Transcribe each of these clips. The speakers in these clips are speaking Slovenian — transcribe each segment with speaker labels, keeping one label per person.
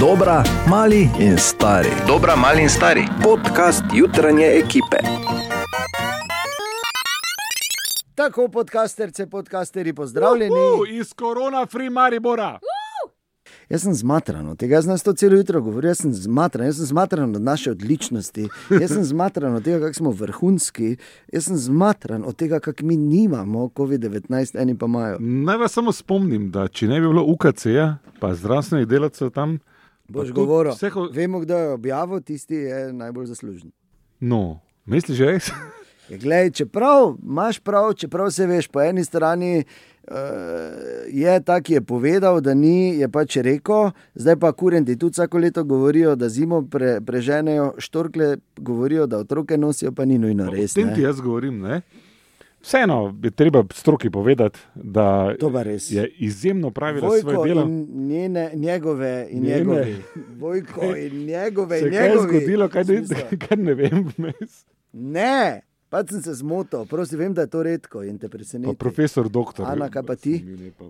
Speaker 1: Dobra, mali in stari.
Speaker 2: Dobra, mali in stari.
Speaker 1: Podcast jutranje ekipe.
Speaker 3: Tako podcasterce, podcasterji, pozdravljeni.
Speaker 4: Uh, iz korona free Maribora.
Speaker 3: Jaz sem zmatran od tega, jaz nas to celo jutro govorim, jaz sem zmatran, jaz sem zmatran od naše odličnosti, jaz sem zmatran od tega, kako smo vrhunski, jaz sem zmatran od tega, kako mi nimamo COVID-19, eni pa imajo.
Speaker 4: Naj vas samo spomnim, da če ne bi bilo UKC-ja, pa zdravstvenih delavcev tam,
Speaker 3: Boš
Speaker 4: tudi
Speaker 3: govoril,
Speaker 4: vseh o-
Speaker 3: vemo, kdo je objavil, tisti je najbolj zaslužen.
Speaker 4: no, misliš res?
Speaker 3: Ja, glej, čeprav imaš prav, čeprav se veš, po eni strani uh, je ta, ki je povedal, da ni, je pač rekel, zdaj pa kurenti tudi vsako leto govorijo, da zimo pre, preženejo, štorkle govorijo, da otroke nosijo, pa ni nujno res.
Speaker 4: tem ti
Speaker 3: Ne?
Speaker 4: jaz govorim. Ne? Vseeno je treba stroki povedati, da
Speaker 3: To pa res.
Speaker 4: je izjemno pravila svoje
Speaker 3: Vojko
Speaker 4: delo.
Speaker 3: in njene, njegove in
Speaker 4: Njene.
Speaker 3: njegovi. Vojko in njegove
Speaker 4: Se
Speaker 3: in
Speaker 4: je kaj
Speaker 3: njegovi.
Speaker 4: zgodilo, kaj ne,
Speaker 3: Smisel.
Speaker 4: kar ne vem. vmes.
Speaker 3: Ne, pa sem se zmotil, prosim, vem, da je to redko in te
Speaker 4: Pa
Speaker 3: preseneča.
Speaker 4: profesor, doktor.
Speaker 3: Ana, kaj pa ti?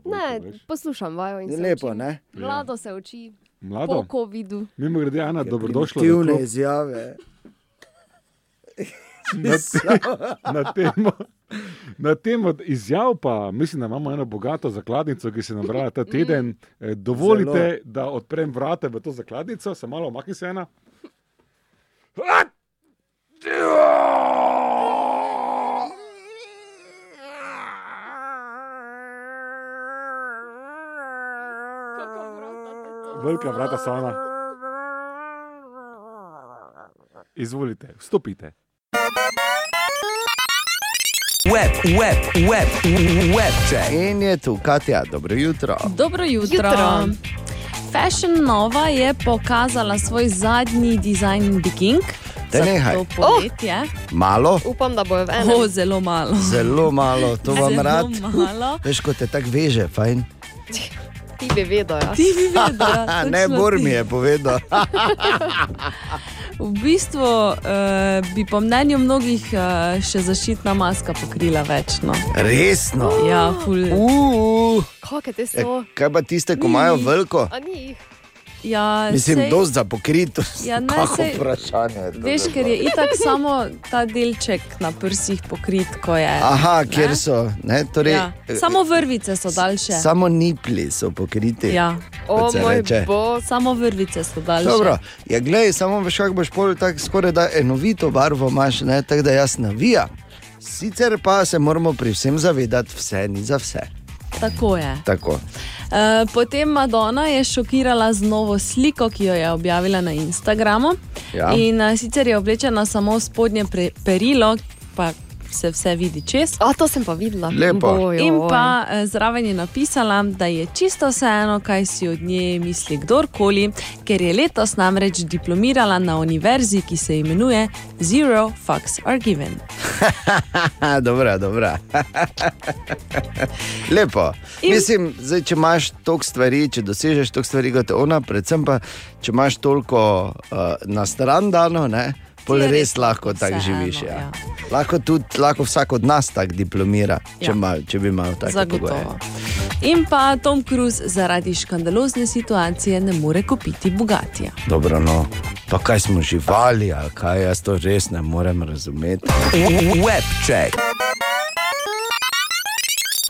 Speaker 5: Ne, poslušam vajo in se
Speaker 3: Lepo,
Speaker 5: učim.
Speaker 4: Ja.
Speaker 3: ne?
Speaker 5: Vlado se uči
Speaker 4: Mlado,
Speaker 5: po COVID-u.
Speaker 4: mimo grede,
Speaker 3: Ja,
Speaker 4: Ana, dobrodošla. v
Speaker 3: Aktivne
Speaker 4: klub
Speaker 3: izjave.
Speaker 4: Na temo, na temo izjav pa mislim, da imamo eno bogato zakladnico, ki se je nabrala ta teden. Eh, Dovolite,
Speaker 3: Zelo.
Speaker 4: Zelo. da odprem vrata v to zakladnico, samo malo omakni se ena. Velika vrata so ona. Izvolite, vstopite.
Speaker 1: Web, web, web, web, check. In je tu Katja, dobro jutro.
Speaker 6: Dobro jutro.
Speaker 5: Jutro.
Speaker 6: Fashion Nova je pokazala svoj zadnji dizajn Bikink.
Speaker 3: Daj nehaj. Oh!
Speaker 6: To poletje.
Speaker 3: Malo,
Speaker 5: Upam, da bojo v
Speaker 6: Oh,
Speaker 5: enem.
Speaker 6: oh, zelo malo.
Speaker 3: zelo malo, to vam
Speaker 6: zelo
Speaker 3: rad.
Speaker 6: malo.
Speaker 3: Veš, kot te tako veže, fajn.
Speaker 5: Ti bi vedel, jaz.
Speaker 6: Ti bi vedel, ja,
Speaker 3: A,
Speaker 6: točno
Speaker 3: ne, Bor
Speaker 6: ti.
Speaker 3: mi je povedal.
Speaker 6: V bistvu eh, bi po mnenju mnogih eh, še zaščitna maska pokrila več. No.
Speaker 3: Resno.
Speaker 6: Ja, ful.
Speaker 3: Uh,
Speaker 5: Kakšne te
Speaker 3: e,
Speaker 5: so?
Speaker 3: kaj pa tiste, ko imajo veliko?
Speaker 5: A ni jih.
Speaker 6: Ja,
Speaker 3: Mislim,
Speaker 6: sej-
Speaker 3: dosti za pokritost.
Speaker 6: Ja, ne,
Speaker 3: Kako
Speaker 6: sej-
Speaker 3: vprašanje. je to,
Speaker 6: Veš,
Speaker 3: da
Speaker 6: ker
Speaker 3: je.
Speaker 6: je itak samo ta delček na prsih pokrit, ko je.
Speaker 3: Aha,
Speaker 6: ne?
Speaker 3: kjer so. Ne, torej,
Speaker 6: Ja. Samo vrvice so daljše.
Speaker 3: Samo nipli so pokriti.
Speaker 6: Ja,
Speaker 5: O
Speaker 3: Kot se
Speaker 5: moj
Speaker 3: reče.
Speaker 5: bog.
Speaker 6: samo vrvice so daljše.
Speaker 3: Dobro, ja, gledaj, samo veš, kako boš pol tako skoraj da enovito barvo imaš, ne, tako da jaz navijam. Sicer pa se moramo pri vsem zavedati, vse ni za vse.
Speaker 6: Tako je.
Speaker 3: Tako.
Speaker 6: E, potem Madonna je šokirala z novo sliko, ki jo je objavila na Instagramu.
Speaker 3: Ja.
Speaker 6: In e, sicer je oblečena samo v spodnje pre, perilo, pa se vse vidi čez.
Speaker 5: A to sem pa videla.
Speaker 3: Lepo.
Speaker 5: Bojoj.
Speaker 6: In pa e, zraven je napisala, da je čisto vseeno, kaj si od nje misli kdorkoli, ker je letos namreč diplomirala na univerzi, ki se imenuje Zero Fucks Are Given.
Speaker 3: Ha, dobra, dobra. Lepo. In...
Speaker 6: In-
Speaker 3: Mislim, zdaj, če imaš toliko stvari, če dosežeš toliko stvari kot ona, predvsem pa, če imaš toliko uh, na stran dano, ne, pol
Speaker 6: Ti je
Speaker 3: res, res
Speaker 6: res
Speaker 3: lahko
Speaker 6: lahko
Speaker 3: tako
Speaker 6: vseeno,
Speaker 3: živiš. Ja. Ja.
Speaker 6: ja.
Speaker 3: Lahko tudi lahko vsak od nas tako diplomira, ja. če,
Speaker 6: Ja.
Speaker 3: ima, če bi imel tako pogoje.
Speaker 6: Zagotovo. In pa Tom Cruise zaradi škandalozne situacije ne more kupiti bogatja.
Speaker 3: Dobro, no. Pa kaj smo živali, ali kaj jaz to res ne morem razumeti.
Speaker 1: Web, check.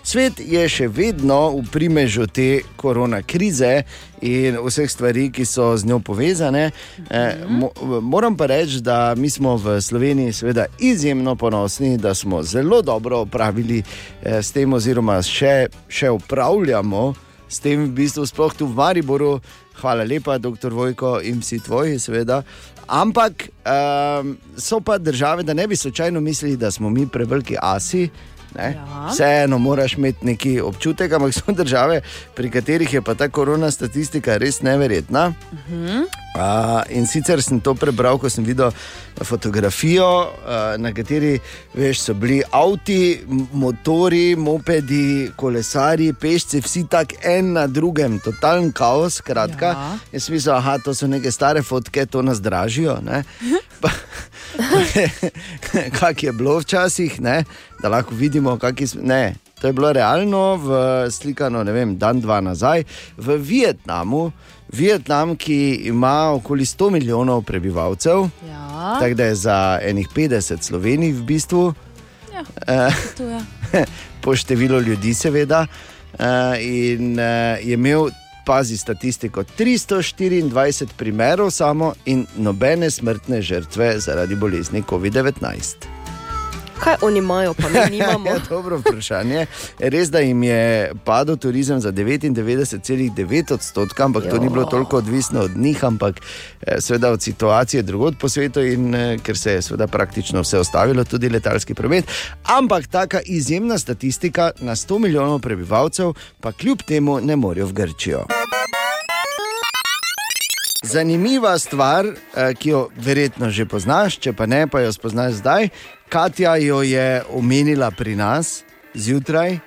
Speaker 3: Svet je še vedno v primežu te korona krize in vseh stvari, ki so z njo povezane. Eh, mo moram pa reči, da mi smo v Sloveniji seveda izjemno ponosni, da smo zelo dobro opravili eh, s tem, oziroma še, še upravljamo s tem, v bistvu, sploh tu v Mariboru. Hvala lepa, doktor Vojko in vsi tvoji, seveda. Ampak um, so pa države, da ne bi slučajno mislili, da smo mi preveliki asi. Ne?
Speaker 6: Ja.
Speaker 3: Vseeno moraš imeti neki občutek, ampak so države, pri katerih je pa ta korona statistika res neverjetna.
Speaker 6: Mhm.
Speaker 3: Uh, in sicer sem to prebral, ko sem videl fotografijo, uh, na kateri veš, so bili avtomobili, motori, mopedi, kolesari, pešci, vsi tako en na drugem, totalen kaos. Kratka. Ja.
Speaker 6: Ja.
Speaker 3: Jaz mislim, da to so neke stare fotke, to nas dražijo. ne. Pa- Kak je bilo včasih, ne? da lahko vidimo, kako je. Ne, To je bilo realno, v, slikano ne vem, dan, dva nazaj, v Vietnamu. Vietnam, ki ima okoli 100 milijonov prebivalcev,
Speaker 6: Ja,
Speaker 3: tako da je za enih 50 Slovenij v bistvu. Eh,
Speaker 6: Ja. to je.
Speaker 3: po številu ljudi, seveda. eh, In eh, je imel, pazi statistiko, 324 primerov samo in nobene smrtne žrtve zaradi bolezni COVID-19.
Speaker 5: Kaj oni imajo, pa mi nimamo?
Speaker 3: Ja, dobro vprašanje. Res, da jim je padel turizem za 99,9 odstotka, ampak jo. to ni bilo
Speaker 5: Ja.
Speaker 3: toliko odvisno od njih, ampak eh, seveda od situacije drugod po svetu in eh, ker se je seveda praktično vse ostavilo, tudi letalski promet. Ampak taka izjemna statistika na 100 milijonov prebivalcev pa kljub temu ne morejo v Grčijo. Zanimiva stvar, eh, ki jo verjetno že poznaš, če pa ne, pa jo spoznaš zdaj. Katja jo je omenila pri nas zjutraj,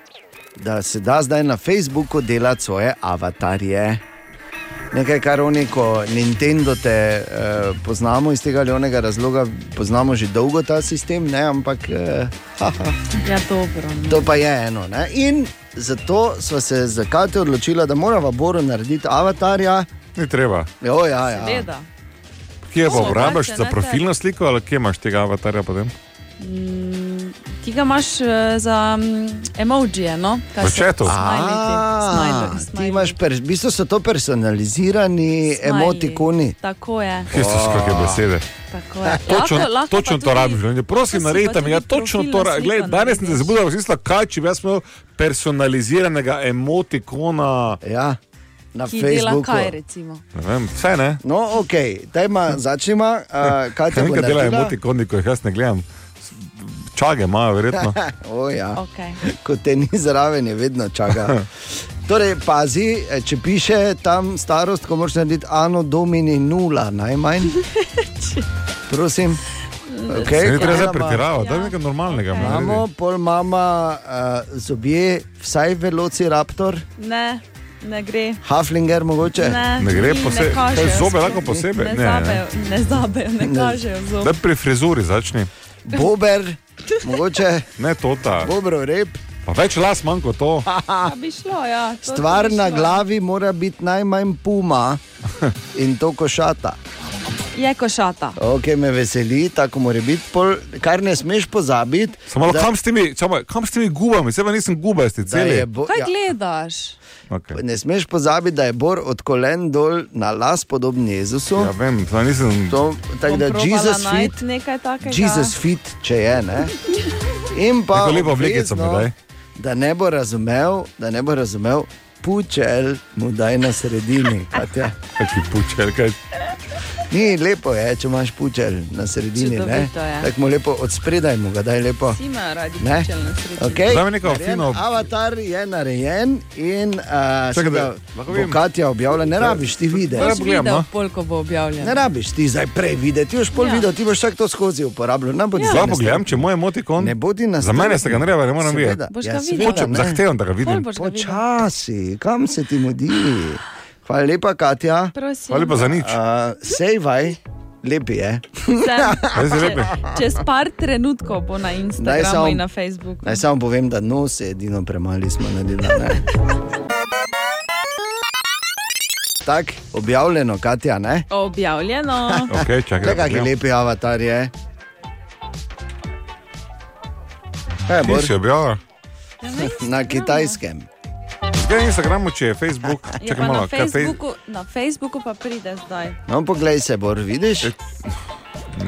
Speaker 3: da se da zdaj na Facebooku delati svoje avatarje. Nekaj, kar oni, ko Nintendo te eh, poznamo iz tega ali onega razloga, poznamo že dolgo ta sistem, ne? ampak eh, haha,
Speaker 6: Ja, dobro.
Speaker 3: to pa je eno. Ne? In zato smo se za Katijo odločili, da moramo Boru narediti avatarja.
Speaker 2: Ni treba.
Speaker 3: Jo, ja, ja.
Speaker 6: Seveda.
Speaker 2: Kje pa
Speaker 6: O,
Speaker 2: uporabiš
Speaker 6: pač,
Speaker 2: za
Speaker 6: ne,
Speaker 2: profilno sliko ali kje imaš tega avatarja potem?
Speaker 6: Mm, Ti ga imaš eh, za um, emojije, no? Kaj
Speaker 2: V
Speaker 6: so-
Speaker 2: chatu.
Speaker 6: smajliki, smajlo-
Speaker 3: Ah, Ti
Speaker 6: smajli.
Speaker 3: imaš, per, v bistvu so to personalizirani
Speaker 6: Smajli.
Speaker 3: emotikoni.
Speaker 6: Tako je,
Speaker 2: Kristus, kakšne besede.
Speaker 6: tako je.
Speaker 2: Točno,
Speaker 6: Lahko- lahko pa
Speaker 2: točno to
Speaker 6: tudi-
Speaker 2: rabiš. ne. Prosim,
Speaker 6: Prosim, pa
Speaker 2: naredite mi, ja,
Speaker 6: tudi
Speaker 2: točno
Speaker 6: profilno
Speaker 2: to rabiš. Glej,
Speaker 6: sliko
Speaker 2: danes sem se
Speaker 6: narediš.
Speaker 2: zbudil, razmislil, kaj če bi jaz imel personaliziranega emotikona.
Speaker 3: Ja, na
Speaker 6: Ki dela
Speaker 3: Facebooku.
Speaker 6: kaj, recimo?
Speaker 2: Ne vem, vse ne.
Speaker 3: No, ok, dajma, začnimo. Uh, kaj ti
Speaker 2: Kaj nekaj dela
Speaker 3: dela
Speaker 2: emotikoni, ko jih jaz ne gledam. S- Čage imajo, verjetno.
Speaker 3: O, ja.
Speaker 6: Okay.
Speaker 3: Ko te ni zraven, je vedno čaka. Torej, pazi, če piše tam starost, ko moraš narediti ano, domini nula, najmanj. Prosim.
Speaker 2: Se
Speaker 3: Okay,
Speaker 2: Ne treba zdaj
Speaker 3: potem ima-
Speaker 2: pretiravati, da je
Speaker 6: Ja.
Speaker 2: nekaj normalnega. mu naredi.
Speaker 3: Imamo, pol imamo uh, zobje, vsaj velociraptor,
Speaker 6: Ne, ne gre.
Speaker 3: haflinger mogoče.
Speaker 6: Ne,
Speaker 2: Ne gre
Speaker 6: ni,
Speaker 2: posebej.
Speaker 6: ne kažejo
Speaker 2: Kaj zobe
Speaker 6: sploh.
Speaker 2: lahko posebej?
Speaker 6: Ne,
Speaker 2: Ne, ne.
Speaker 6: zabejo, ne zabejo, ne, ne. kažejo zob.
Speaker 2: Da pri frizuri začni,
Speaker 3: Bober, mogoče
Speaker 2: ne tota.
Speaker 3: bobrov rep.
Speaker 2: Pa več las manj kot to.
Speaker 6: Da bi šlo, ja. to- to
Speaker 3: Stvar
Speaker 6: bi
Speaker 3: na
Speaker 6: šlo.
Speaker 3: glavi mora biti najmanj puma in to košata.
Speaker 6: Je košata.
Speaker 3: Ok, me veseli, tako mora biti. Pol, kar ne smeš pozabiti,
Speaker 2: Samo malo,
Speaker 3: da-
Speaker 2: kam s temi, samo malo, kam s temi gubami, sebe nisem gubasti,
Speaker 3: da je
Speaker 2: celi.
Speaker 3: bo,
Speaker 6: Kaj ja.
Speaker 3: ja,
Speaker 6: gledaš?
Speaker 2: Okay.
Speaker 3: ne smeš pozabiti, da je Bor od kolen dol na las podoben Jezusu.
Speaker 2: Ja, vem, to nisem.
Speaker 3: To, tako
Speaker 6: Bom
Speaker 3: da
Speaker 6: probala
Speaker 3: Jezus fit,
Speaker 6: najti nekaj takega.
Speaker 3: Jezus fit, če je. Ne? In pa
Speaker 2: Neko lepo oblekico mi
Speaker 3: obvezno,
Speaker 2: daj.
Speaker 3: Da ne bo razumel, da ne bo razumel, pučel mu daj na sredini. Katja.
Speaker 2: Taki pučer, kaj.
Speaker 3: Ni lepo, je, če imaš pučer na sredini. ne.
Speaker 6: Čudovito je.
Speaker 3: Tako mu lepo od spredaj mu ga daj lepo.
Speaker 6: Ti imaš radi
Speaker 3: Ne.
Speaker 6: pičelne srečo.
Speaker 3: Okay.
Speaker 2: Daj mi neko fino-
Speaker 3: Avatar je narejen in uh,
Speaker 2: Čakaj, da-
Speaker 3: seveda
Speaker 2: lahko
Speaker 3: bo
Speaker 2: vidim?
Speaker 3: Katja objavlja, ne rabiš ti videti.
Speaker 2: Boš pogledam, no.
Speaker 6: Videl, koliko bo objavljeno.
Speaker 3: Ne rabiš ti zdaj prej videti, už pol
Speaker 6: Ja.
Speaker 3: ja. videl, ti boš vsak to skozi uporabljal. Ne bodi zdaj
Speaker 2: Zdaj pogledam, če moj emotikon.
Speaker 3: Ne bodi nas.
Speaker 2: Za mene se ga ne rabe, ne moram videti.
Speaker 6: Boš ga
Speaker 3: ja,
Speaker 6: videl.
Speaker 3: seveda,
Speaker 2: Hočem,
Speaker 3: ne.
Speaker 2: zahtevam, da ga
Speaker 6: Pol
Speaker 2: vidim.
Speaker 6: boš ga videl.
Speaker 3: Počasi, kam se ti mudi? Hvala lepa, Katja.
Speaker 6: Prosim.
Speaker 2: Ali pa za nič.
Speaker 3: Uh, sej vaj, lepi je.
Speaker 6: Sem-
Speaker 2: Zdaj se lepe.
Speaker 6: Čez par trenutkov bo na
Speaker 3: Ja. Daj
Speaker 6: Instagramu
Speaker 3: samo-
Speaker 6: in na Facebooku.
Speaker 3: Naj samo povem, da nos je edino premali smo naredili. ne. Tako objavljeno, Katja, ne?
Speaker 6: Objavljeno.
Speaker 3: Ja.
Speaker 2: Ok, čakaj.
Speaker 3: Kaj
Speaker 2: da
Speaker 3: kaki
Speaker 2: pogledam.
Speaker 3: lepi avatar je. Kaj, Bor?
Speaker 2: Ti si objavil.
Speaker 6: Ja,
Speaker 3: Na kitajskem.
Speaker 2: Zdaj na Instagramu, če je Facebook. Čakaj
Speaker 6: Je Ja, pa na
Speaker 2: malo, kaj fej...
Speaker 6: Facebooku, na Facebooku pa pride zdaj.
Speaker 3: No, poglej se, Bor, vidiš?
Speaker 2: E,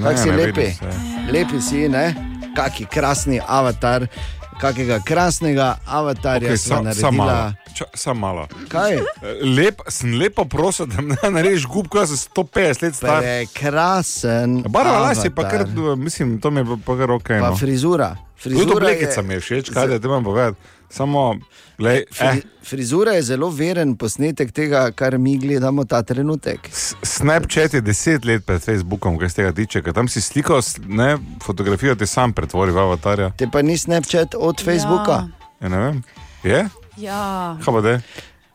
Speaker 3: Kako si lepi. Lepi si, ne? Kaki krasni avatar, kakega krasnega avatarja okay, sva
Speaker 2: Sam malo.
Speaker 3: naredila.
Speaker 2: Ča- Samo malo. Eh,
Speaker 3: Kaj?
Speaker 2: Lep, sem lepo prosil, da mi narediš gubko, jaz sem 150 let star.
Speaker 3: Prekrasen.
Speaker 2: Barva las je pa
Speaker 3: avatar.
Speaker 2: kar, mislim, to mi je pa kar ok.
Speaker 3: Pa
Speaker 2: No.
Speaker 3: frizura.
Speaker 2: Tudi
Speaker 3: Frizura
Speaker 2: oblekica mi je všeč, kaj da ti imam povedati. Samo, glej, eh,
Speaker 3: Fri, frizura je zelo veren posnetek tega, kar mi gledamo ta trenutek.
Speaker 2: S- Snapchat je deset let pred Facebookom, kaj se tega tiče, ker tam si sliko, s- ne, fotografijo ti sam pretvori v avatarja.
Speaker 3: Te pa ni Snapchat od Facebooka.
Speaker 2: Ja, ne vem. Je?
Speaker 6: Ja.
Speaker 2: Kaj pa da? je?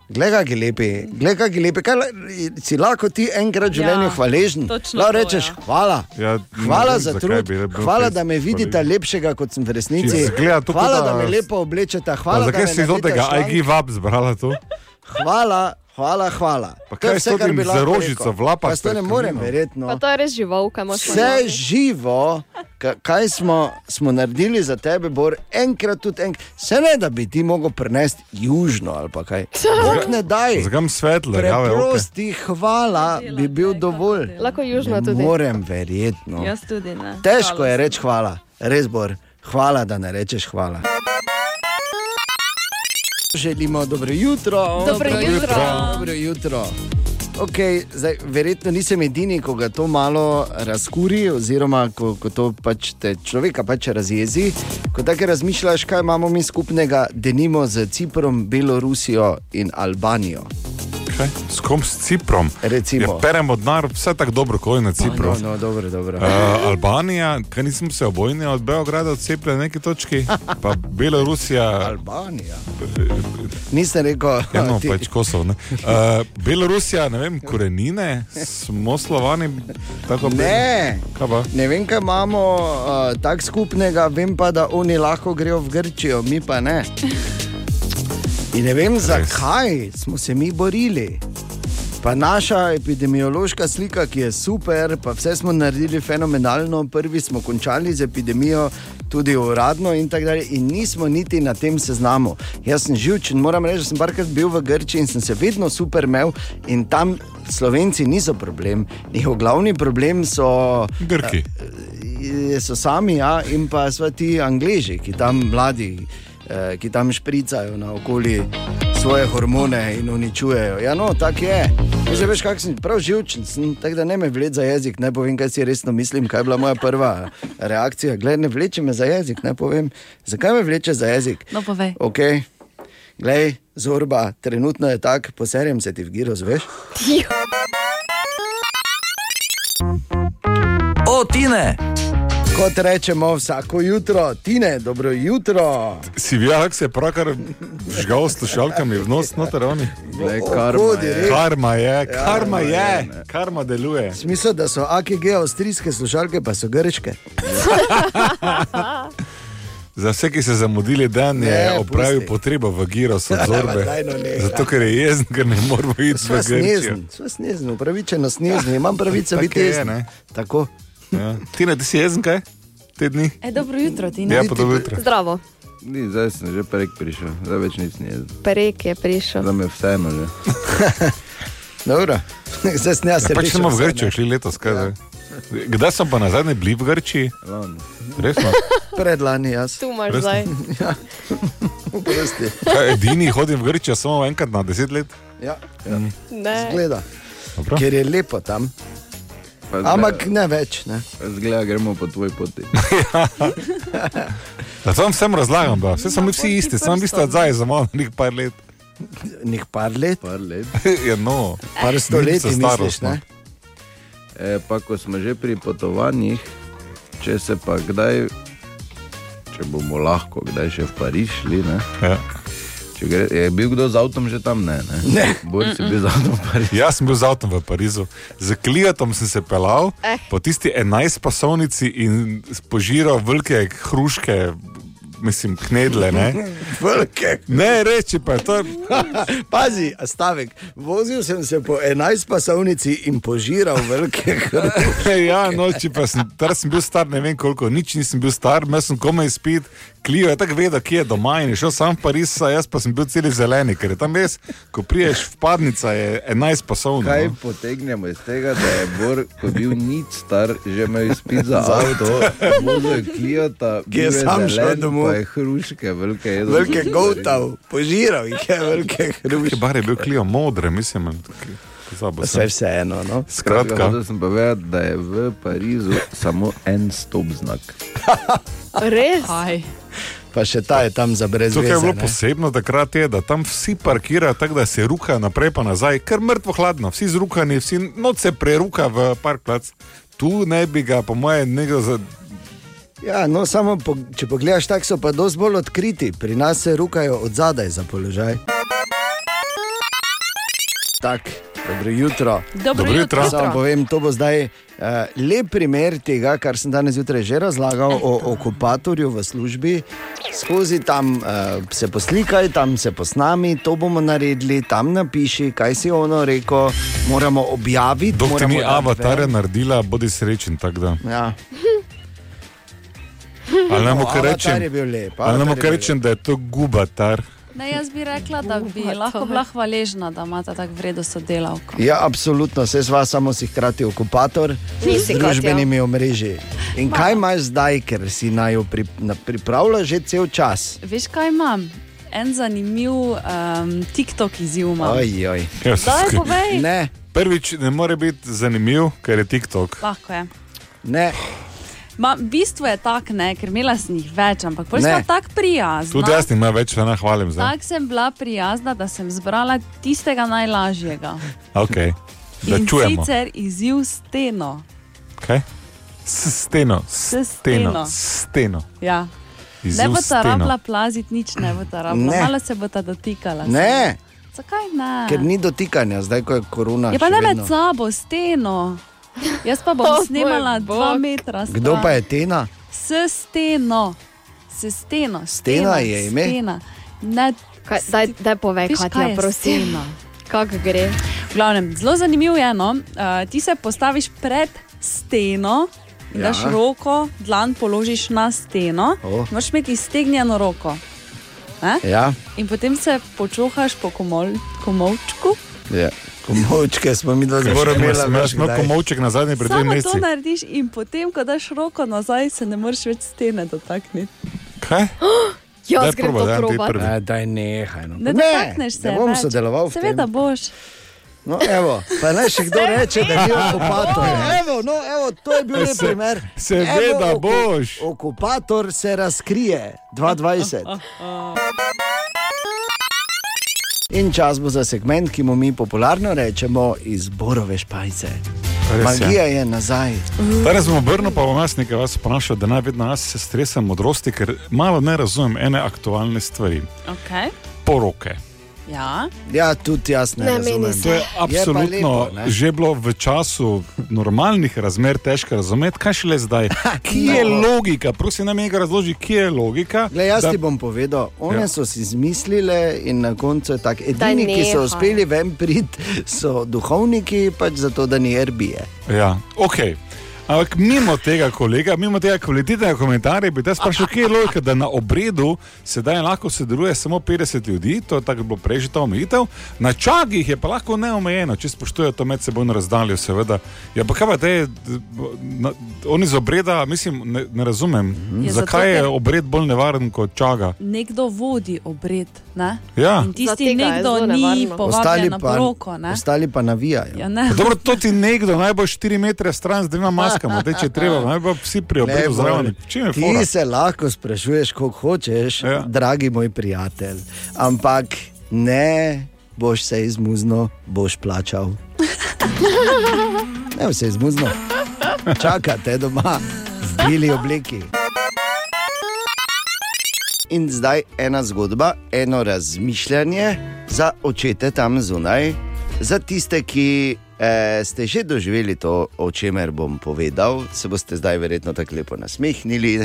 Speaker 3: Glej, kaj je lepi, glej, kaj je lepi. Kaj, la- si lahko ti enkrat v življenju
Speaker 6: Ja,
Speaker 3: hvaležen.
Speaker 6: točno
Speaker 3: Lahko
Speaker 6: to,
Speaker 3: rečeš
Speaker 6: ja.
Speaker 3: hvala.
Speaker 2: Ja, ne
Speaker 3: Hvala
Speaker 2: vem,
Speaker 3: za
Speaker 2: zakaj
Speaker 3: trud,
Speaker 2: bi rad bil
Speaker 3: hvala,
Speaker 2: fejst
Speaker 3: da me vidite
Speaker 2: hvaležen.
Speaker 3: lepšega, kot sem v resnici.
Speaker 2: Čisto izgleda to, kot
Speaker 3: Hvala,
Speaker 2: da-
Speaker 3: da me lepo oblečete,
Speaker 2: Pa
Speaker 3: hvala, da
Speaker 2: zakaj
Speaker 3: me
Speaker 2: si do
Speaker 3: nabijete
Speaker 2: tega
Speaker 3: šlank.
Speaker 2: IG Vab zbrala to?
Speaker 3: Hvala, hvala, hvala.
Speaker 2: Pa
Speaker 3: To je
Speaker 2: kaj
Speaker 3: vse,
Speaker 2: s
Speaker 3: kar
Speaker 2: tem
Speaker 3: bi lahko
Speaker 2: za rožico
Speaker 3: rekel.
Speaker 2: vlapaš
Speaker 3: Pa to ne
Speaker 2: pred
Speaker 3: morem,
Speaker 2: kamino?
Speaker 5: Pa
Speaker 3: verjetno.
Speaker 5: to je res živalka, imaš
Speaker 3: Vse živo, ka- kaj smo, smo naredili za tebe, Bor, enkrat tudi enkrat. Se ne, da bi ti mogel prenesti južno ali pa kaj. Bog ne daj.
Speaker 2: Zakaj imam svetlo, jave, okay.
Speaker 3: Preprosti, hvala bi bil dovolj.
Speaker 5: Lahko južna
Speaker 3: Ne
Speaker 5: tudi.
Speaker 3: morem,
Speaker 2: No.
Speaker 3: no. verjetno.
Speaker 6: Jaz tudi ne.
Speaker 3: Težko je reči hvala, res bor. Hvala, da ne rečeš hvala. Želimo dobro jutro.
Speaker 5: Dobro jutro.
Speaker 3: Dobro jutro. Okay, zdaj, verjetno nisem edini, ko ga to malo razkuri, oziroma ko, ko to pač te človeka pač razjezi. Ko tako razmišljaš, kaj imamo mi skupnega, denimo z Ciprom, Belorusijo in Albanijo.
Speaker 2: Kaj? S kom s Ciprom?
Speaker 3: Recimo.
Speaker 2: Ja, peremo denar, vse tako dobro, kot je na Cipru.
Speaker 3: No, no, dobro, dobro.
Speaker 2: Uh, Albanija, kaj nismo se obojni od Beograda odcepili na neki točki, pa Belorusija,
Speaker 3: Albanija. Nisem rekel,
Speaker 2: ja, no,
Speaker 3: ti-
Speaker 2: pač Kosovo. Ne. Uh, Belorusija, ne vem, korenine, smo slovani, tako
Speaker 3: Ne.
Speaker 2: Kaj pa?
Speaker 3: Ne vem, kaj imamo uh, tako skupnega, vem pa, da oni lahko grejo v Grčijo, mi pa ne. In ne vem, zakaj smo se mi borili. Pa naša epidemiološka slika, ki je super, pa vse smo naredili fenomenalno, prvi smo končali z epidemijo, tudi uradno, in tako dalje, in nismo niti na tem seznamu. Jaz sem živčen, moram reči, da sem parkrat bil v Grčiji in sem se vedno super imel, in tam Slovenci niso problem. Njihov glavni problem so
Speaker 2: Grki.
Speaker 3: eh, so sami, ja, in pa so ti angliži, ki tam mladi, eh, ki tam špricajo na okolje svoje hormone in uničujejo. Ja, no, tako je. Že veš, kak sem prav živčen, sem, tako da ne me vleče za jezik, ne povem, kaj si resno mislim, kaj je bila moja prva reakcija. Glej, ne vleče me za jezik, ne povem, zakaj me vleče za jezik.
Speaker 6: No, povej.
Speaker 3: Okay. Glej, zorba, trenutno je tako, poserjem se ti v giro, zveš.
Speaker 1: O, Tine!
Speaker 3: Kot rečemo vsako jutro, tine, dobro jutro.
Speaker 2: Si vijak se je pravkar žgal s slušalkami v nos, noter oni.
Speaker 3: No,
Speaker 1: Glej,
Speaker 3: Hodi, res.
Speaker 2: Karma
Speaker 3: Ja,
Speaker 2: je, karma je, karma deluje.
Speaker 3: Smisel, da so AKG avstrijske slušalke, pa so grške.
Speaker 2: Za vse, ki so zamudili dan, je
Speaker 3: Ne,
Speaker 2: opravil
Speaker 3: pusti.
Speaker 2: potrebo v Giros od
Speaker 3: Pa
Speaker 2: Zorbe.
Speaker 3: daj no nehaj.
Speaker 2: Zato, ker je jezen, ker ne moramo iti v
Speaker 3: Sva
Speaker 2: Grčijo. Ja,
Speaker 3: snezen, sva snezen, upravičeno snezen, imam pravico
Speaker 2: Tako
Speaker 3: biti
Speaker 2: je,
Speaker 3: jezen.
Speaker 2: ne.
Speaker 3: Tako.
Speaker 2: Ja. Ti ne, ti si jezen, kaj? Te dni?
Speaker 6: E, dobro jutro, ti ne.
Speaker 2: Ja, pa dobro jutro.
Speaker 5: Zdravo,
Speaker 1: Ni, zdaj sem že prek prišel, zdaj več nic ni jedel.
Speaker 5: perek je prišel.
Speaker 1: Zdaj me vseeno že.
Speaker 3: Dobro, zdaj sem jaz.
Speaker 2: Ja, pač
Speaker 3: rešil
Speaker 2: smo v
Speaker 3: vse, ne. Ja.
Speaker 2: Grčijo šli letos, kaj zdaj? Kdaj sem pa na zadnje bili v Grčiji? no?
Speaker 1: Lani.
Speaker 2: Resno.
Speaker 3: Predlani jaz,
Speaker 5: Tu imaš
Speaker 2: Res?
Speaker 5: zdaj.
Speaker 3: Ja. oprosti.
Speaker 2: Kaj, edini hodim v Grčijo samo enkrat na deset let. Mm,
Speaker 3: Ja,
Speaker 5: Ne.
Speaker 3: gleda,
Speaker 2: Dobro.
Speaker 3: ker je lepo tam.
Speaker 1: Pa zgleda-
Speaker 3: Ampak ne več, ne.
Speaker 1: Zgleda, gremo po tvoji poti.
Speaker 2: Da to Ja. vam vsem razlagam, da vse smo mi vsi isti, samo vi ste odzaj za malo, nekaj par let.
Speaker 3: Nih par let,
Speaker 1: Par let.
Speaker 2: Ja, no.
Speaker 3: par stoletij,
Speaker 2: Mimica
Speaker 3: misliš,
Speaker 2: starostna.
Speaker 3: ne?
Speaker 1: E, pa ko smo že pri potovanjih, če se pa kdaj, če bomo lahko kdaj še v Pariz šli, ne?
Speaker 2: Ja.
Speaker 1: Če Gre, je bil kdo z avtom že tam? Ne, ne. ne. Boris je bil z avtom v Parizu.
Speaker 2: Jaz sem bil z avtom v Parizu, z klijatom sem se pelal
Speaker 5: Eh.
Speaker 2: po tisti 11 pasovnici in požiral velike hruške, mislim, knedle. Ne,
Speaker 3: Velike.
Speaker 2: ne reči pa je to.
Speaker 3: Pazi, a stavek. Vozil sem se po 11 pasovnici in požiral velike hrbe.
Speaker 2: Ja, noči pa sem, tar sem bil star, ne vem koliko, nič nisem bil star, imel sem komaj spit, klijo je tako vedel, kje je doma in je šel sam v Pariz, saj jaz pa sem bil celi zeleni, ker je tam res, ko priješ vpadnica, je no. 11 pasovnica.
Speaker 1: Kaj potegnemo iz tega, da je Bor, ko je bil nič star, že imel izpit za avto, vozil Kljota,
Speaker 3: Ki je sam šel domov.
Speaker 1: Pa je hruške, velike jedel.
Speaker 3: Velike gotov, požiral jih je, velike hruške.
Speaker 2: Bar je bil klijo modre, mislim, pozabil
Speaker 3: Vse
Speaker 2: sem.
Speaker 3: je vseeno. No?
Speaker 1: Kratka.
Speaker 2: Skratka.
Speaker 1: Hotel sem povedati, da je v Parizu samo en stop znak.
Speaker 5: Res?
Speaker 6: Aj.
Speaker 3: Pa še ta je tam za brez
Speaker 2: To, kar je bilo
Speaker 3: veze.
Speaker 2: posebno takrat, je, da tam vsi parkirajo tako, da se ruka naprej pa nazaj, ker mrtvo hladno, vsi zrukani, vsi noč se preruka v parkplac. Tu ne bi ga, po mojem, nekdo za...
Speaker 3: Ja, no, samo po, če pogledaš, tako so pa dosti bolj odkriti. Pri nas se rukajo od zadaj za položaj. Tako, dobro jutro.
Speaker 6: Dobro,
Speaker 2: Dobro jutro.
Speaker 3: Samo povem, to bo zdaj eh, lep primer tega, kar sem danes zjutraj že razlagal o okupatorju v službi. Skozi tam eh, se poslikaj, tam se posnami, to bomo naredili, tam napiši, kaj si ono rekel, moramo objaviti.
Speaker 2: Dokler
Speaker 3: moramo
Speaker 2: ni
Speaker 3: dati
Speaker 2: avatarja
Speaker 3: ven.
Speaker 2: naredila, bodi srečen. tako da.
Speaker 3: Ja.
Speaker 2: Ali nam lahko
Speaker 3: No, Avatar je
Speaker 2: rečem,
Speaker 3: bil lep.
Speaker 2: ali
Speaker 3: avatar
Speaker 2: nam
Speaker 3: je
Speaker 2: lahko
Speaker 3: bil
Speaker 2: rečem, da je to gubatar?
Speaker 6: Ne, jaz bi rekla, da bi lahko bila hvaležna, da imate tako vredno sodelavko.
Speaker 3: lep. Ja, absolutno, vse zva, samo si hkrati okupator
Speaker 5: Nisi
Speaker 3: z
Speaker 5: kot, ja.
Speaker 3: družbenimi omrežji. In kaj imaš zdaj, ker si na jo pri, na, pripravlja že cel čas?
Speaker 6: Veš, kaj imam? En zanimiv um, TikTok izziv imam.
Speaker 3: Ojoj.
Speaker 2: Ja,
Speaker 6: Daj, povej.
Speaker 3: Ne,
Speaker 2: Prvič ne more biti zanimiv, ker je TikTok.
Speaker 6: Lahko je.
Speaker 3: ne.
Speaker 6: Ma, bistvo je tako, ne, ker imela sem jih več, ampak pol
Speaker 3: Ne.
Speaker 6: sem tako prijazna.
Speaker 2: Tudi jaz nimam več, da nahvalim za
Speaker 6: Tako sem bila prijazna, da sem zbrala tistega najlažjega.
Speaker 2: okay. Da
Speaker 6: In
Speaker 2: čujemo.
Speaker 6: sicer izziv steno.
Speaker 2: Kaj? S steno, s
Speaker 6: S
Speaker 2: steno,
Speaker 6: steno.
Speaker 2: s steno.
Speaker 6: Ja.
Speaker 2: Izziv
Speaker 6: Ne bo ta
Speaker 2: steno.
Speaker 6: rabla plaziti, nič ne bo ta rabla.
Speaker 3: Ne.
Speaker 6: Malo se bo ta dotikala.
Speaker 3: Ne,
Speaker 6: Zakaj ne?
Speaker 3: ker ni dotikanja, zdaj ko je korona.
Speaker 6: Je pa
Speaker 3: še
Speaker 6: ne
Speaker 3: vedno.
Speaker 6: med sabo, steno. Jaz pa bom
Speaker 5: O, moj
Speaker 6: snimala
Speaker 5: bog.
Speaker 6: dva metra. Stran.
Speaker 3: Kdo pa je Tena?
Speaker 6: S steno. S steno.
Speaker 3: Stena je ime?
Speaker 6: Stena. Ne,
Speaker 5: Kaj, daj, daj povej,
Speaker 6: veš,
Speaker 5: Katja,
Speaker 6: kaj je
Speaker 5: prosim.
Speaker 6: stena.
Speaker 5: Kako gre?
Speaker 6: V glavnem, zelo zanimivo je, no? uh, ti se postaviš pred steno. In
Speaker 3: Ja.
Speaker 6: daš roko, dlan položiš na steno,
Speaker 3: O.
Speaker 6: moraš imeti iztegnjeno roko. Ne?
Speaker 3: Ja,
Speaker 6: In potem se počohaš po komol, komovčku.
Speaker 3: ja. komovčke smo mi dva zelo imeli.
Speaker 2: Jaz sem komovček na zadnji pred dvemi
Speaker 6: Samo to
Speaker 2: meseci.
Speaker 6: narediš, in potem, ko daš roko nazaj, se ne moreš več stene dotakniti. Ja,
Speaker 2: Kaj? Daj
Speaker 5: Jaz grem
Speaker 2: probaj,
Speaker 5: to
Speaker 2: daj, ti
Speaker 5: probat.
Speaker 2: prvi.
Speaker 3: Ne, daj nehaj. No.
Speaker 6: Ne, ne dotakneš se.
Speaker 3: ne bom
Speaker 6: več.
Speaker 3: sodeloval v tem.
Speaker 6: Seveda boš.
Speaker 3: No, evo, pa naj še kdo reče, da je bil okupator. Evo, no, evo, to je bil lep
Speaker 2: Se-
Speaker 3: primer.
Speaker 2: seveda
Speaker 3: Evo, oku-
Speaker 2: boš.
Speaker 3: Okupator se razkrije 2020. In čas bo za segment, ki mu mi popularno rečemo izborove špajce.
Speaker 2: Res je.
Speaker 3: Magija je nazaj.
Speaker 2: Danes bom obrnil, pa bom jaz nekaj vas vprašal, da naj vedno jaz se stresam modrosti, ker malo ne razumem ene aktualne stvari.
Speaker 6: Okay.
Speaker 2: Poroke.
Speaker 6: Ja.
Speaker 3: Ja, tudi jaz ne,
Speaker 5: Ne,
Speaker 3: razumem.
Speaker 5: meni se.
Speaker 2: To je
Speaker 3: pa
Speaker 2: absolutno
Speaker 3: lepo, ne?
Speaker 2: že bilo v času normalnih razmer težko razumeti, kaj šele zdaj. Kje je logika? Prosim, nam nekaj razloži, kje je logika.
Speaker 3: No. Glej, jaz
Speaker 2: da-
Speaker 3: ti bom povedal, one
Speaker 2: Ja.
Speaker 3: ja. so si izmislile in na koncu je tako. Edini, ki so
Speaker 5: nehaj.
Speaker 3: uspeli ven priti, so duhovniki, pač zato, da ni erbije.
Speaker 2: Ja, ok. Ampak mimo tega, kolega, mimo tega kvalitetnega komentarja, bi te sprašil, kje je logika, da na obredu sedaj lahko sodeluje samo 50 ljudi, to je tako bilo prej že ta omejitev, na čagih je pa lahko neomejeno, če spoštujejo to medsebojno razdaljo, seveda. Ja, pa kaj pa te, na- oni z obreda, mislim, ne, ne razumem,
Speaker 6: Ja, zato,
Speaker 2: zakaj je
Speaker 6: ker-
Speaker 2: obred bolj nevaren kot čaga.
Speaker 6: Nekdo vodi obred. Ne?
Speaker 2: Ja.
Speaker 6: In
Speaker 5: Za
Speaker 6: tisti
Speaker 5: tega je
Speaker 6: nekdo
Speaker 5: zelo
Speaker 6: ni
Speaker 5: nevarno.
Speaker 6: povabljen na poroko. ne.
Speaker 3: ostali pa navijajo.
Speaker 6: Ja, ne.
Speaker 2: Dobro, to ti nekdo, najbolj 4 metre stran z dvema maskama, teče treba, najbolj vsi pri
Speaker 3: Ne,
Speaker 2: obredu zraven.
Speaker 3: Bojan,
Speaker 2: Čim je fora?
Speaker 3: Ti se lahko sprašuješ, kako hočeš,
Speaker 2: Ja.
Speaker 3: ja. dragi moj prijatelj. Ampak ne boš se izmuzno, boš plačal. ne boš se izmuzno. Čakate doma, v bili obleki. In zdaj ena zgodba, eno razmišljanje za očete tam zunaj, za tiste, ki eh, ste že doživeli to, o čemer bom povedal. Se boste zdaj verjetno tako lepo nasmehnili.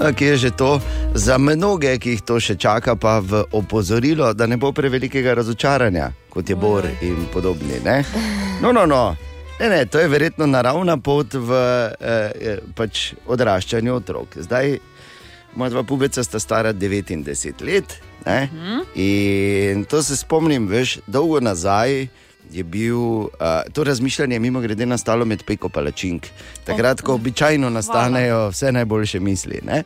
Speaker 3: Ja, Kje je že to? Za mnoge, ki jih to še čaka, pa v opozorilo, da ne bo prevelikega razočaranja, kot je Bor in podobni. Ne? No, no, no. Ne, ne, to je verjetno naravna pot v eh, eh, pač odraščanju otrok. Zdaj Moja dva pubeca sta stara 9 in 10 let. Ne? In to se spomnim, veš, dolgo nazaj. Je bil, uh, to razmišljanje je mimo grede nastalo med peko palačink. Takrat, ko običajno nastanejo vse najboljše misli. Ne?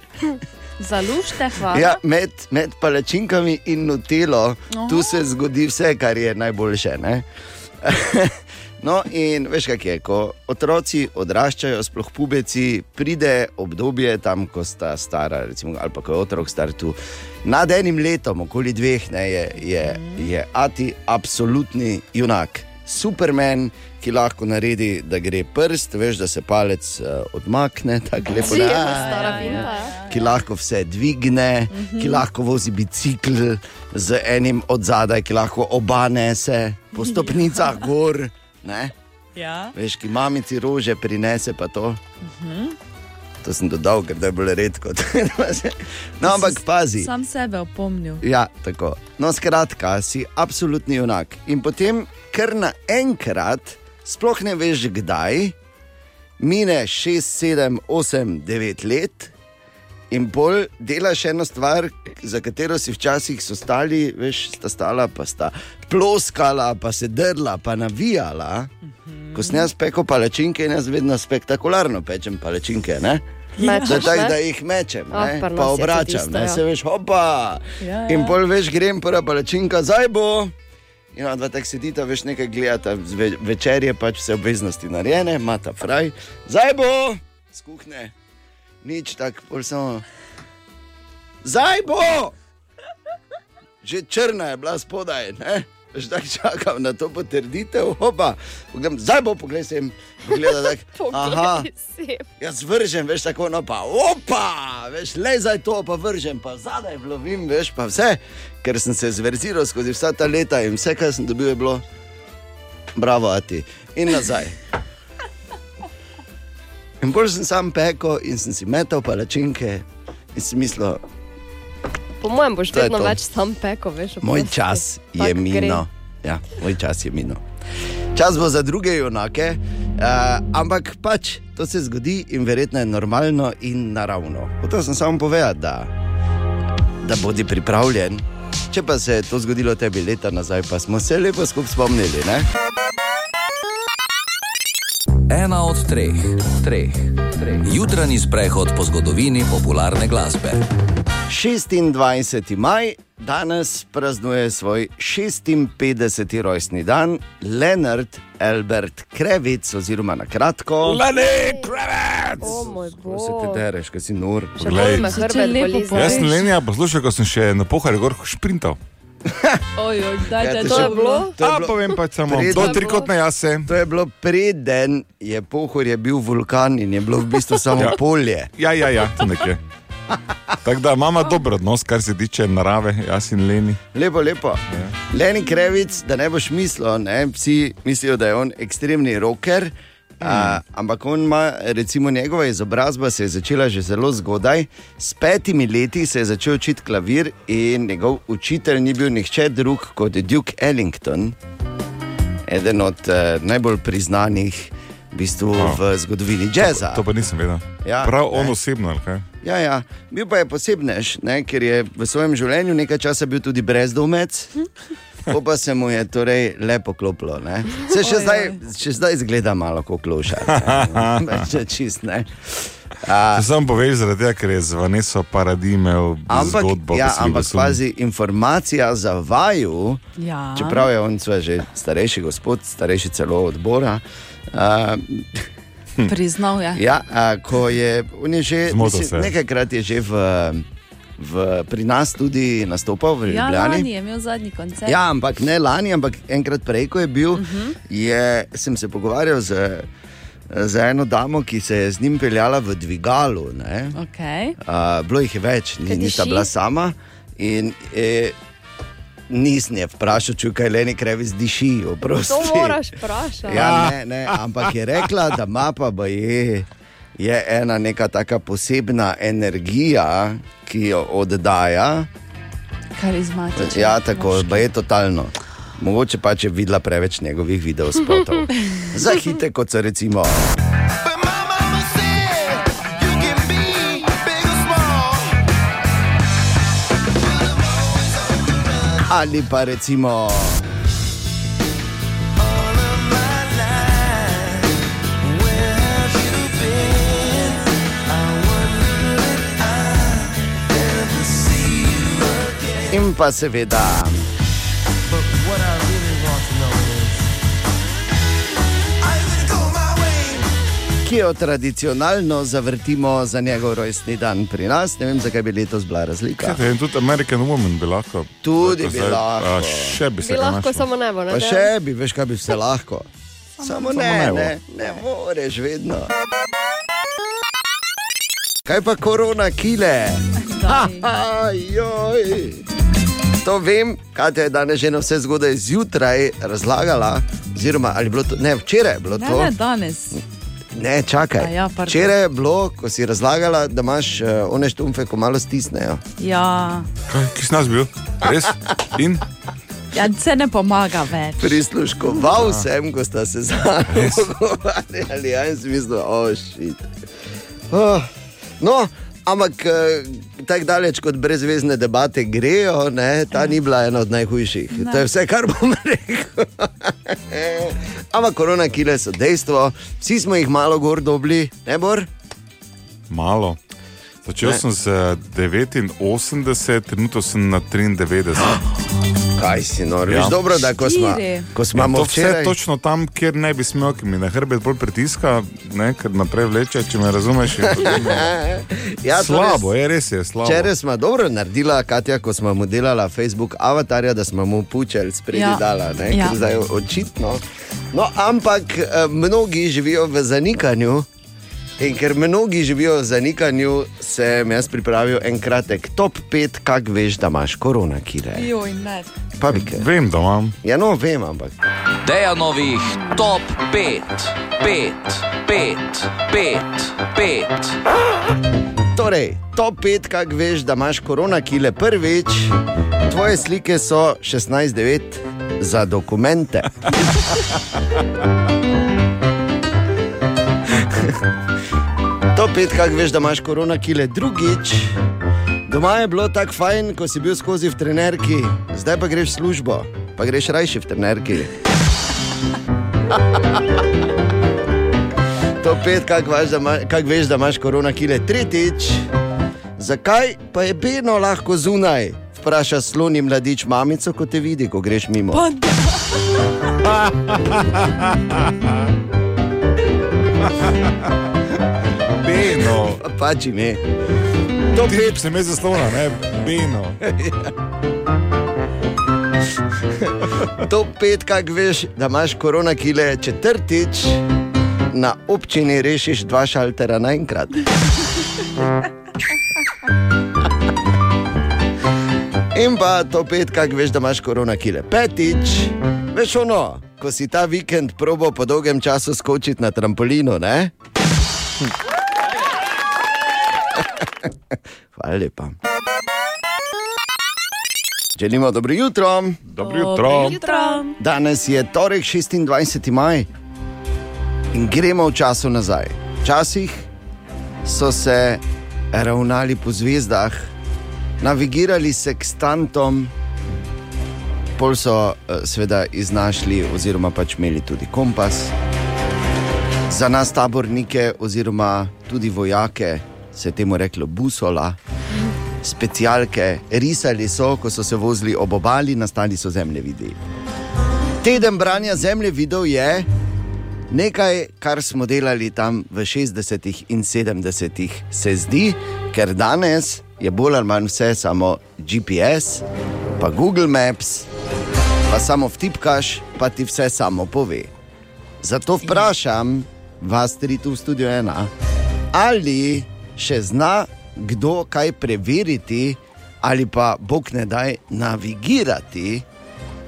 Speaker 6: Zalužite, hvala.
Speaker 3: Ja, med, med palačinkami in nutelo, tu se zgodi vse, kar je najboljše. ne. no, in veš, kaj je, ko otroci odraščajo, sploh pubeci, pride obdobje tam, ko sta stara, recimo, ali pa ko je otrok star tu. Nad enim letom, okoli dveh, ne, je, je, je Ati absolutni junak. Superman, ki lahko naredi, da gre prst, veš, da se palec eh, odmakne, tako lepo
Speaker 5: Že je
Speaker 3: "Ah,
Speaker 5: stara pinta. ja.
Speaker 3: ki lahko vse dvigne, mm -hmm. ki lahko vozi bicikl z enim od zadaj, ki lahko oba nese po stopnicah gor. Ne?
Speaker 6: Ja.
Speaker 3: Veš, ki mamici rože prinese, pa to. Uh -huh. To sem dodal, ker to je bilo redko. no, ampak pazi.
Speaker 6: Sam sebe opomnil.
Speaker 3: Ja, tako. No, skratka, si absolutni junak. In potem, ker naenkrat, sploh ne veš kdaj, mine 6, 7, 8, 9 let. In bolj delaš eno stvar, za katero si včasih so stali, veš, sta stala, pa sta ploskala, pa se drla, pa navijala.
Speaker 5: Mhm.
Speaker 3: Ko sem jaz pekel palačinke, in jaz vedno spektakularno pečem palačinke. Ne? Da,
Speaker 5: Mečeš,
Speaker 3: tak, da
Speaker 5: ne?
Speaker 3: jih mečem,
Speaker 5: Ah,
Speaker 3: ne,
Speaker 5: pri nas
Speaker 3: pa
Speaker 5: je to
Speaker 3: obračam,
Speaker 5: tisto,
Speaker 3: ne,
Speaker 5: ja.
Speaker 3: se veš, opa.
Speaker 6: Ja, ja.
Speaker 3: In pol veš, grem prva palačinka, zdaj bo. In ona dva tako sedita, veš, nekaj gledata, zve- večer je pač vse obveznosti narejene, mata fraj, zdaj bo, skuhne, nič tako, pol samo. Zdaj bo! Že črna je bila spodaj, ne? Že tako čakam na to potrditev, opa. Pogledam, zdaj bo, poglej sem, pogleda tako. Aha,
Speaker 5: Poglej si.
Speaker 3: Jaz vržem, veš, tako no, pa opa, veš, le za to, pa vržem, pa zadaj lovim, veš, pa vse, ker sem se zverziral skozi vsa ta leta in vse, kar sem dobil, je bilo, bravo, ati in nazaj. In bolj sem sam pekel in sem si metal palačinke in sem mislil,
Speaker 5: Po mojem boš
Speaker 3: To je
Speaker 5: vedno
Speaker 3: to.
Speaker 5: več sam peko, veš.
Speaker 3: moj
Speaker 5: oprosti.
Speaker 3: čas
Speaker 5: Tako
Speaker 3: je
Speaker 5: gre.
Speaker 3: mino. Ja, moj čas je mino. Čas bo za druge junake, eh, ampak pač to se zgodi in verjetno je normalno in naravno. Hotel sem samo povedati, da, da bodi pripravljen. Če pa se je to zgodilo tebi leta nazaj, pa smo se lepo skupaj spomnili. Ne?
Speaker 7: Ena od treh, treh, treh. Jutranji sprehod po zgodovini popularne glasbe.
Speaker 3: 26. maj, danes praznuje svoj 56. rojstni dan Leonard Albert Krevic, oziroma na kratko.
Speaker 2: Lani, krevec!
Speaker 5: O moj
Speaker 3: Ko se te
Speaker 5: bog.
Speaker 3: dereš, kaj si nor.
Speaker 5: Še bolj me
Speaker 6: Glej.
Speaker 5: hrbet
Speaker 6: Lepo
Speaker 5: boli.
Speaker 6: povej.
Speaker 2: Jaz
Speaker 5: zdaj.
Speaker 2: sem Lenija poslušal, ko sem še na pohari gor šprintal.
Speaker 6: Ojoj, kdaj
Speaker 3: Ja,
Speaker 6: te je
Speaker 3: to še-
Speaker 6: to bilo?
Speaker 3: To je
Speaker 2: A,
Speaker 3: bilo-
Speaker 2: povem pač samo,
Speaker 3: Pred-
Speaker 2: do trikotne jase.
Speaker 3: To je bilo preden je pohor je bil vulkan in je bilo v bistvu samo
Speaker 2: Ja.
Speaker 3: polje.
Speaker 2: Ja, ja, ja, to nekje. Tako da imamo dober odnos, kar se tiče narave, jaz in Leni.
Speaker 3: Lepo, lepo. Leni Krevic, da ne boš mislil, ne? vsi mislijo, da je on ekstremni roker. A, ampak on ima, recimo, njegova izobrazba se je začela že zelo zgodaj. S petimi leti se je začel učiti klavir, in njegov učitelj ni bil nihče drug kot Duke Ellington, eden od eh, najbolj priznanih v, bistvu, v zgodovini jazza.
Speaker 2: To pa nisem vedel.
Speaker 3: Ja,
Speaker 2: Prav
Speaker 3: ne.
Speaker 2: on osebno, ali kaj?
Speaker 3: Ja, ja. Bil pa je posebnež, ne, ker je v svojem življenju nekaj časa bil tudi brezdomec. To pa se mu je torej lepo klopilo. Ne. Se še zdaj, še zdaj zgleda malo kot kloša. ne. Če čist ne.
Speaker 2: To Sam poveš, zaradi tega, ker je z Vaneso paradimev
Speaker 3: Ampak,
Speaker 2: zgodbo.
Speaker 3: ja,
Speaker 2: Veseli
Speaker 3: ampak
Speaker 2: Veseli.
Speaker 3: pazi, informacija za vaju,
Speaker 6: Ja.
Speaker 3: čeprav je on sva že starejši gospod, starejši celo odbora. Uh,
Speaker 6: Priznal je.
Speaker 3: Ja, a, ko je, on je že,
Speaker 2: Zmotil se
Speaker 3: mislim,
Speaker 2: je.
Speaker 3: nekajkrat je že v, v, pri nas tudi nastopal v
Speaker 6: Ja, lani
Speaker 3: Ljubljani.
Speaker 6: je imel zadnji koncert.
Speaker 3: Ja, ampak ne lani, ampak enkrat prej, ko je bil, uh
Speaker 5: Mhm.
Speaker 3: -huh. je, sem se pogovarjal z, z eno damo, ki se je z njim peljala v dvigalu. Ne?
Speaker 6: Okay.
Speaker 3: A, bilo jih je več, ni,
Speaker 5: Kaj
Speaker 3: nista
Speaker 5: diši?
Speaker 3: bila sama. In, e, nisem je vprašal, če kaj Leni Krevis diši. oprosti.
Speaker 5: To moraš vprašati.
Speaker 3: Ja, ne, ne, ampak je rekla, da ima pa baje. Je ena neka taka posebna energija, ki jo oddaja.
Speaker 6: Karizmatičen.
Speaker 3: Ja, tako, pa je totalno. Mogoče pa če videla preveč njegovih videospotov. Za hite, kot so recimo. Ali pa recimo. In pa seveda. ki jo tradicionalno zavrtimo za njegov rojstni dan pri nas. Ne vem, zakaj bi letos bila razlika.
Speaker 2: Kaj, Ja, tudi American Woman bi lahko.
Speaker 3: Tudi bi
Speaker 2: Zdaj,
Speaker 3: lahko.
Speaker 2: A, še bi se
Speaker 5: Bi lahko
Speaker 2: lahko.
Speaker 5: samo ne bo, ne?
Speaker 3: Pa
Speaker 5: Dejan?
Speaker 3: še bi, veš, kaj bi vse lahko. Samo ne,
Speaker 2: ne bo.
Speaker 3: ne, ne moreš vedno. Kaj pa korona kile? Ajoj. To vem, Katja je danes že na vse zgodaj zjutraj razlagala. Oziroma, ali je bilo to, ne, včeraj je bilo
Speaker 6: Ne,
Speaker 3: to.
Speaker 6: ne, danes.
Speaker 3: Ne,
Speaker 6: A
Speaker 3: čakaj.
Speaker 6: ja, pardon.
Speaker 3: Včeraj je bilo, ko si razlagala, da imaš uh, one štumfe, ko malo stisnejo.
Speaker 6: Ja,
Speaker 2: Kaj, kis nas bil? Res? In?
Speaker 6: ja se ne pomaga več.
Speaker 3: Prisluškoval sem, ko sta se zamenjali, ali ja, in sem mislil, ošit. Oh, no, ampak eh, tako daleč kot brezvezne debate grejo, ne, ta ni bila ena od najhujših. Ne. To je vse, kar bom rekel. ampak korona kile so dejstvo, vsi smo jih malo gor dobili, ne bor.
Speaker 2: Malo. Začel
Speaker 3: Ne.
Speaker 2: sem z 89, trenutno sem na 93.
Speaker 3: Kaj si nor, ja.
Speaker 2: Ja.
Speaker 3: veš dobro, da ko smo,
Speaker 6: Štiri.
Speaker 3: ko smo
Speaker 2: Imamo
Speaker 3: imamo
Speaker 2: to vse
Speaker 3: včeraj.
Speaker 2: točno tam, kjer ne bi smel, ki mi na hrbet bolj pritiska, ne, ker naprej vleče, če me razumeš. in potem je-
Speaker 3: Ja, torej
Speaker 2: slabo, je res je slabo.
Speaker 3: Včeraj smo dobro naredili, Katja, ko smo mu delali Facebook avatarja, da smo mu pučali spredi ja.
Speaker 6: Ja.
Speaker 3: dala, ne,
Speaker 6: Ja.
Speaker 3: ja. zdaj očitno. No, ampak eh, mnogi živijo v zanikanju. In ker mnogi živijo v zanikanju, sem jaz pripravil en kratek top 5, kak veš, da imaš korona, ki je.
Speaker 6: Joj, ne.
Speaker 3: Papike.
Speaker 2: Vem, da imam.
Speaker 3: Ja, no, vem, ampak.
Speaker 7: Dejanovih top 5, 5, 5, 5, 5.
Speaker 3: Torej, top 5, kak veš, da imaš korona, ki je prvič. Tvoje slike so 16-9 za dokumente. top 5, kak veš, da imaš korona, ki je drugič. Doma je bilo tako fajn, ko si bil skozi v trenerki, zdaj pa greš v službo, pa greš rajši v trenerki. To pet, kako veš, da ima- kako veš, da imaš korona kile. Tretjič, zakaj pa je bedno lahko zunaj? Vpraša sloni mladič mamico, ko te vidi, ko greš mimo.
Speaker 6: Pa da.
Speaker 2: Beno.
Speaker 3: Pa pač ime. To
Speaker 2: Ti
Speaker 3: pet,
Speaker 2: se mi zaslona, ne, beno.
Speaker 3: to pet kako veš, da imaš korona kile. Četrtič, na občini rešiš dva šaltera naenkrat. In pa to pet, kako veš, da imaš korona kile. Petič, veš ono, ko si ta vikend probo po dolgem času skočiti na trampolino, ne? Hvala lepa. Želimo dobro jutro.
Speaker 2: Dobro jutro.
Speaker 6: Jutro.
Speaker 3: Danes je torek 26. maj in gremo v času nazaj. Včasih so se ravnali po zvezdah, navigirali se k stantom, pol so eh, seveda iznašli, oziroma pač imeli tudi kompas. Za nas tabornike, oziroma tudi vojake, se je temu reklo busola specialke, risali so, ko so se vozili ob obali, nastali so zemljevidi. Teden branja zemljevidov je nekaj, kar smo delali tam v 60-ih in 70-ih, se zdi, ker danes je bolj ali manj vse samo GPS, pa Google Maps, pa samo vtipkaš, pa ti vse samo pove. Zato vprašam vas, tri tu v studiu ena, ali še zna kdo kaj preveriti, ali pa Bog ne daj navigirati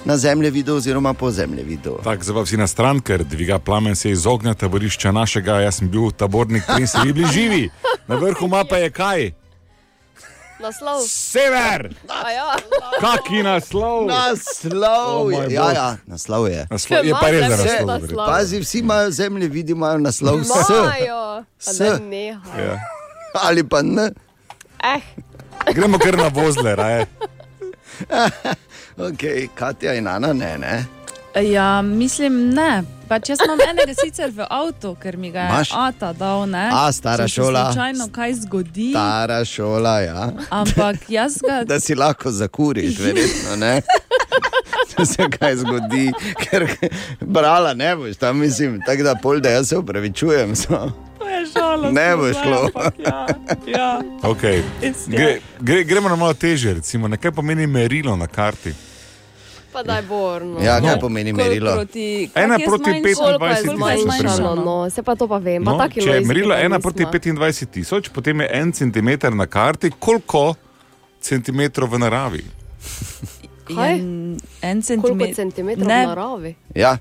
Speaker 3: na zemljevidu oziroma po zemljevidu.
Speaker 2: Tako zdaj pa vsi na stran, ker dviga plamen se iz ognja taborišča našega. Jaz sem bil tabornik, princ, vi bili živi. Na vrhu mape je kaj?
Speaker 5: Naslov.
Speaker 2: Sever!
Speaker 5: A ja.
Speaker 2: Kaki naslov!
Speaker 3: Naslov
Speaker 2: O,
Speaker 3: je,
Speaker 2: moj
Speaker 3: ja,
Speaker 2: bog.
Speaker 3: ja, naslov je.
Speaker 2: naslov je pa res, da
Speaker 5: Vse.
Speaker 2: naslov. gre.
Speaker 5: Naslov.
Speaker 3: Pazi, vsi imajo zemljevidi, imajo naslov S
Speaker 5: Majo. A
Speaker 3: S.
Speaker 5: daj nehaj.
Speaker 2: Ja.
Speaker 3: ali pa N.
Speaker 5: Eh,
Speaker 2: Gremo kar na vozle, raje.
Speaker 3: Ok, Katja in Ana, ne, ne.
Speaker 6: Ja, mislim, ne. Pač jaz imam enega sicer v avtu, ker mi ga je
Speaker 3: Imaš?
Speaker 6: Maš? ata dal. Ne?
Speaker 3: A, stara
Speaker 6: Če se
Speaker 3: šola.
Speaker 6: Slučajno kaj zgodi,
Speaker 3: Stara šola, ja.
Speaker 6: ampak jaz ga
Speaker 3: Da si lahko zakuriš, verjetno ne. Če se kaj zgodi, ker brala ne boš, tam mislim, tako da pol, da jaz se upravičujem. samo.
Speaker 6: šalo.
Speaker 3: Ne bo šlo.
Speaker 6: Ja, ja.
Speaker 2: Okay.
Speaker 6: It's-
Speaker 2: Gre, gre, gremo na malo težje, recimo, na kaj pomeni merilo na karti.
Speaker 5: Pa daj borno.
Speaker 3: Ja, kaj
Speaker 2: No.
Speaker 3: pomeni
Speaker 6: Koliko
Speaker 3: merilo?
Speaker 6: proti-
Speaker 2: Ena
Speaker 6: kako je
Speaker 2: proti
Speaker 6: zmanjš-
Speaker 2: 25
Speaker 5: Koliko je
Speaker 2: tisoč,
Speaker 6: koliko je
Speaker 2: na primer.
Speaker 5: zmanjšano,
Speaker 6: zmanjšano?
Speaker 5: no, se pa to pa vem.
Speaker 2: No,
Speaker 5: pa taki
Speaker 2: če je
Speaker 5: lojziki
Speaker 2: merilo
Speaker 5: pa
Speaker 2: 1
Speaker 5: nisva.
Speaker 2: proti 25 tisoč, potem je 1 cm na karti, koliko centimetrov v naravi?
Speaker 5: Kaj?
Speaker 6: Je En
Speaker 5: Koliko
Speaker 6: centimeter.
Speaker 5: centimetrov
Speaker 6: Ne.
Speaker 5: v naravi?
Speaker 3: Ja,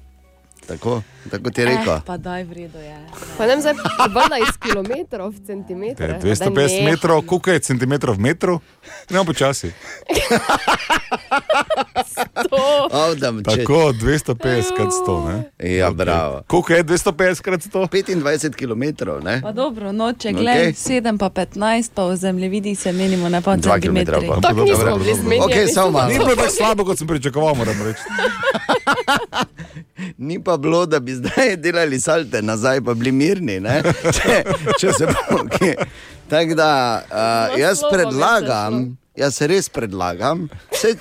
Speaker 3: tako, tako ti je rekel.
Speaker 6: Eh, pa daj vredo je.
Speaker 5: Pa ne vem, zdaj vrna iz kilometrov v
Speaker 2: To je
Speaker 5: centimetre.
Speaker 2: 250 metrov, koliko je centimetrov v metru? Ne, počasi.
Speaker 3: Avdam, če...
Speaker 2: Tako, 250 krat 100. Ne?
Speaker 3: Ja, bravo.
Speaker 2: Koliko je 250 krat 100?
Speaker 3: 25 km, ne?
Speaker 6: Pa dobro, no, če gledaj,
Speaker 3: Okej.
Speaker 6: 7 pa 15, pa v zemljevidih se menimo na pa
Speaker 3: Dva kilometra
Speaker 6: centimetri.
Speaker 3: pa.
Speaker 5: Tako
Speaker 2: Dobro,
Speaker 5: nismo
Speaker 2: dobro,
Speaker 5: bili
Speaker 2: dobro.
Speaker 5: zmenjeni.
Speaker 3: Okej, samo malo.
Speaker 2: Ni bilo tako slabo, kot sem pričakoval, moram reči.
Speaker 3: Ni pa bilo, da bi zdaj delali salte nazaj, pa bili mirni. ne? Če, če se bomo kje. Tako da uh, jaz
Speaker 5: Naslova bi se šlo.
Speaker 3: predlagam, jaz res predlagam, vse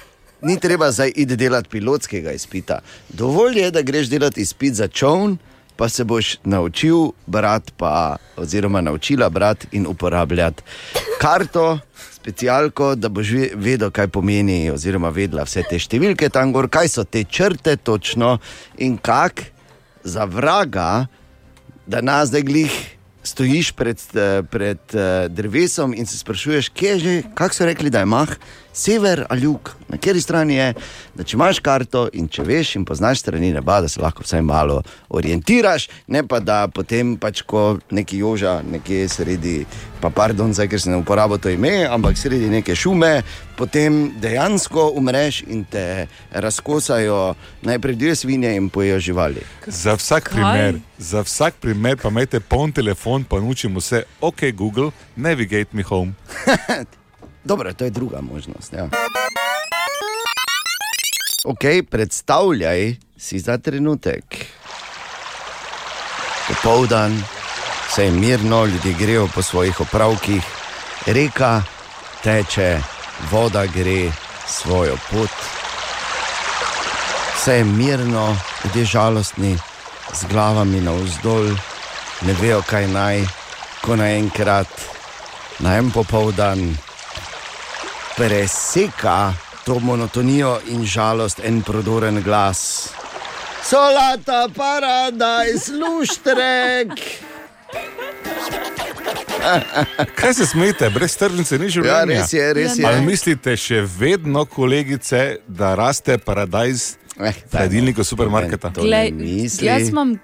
Speaker 3: ni treba zdaj iti delati pilotskega izpita. Dovolj je, da greš delati izpit za čovn, pa se boš naučil brati, pa, oziroma naučila brati in uporabljati karto. Specialko, da boš ve- vedel, kaj pomeni, oziroma vedela vse te številke tam gor, kaj so te črte točno in kak za vraga da nas zdaj glih stojiš pred, eh, pred eh, drevesom in se sprašuješ, kje je že, kako so rekli, da je mah, sever ali jug, na kateri strani je. Da če imaš karto in če veš in poznaš strani neba, da se lahko vsaj malo orientiraš, ne pa da potem, pač, ko neki joža, nekje sredi, pa pardon, zdaj ker se ne uporablja to ime, ampak sredi neke šume, potem dejansko umreš in te razkosajo najprej divje svinje in pojejo živali.
Speaker 2: Za vsak
Speaker 6: Kaj?
Speaker 2: primer, za vsak primer pa imejte poln telefon, pa naučimo se, ok, Google, navigate me home.
Speaker 3: Dobro, to je druga možnost. Ja. Ok, predstavljaj si za trenutek. Popoldan, vse je mirno, ljudje grejo po svojih opravkih, reka teče, voda gre svojo pot. Vse je mirno, ljudje žalostni, z glavami navzdol, ne vejo kaj naj, ko naenkrat, na en popoldan preseka to monotonijo in žalost en prodoren glas. Solata, paradajz, luštrek.
Speaker 2: Kaj se smete, brez tržnice ni življenja?
Speaker 3: Ja, res je, res
Speaker 2: Ali
Speaker 3: je.
Speaker 2: mislite še vedno, kolegice, da raste paradajz
Speaker 3: Eh,
Speaker 2: v hladilniku supermarketa?
Speaker 3: To ne
Speaker 6: Glej,
Speaker 3: misli.
Speaker 6: jaz, imam,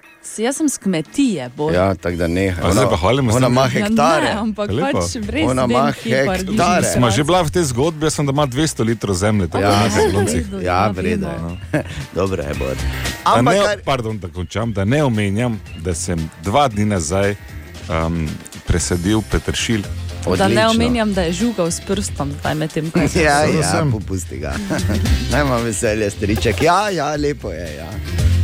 Speaker 6: jaz sem s kmetije, bolj.
Speaker 3: Ja, tako da ne.
Speaker 2: A zdaj pa hvalimo se.
Speaker 3: ona ima
Speaker 6: Ja,
Speaker 3: hektare.
Speaker 6: ne, ampak
Speaker 2: Lepo.
Speaker 6: pač res
Speaker 3: Ona
Speaker 6: vem,
Speaker 3: ima
Speaker 6: kje pa
Speaker 3: hektare.
Speaker 6: rdiš.
Speaker 3: Sva
Speaker 2: Sva že bila v tej zgodbi, jaz sem doma 200 litrov zemlje, tako
Speaker 3: Ja,
Speaker 2: da ne
Speaker 3: ja,
Speaker 2: znam si.
Speaker 6: vredno,
Speaker 3: Ja,
Speaker 6: da
Speaker 3: vredno je.
Speaker 6: vemo.
Speaker 3: Dobro je, bod.
Speaker 2: Da
Speaker 3: Ampak
Speaker 2: ne,
Speaker 3: kar,
Speaker 2: pardon, da končam, da ne omenjam, da sem dva dni nazaj um, presadil peteršilj.
Speaker 6: Da ne
Speaker 3: odlično.
Speaker 6: omenjam, da je žugal s prstom, zdaj med tem, kaj se
Speaker 3: Ja,
Speaker 2: Zato
Speaker 3: ja
Speaker 2: sem.
Speaker 3: popusti ga. Naj ima veselje, striček. Ja, ja, lepo je. Ja.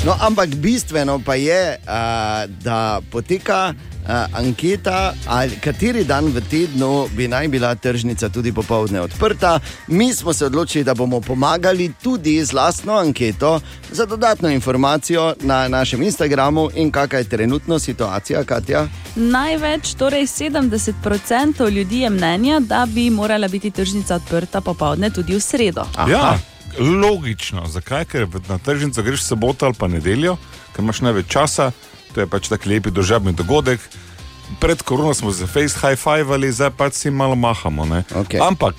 Speaker 3: No, ampak bistveno pa je, uh, da poteka uh, anketa, ali kateri dan v tednu bi naj bila tržnica tudi popovdne odprta. Mi smo se odločili, da bomo pomagali tudi z lastno anketo za dodatno informacijo na našem Instagramu in kakšna je trenutno situacija, Katja.
Speaker 6: Največ, torej 70% ljudi je mnenja, da bi morala biti tržnica odprta popovdne tudi v sredo.
Speaker 2: Ja, logično. Zakaj? Ker v- na tržnico greš soboto ali pa nedeljo, ker imaš največ časa, to je pač tako lepi dožabni dogodek. Pred korono smo se face high-fivali, zdaj pač si malo mahamo. ne.
Speaker 3: Okej.
Speaker 2: Ampak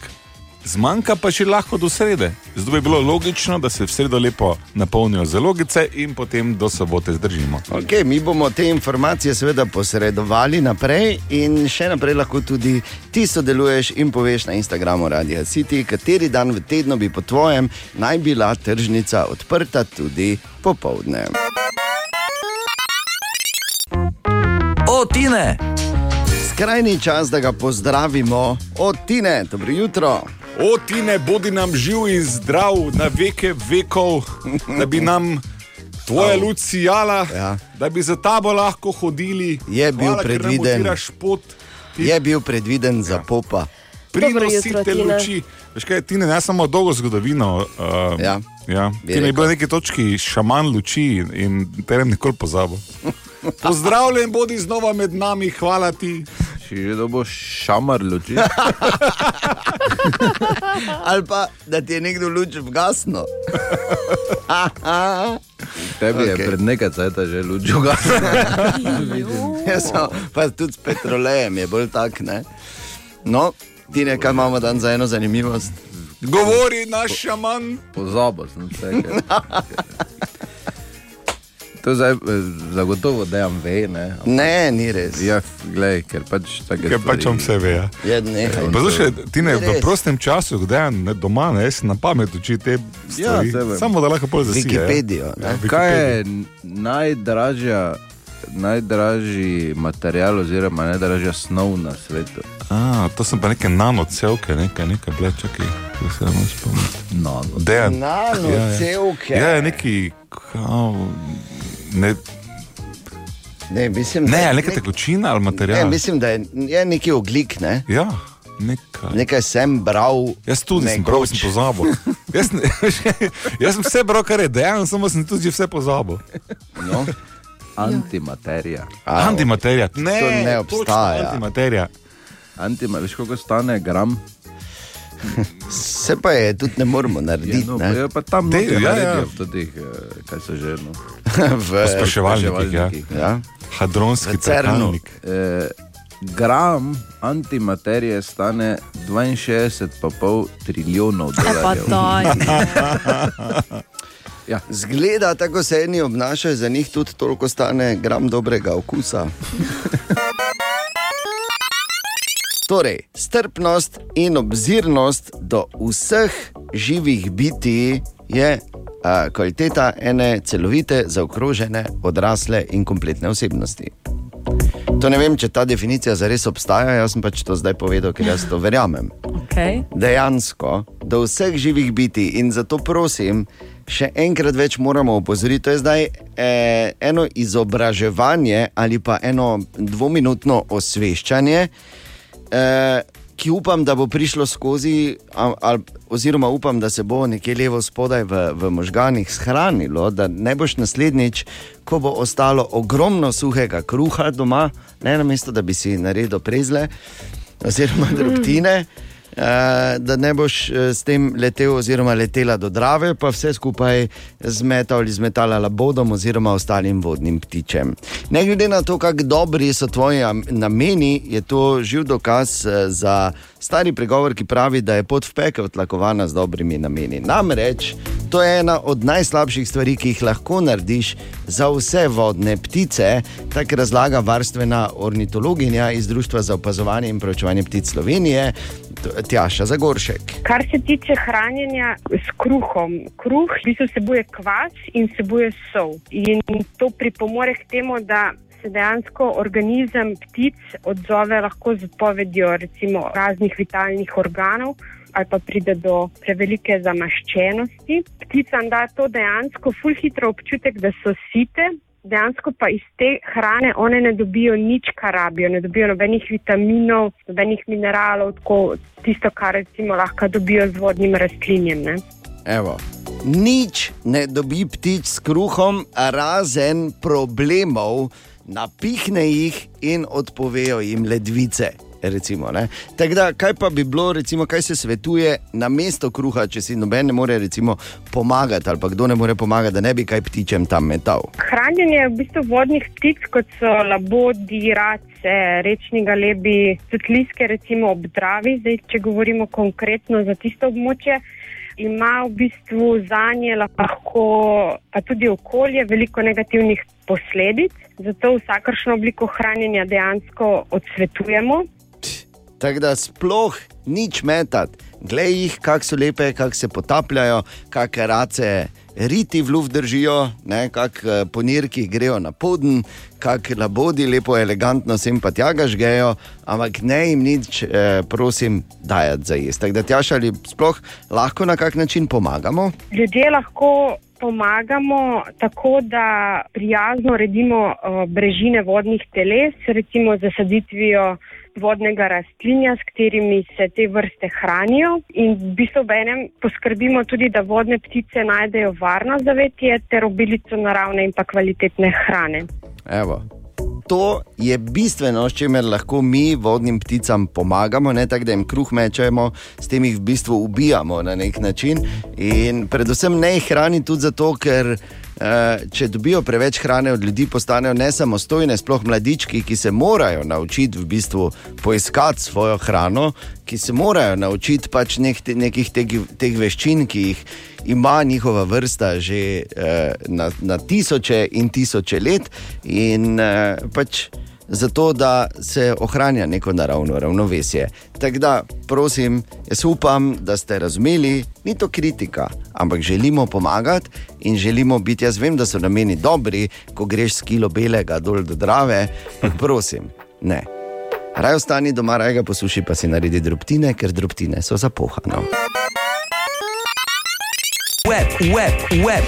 Speaker 2: zmanjka pa še lahko do srede. Zato bi bilo logično, da se v sredo lepo napolnijo zalogice in potem do sobote zdržimo.
Speaker 3: Okay, mi bomo te informacije seveda posredovali naprej in še naprej lahko tudi ti sodeluješ in poveš na Instagramu Radio City, kateri dan v tednu bi po tvojem naj bila tržnica odprta tudi popovdne.
Speaker 8: O, Tine!
Speaker 3: Skrajni čas, da ga pozdravimo od Tine, dobro jutro.
Speaker 2: O, ti ne bodi nam živ in zdrav na veke vekov, da bi nam tvoja luč sijala,
Speaker 3: Ja.
Speaker 2: da bi za tabo lahko hodili.
Speaker 3: Je bil
Speaker 2: Hvala, ker nam
Speaker 3: predviden.
Speaker 2: utiraš pot, ti
Speaker 3: Je bil predviden za popa.
Speaker 2: prinosi
Speaker 5: jutro,
Speaker 2: te
Speaker 5: Tina.
Speaker 2: luči. Veš kaj, ti ne samo dolgo zgodovino. Uh,
Speaker 3: Ja.
Speaker 2: Ja.
Speaker 3: Bi
Speaker 2: Ti ne
Speaker 3: rekel.
Speaker 2: bi bil na neki točki šaman luči in teren nikoli pozabo. Pozdravljen, bodi znova med nami, hvala ti.
Speaker 9: Če že dobo šamar luči.
Speaker 3: Ali pa da ti je nekdo luč vgasno.
Speaker 9: Tebi okay. je
Speaker 3: Okej.
Speaker 9: pred nekaj cajta že luči ugasnil.
Speaker 3: Jaz sem- Pa tudi s petrolejem je bolj tak. Ne? No, ti nekaj imamo dan za eno zanimivost.
Speaker 2: Govori naš šaman.
Speaker 9: Pozabil sem vse. Ker... To zdaj eh, zagotovo dejam ve, ne? Ampak
Speaker 3: Ne, ni res.
Speaker 9: Ja, glej, ker pač tako
Speaker 2: Ker pač on vse ve. Ja.
Speaker 3: Je nekaj.
Speaker 2: Poslušaj, ti ne v
Speaker 3: Res.
Speaker 2: prostem času, kdaj ne doma, ne jaz si na pamet uči te stvari.
Speaker 9: saj vem.
Speaker 2: Samo da lahko pol zasije. ja.
Speaker 3: Ja, Wikipedijo, ne?
Speaker 2: Ja,
Speaker 9: Kaj je
Speaker 2: Wikipedijo.
Speaker 9: najdražja, najdražji material oziroma najdražja snov na svetu?
Speaker 2: A, to sem pa neke nanocevke, nekaj, nekaj, ble, čakaj, da se ne spomnim.
Speaker 9: No,
Speaker 2: Dejan.
Speaker 3: Nano,
Speaker 2: Ja, ja.
Speaker 3: no, cevke.
Speaker 2: Ja, je neki, kao, ne,
Speaker 3: Ne, mislim, da
Speaker 2: ne
Speaker 3: je
Speaker 2: neka
Speaker 3: nek-
Speaker 2: tekočina ali
Speaker 3: ne,
Speaker 2: material.
Speaker 3: mislim, da je, je neki oglik, ne?
Speaker 2: Ja, nekaj.
Speaker 3: nekaj sem bral.
Speaker 2: Jaz tudi sem bral, sem pozabil. Jaz, ne, jaz sem vse bral, kar je dejal, samo sem tudi že vse pozabil.
Speaker 9: no. Antimaterija.
Speaker 3: Au.
Speaker 2: Antimaterija. Ne,
Speaker 3: To ne
Speaker 2: točno
Speaker 3: obstaja.
Speaker 2: Antimaterija.
Speaker 9: Antima, veš, koliko stane gram?
Speaker 3: Vse pa je, tudi ne moremo
Speaker 9: Je,
Speaker 3: narediti.
Speaker 9: no,
Speaker 3: ne.
Speaker 9: je pa tam
Speaker 2: Te-
Speaker 9: nekaj
Speaker 2: ja, ja.
Speaker 9: naredijo v teh, eh, kaj se že no.
Speaker 3: v,
Speaker 2: Spraševalnik, ja.
Speaker 3: ja.
Speaker 2: Hadronski
Speaker 3: V Cernu.
Speaker 2: trkalnik.
Speaker 9: Eh, gram antimaterije stane 62,5 trilijonov
Speaker 6: Pa
Speaker 9: dolarjev.
Speaker 6: to je.
Speaker 3: Ja, Zgleda, tako se eni obnašajo, za njih tudi toliko stane gram dobrega okusa. Torej, strpnost in obzirnost do vseh živih biti je a, kvaliteta ene celovite, zaokrožene, odrasle in kompletne osebnosti. To ne vem, če ta definicija zares obstaja, jaz sem pač to zdaj povedal, ker jaz to verjamem
Speaker 6: Okay.
Speaker 3: dejansko do vseh živih biti in zato prosim, še enkrat več moramo opozoriti. To je zdaj eh, eno izobraževanje ali pa eno dvominutno osveščanje. Eh, Ki upam, da bo prišlo skozi, a- ali- oziroma upam, da se bo nekje levo spodaj v, v možganjih shranilo, da ne boš naslednjič, ko bo ostalo ogromno suhega kruha doma, ne na mesto, da bi si naredil prezle, oziroma drobtine, eh, da ne boš eh, s tem letel, oziroma letela do Drave, pa vse skupaj zmetal ali zmetala labodom, oziroma ostalim vodnim ptičem. Ne glede na to, kako dobri so tvoji am- nameni, je to živ dokaz eh, za stari pregovor, ki pravi, da je pot v pekel tlakovana z dobrimi nameni. Namreč to je ena od najslabših stvari, ki jih lahko narediš za vse vodne ptice, tako razlaga varstvena ornitologinja iz Društva za opazovanje in preučevanje ptic Slovenije, T- Tjaša Zagoršek.
Speaker 10: Kar se tiče hranjenja s kruhom, kruh v bistvu vsebuje kvas in vsebuje sol. In to pripomore k temu, da se dejansko organizem ptic odzove lahko z odpovedjo recimo raznih vitalnih organov. Ali pa pride do prevelike zamaščenosti. Pticam da to dejansko ful hitro občutek, da so site, dejansko pa iz te hrane one ne dobijo nič, kar rabijo, ne dobijo nobenih vitaminov, nobenih mineralov, tako tisto, kar recimo lahko dobijo z vodnim rastlinjem. Ne?
Speaker 3: Evo. Nič ne dobi ptič s kruhom, razen problemov, napihne jih in odpovejo jim ledvice. Recimo, ne. Tako da, kaj pa bi bilo, recimo, kaj se svetuje na mesto kruha, če si noben ne more recimo, pomagati ali pa kdo ne more pomagati, da ne bi kaj ptičem tam metal.
Speaker 10: Hranjenje v bistvu vodnih ptic, kot so labodi, race, rečni galebi, tudi liske, recimo ob Dravi, zdaj če govorimo konkretno za tisto območje, ima v bistvu za nje lahko, pa tudi okolje, veliko negativnih posledic. Zato vsakršno obliko hranjenja dejansko odsvetujemo.
Speaker 3: Tako da sploh nič metati. Glej jih, kako so lepe, kako se potapljajo, kakšne race riti v luft držijo, kakšne ponirki grejo na poden, kakšne labodi lepo, elegantno sem pa tjaga žgejo, ampak ne jim nič, eh, prosim, dajati za jesti. Tako da tjašali sploh lahko na kak način pomagamo.
Speaker 10: Ljudje lahko pomagamo tako, da prijazno redimo eh, brežine vodnih teles, recimo z zasaditvijo vodnega rastlinja, s katerimi se te vrste hranijo in v bistvu v enem poskrbimo tudi, da vodne ptice najdejo varno zavetje ter obilico naravne in pa kvalitetne hrane.
Speaker 3: Evo. To je bistveno, s čimer lahko mi vodnim pticam pomagamo, ne tako da jim kruh mečemo, s tem jih v bistvu ubijamo na nek način. In predvsem ne jih hrani tudi zato, ker eh, če dobijo preveč hrane od ljudi, postanejo nesamostojne, sploh mladički, ki se morajo naučiti v bistvu poiskati svojo hrano, ki se morajo naučiti pač nek, te- nekih teh, teh veščin, ki jih ima njihova vrsta že eh, na, na tisoče in tisoče let, in eh, pač zato, da se ohranja neko naravno ravnovesje. Tako da, prosim, jaz upam, da ste razumeli, ni to kritika, ampak želimo pomagati in želimo biti. Jaz vem, da so nameni dobri, ko greš s kilo belega dol do drave, ampak prosim, ne. Raj ostani doma, raj ga posuši, pa si naredi drobtine, ker drobtine so zapohane.
Speaker 7: Web, web, web,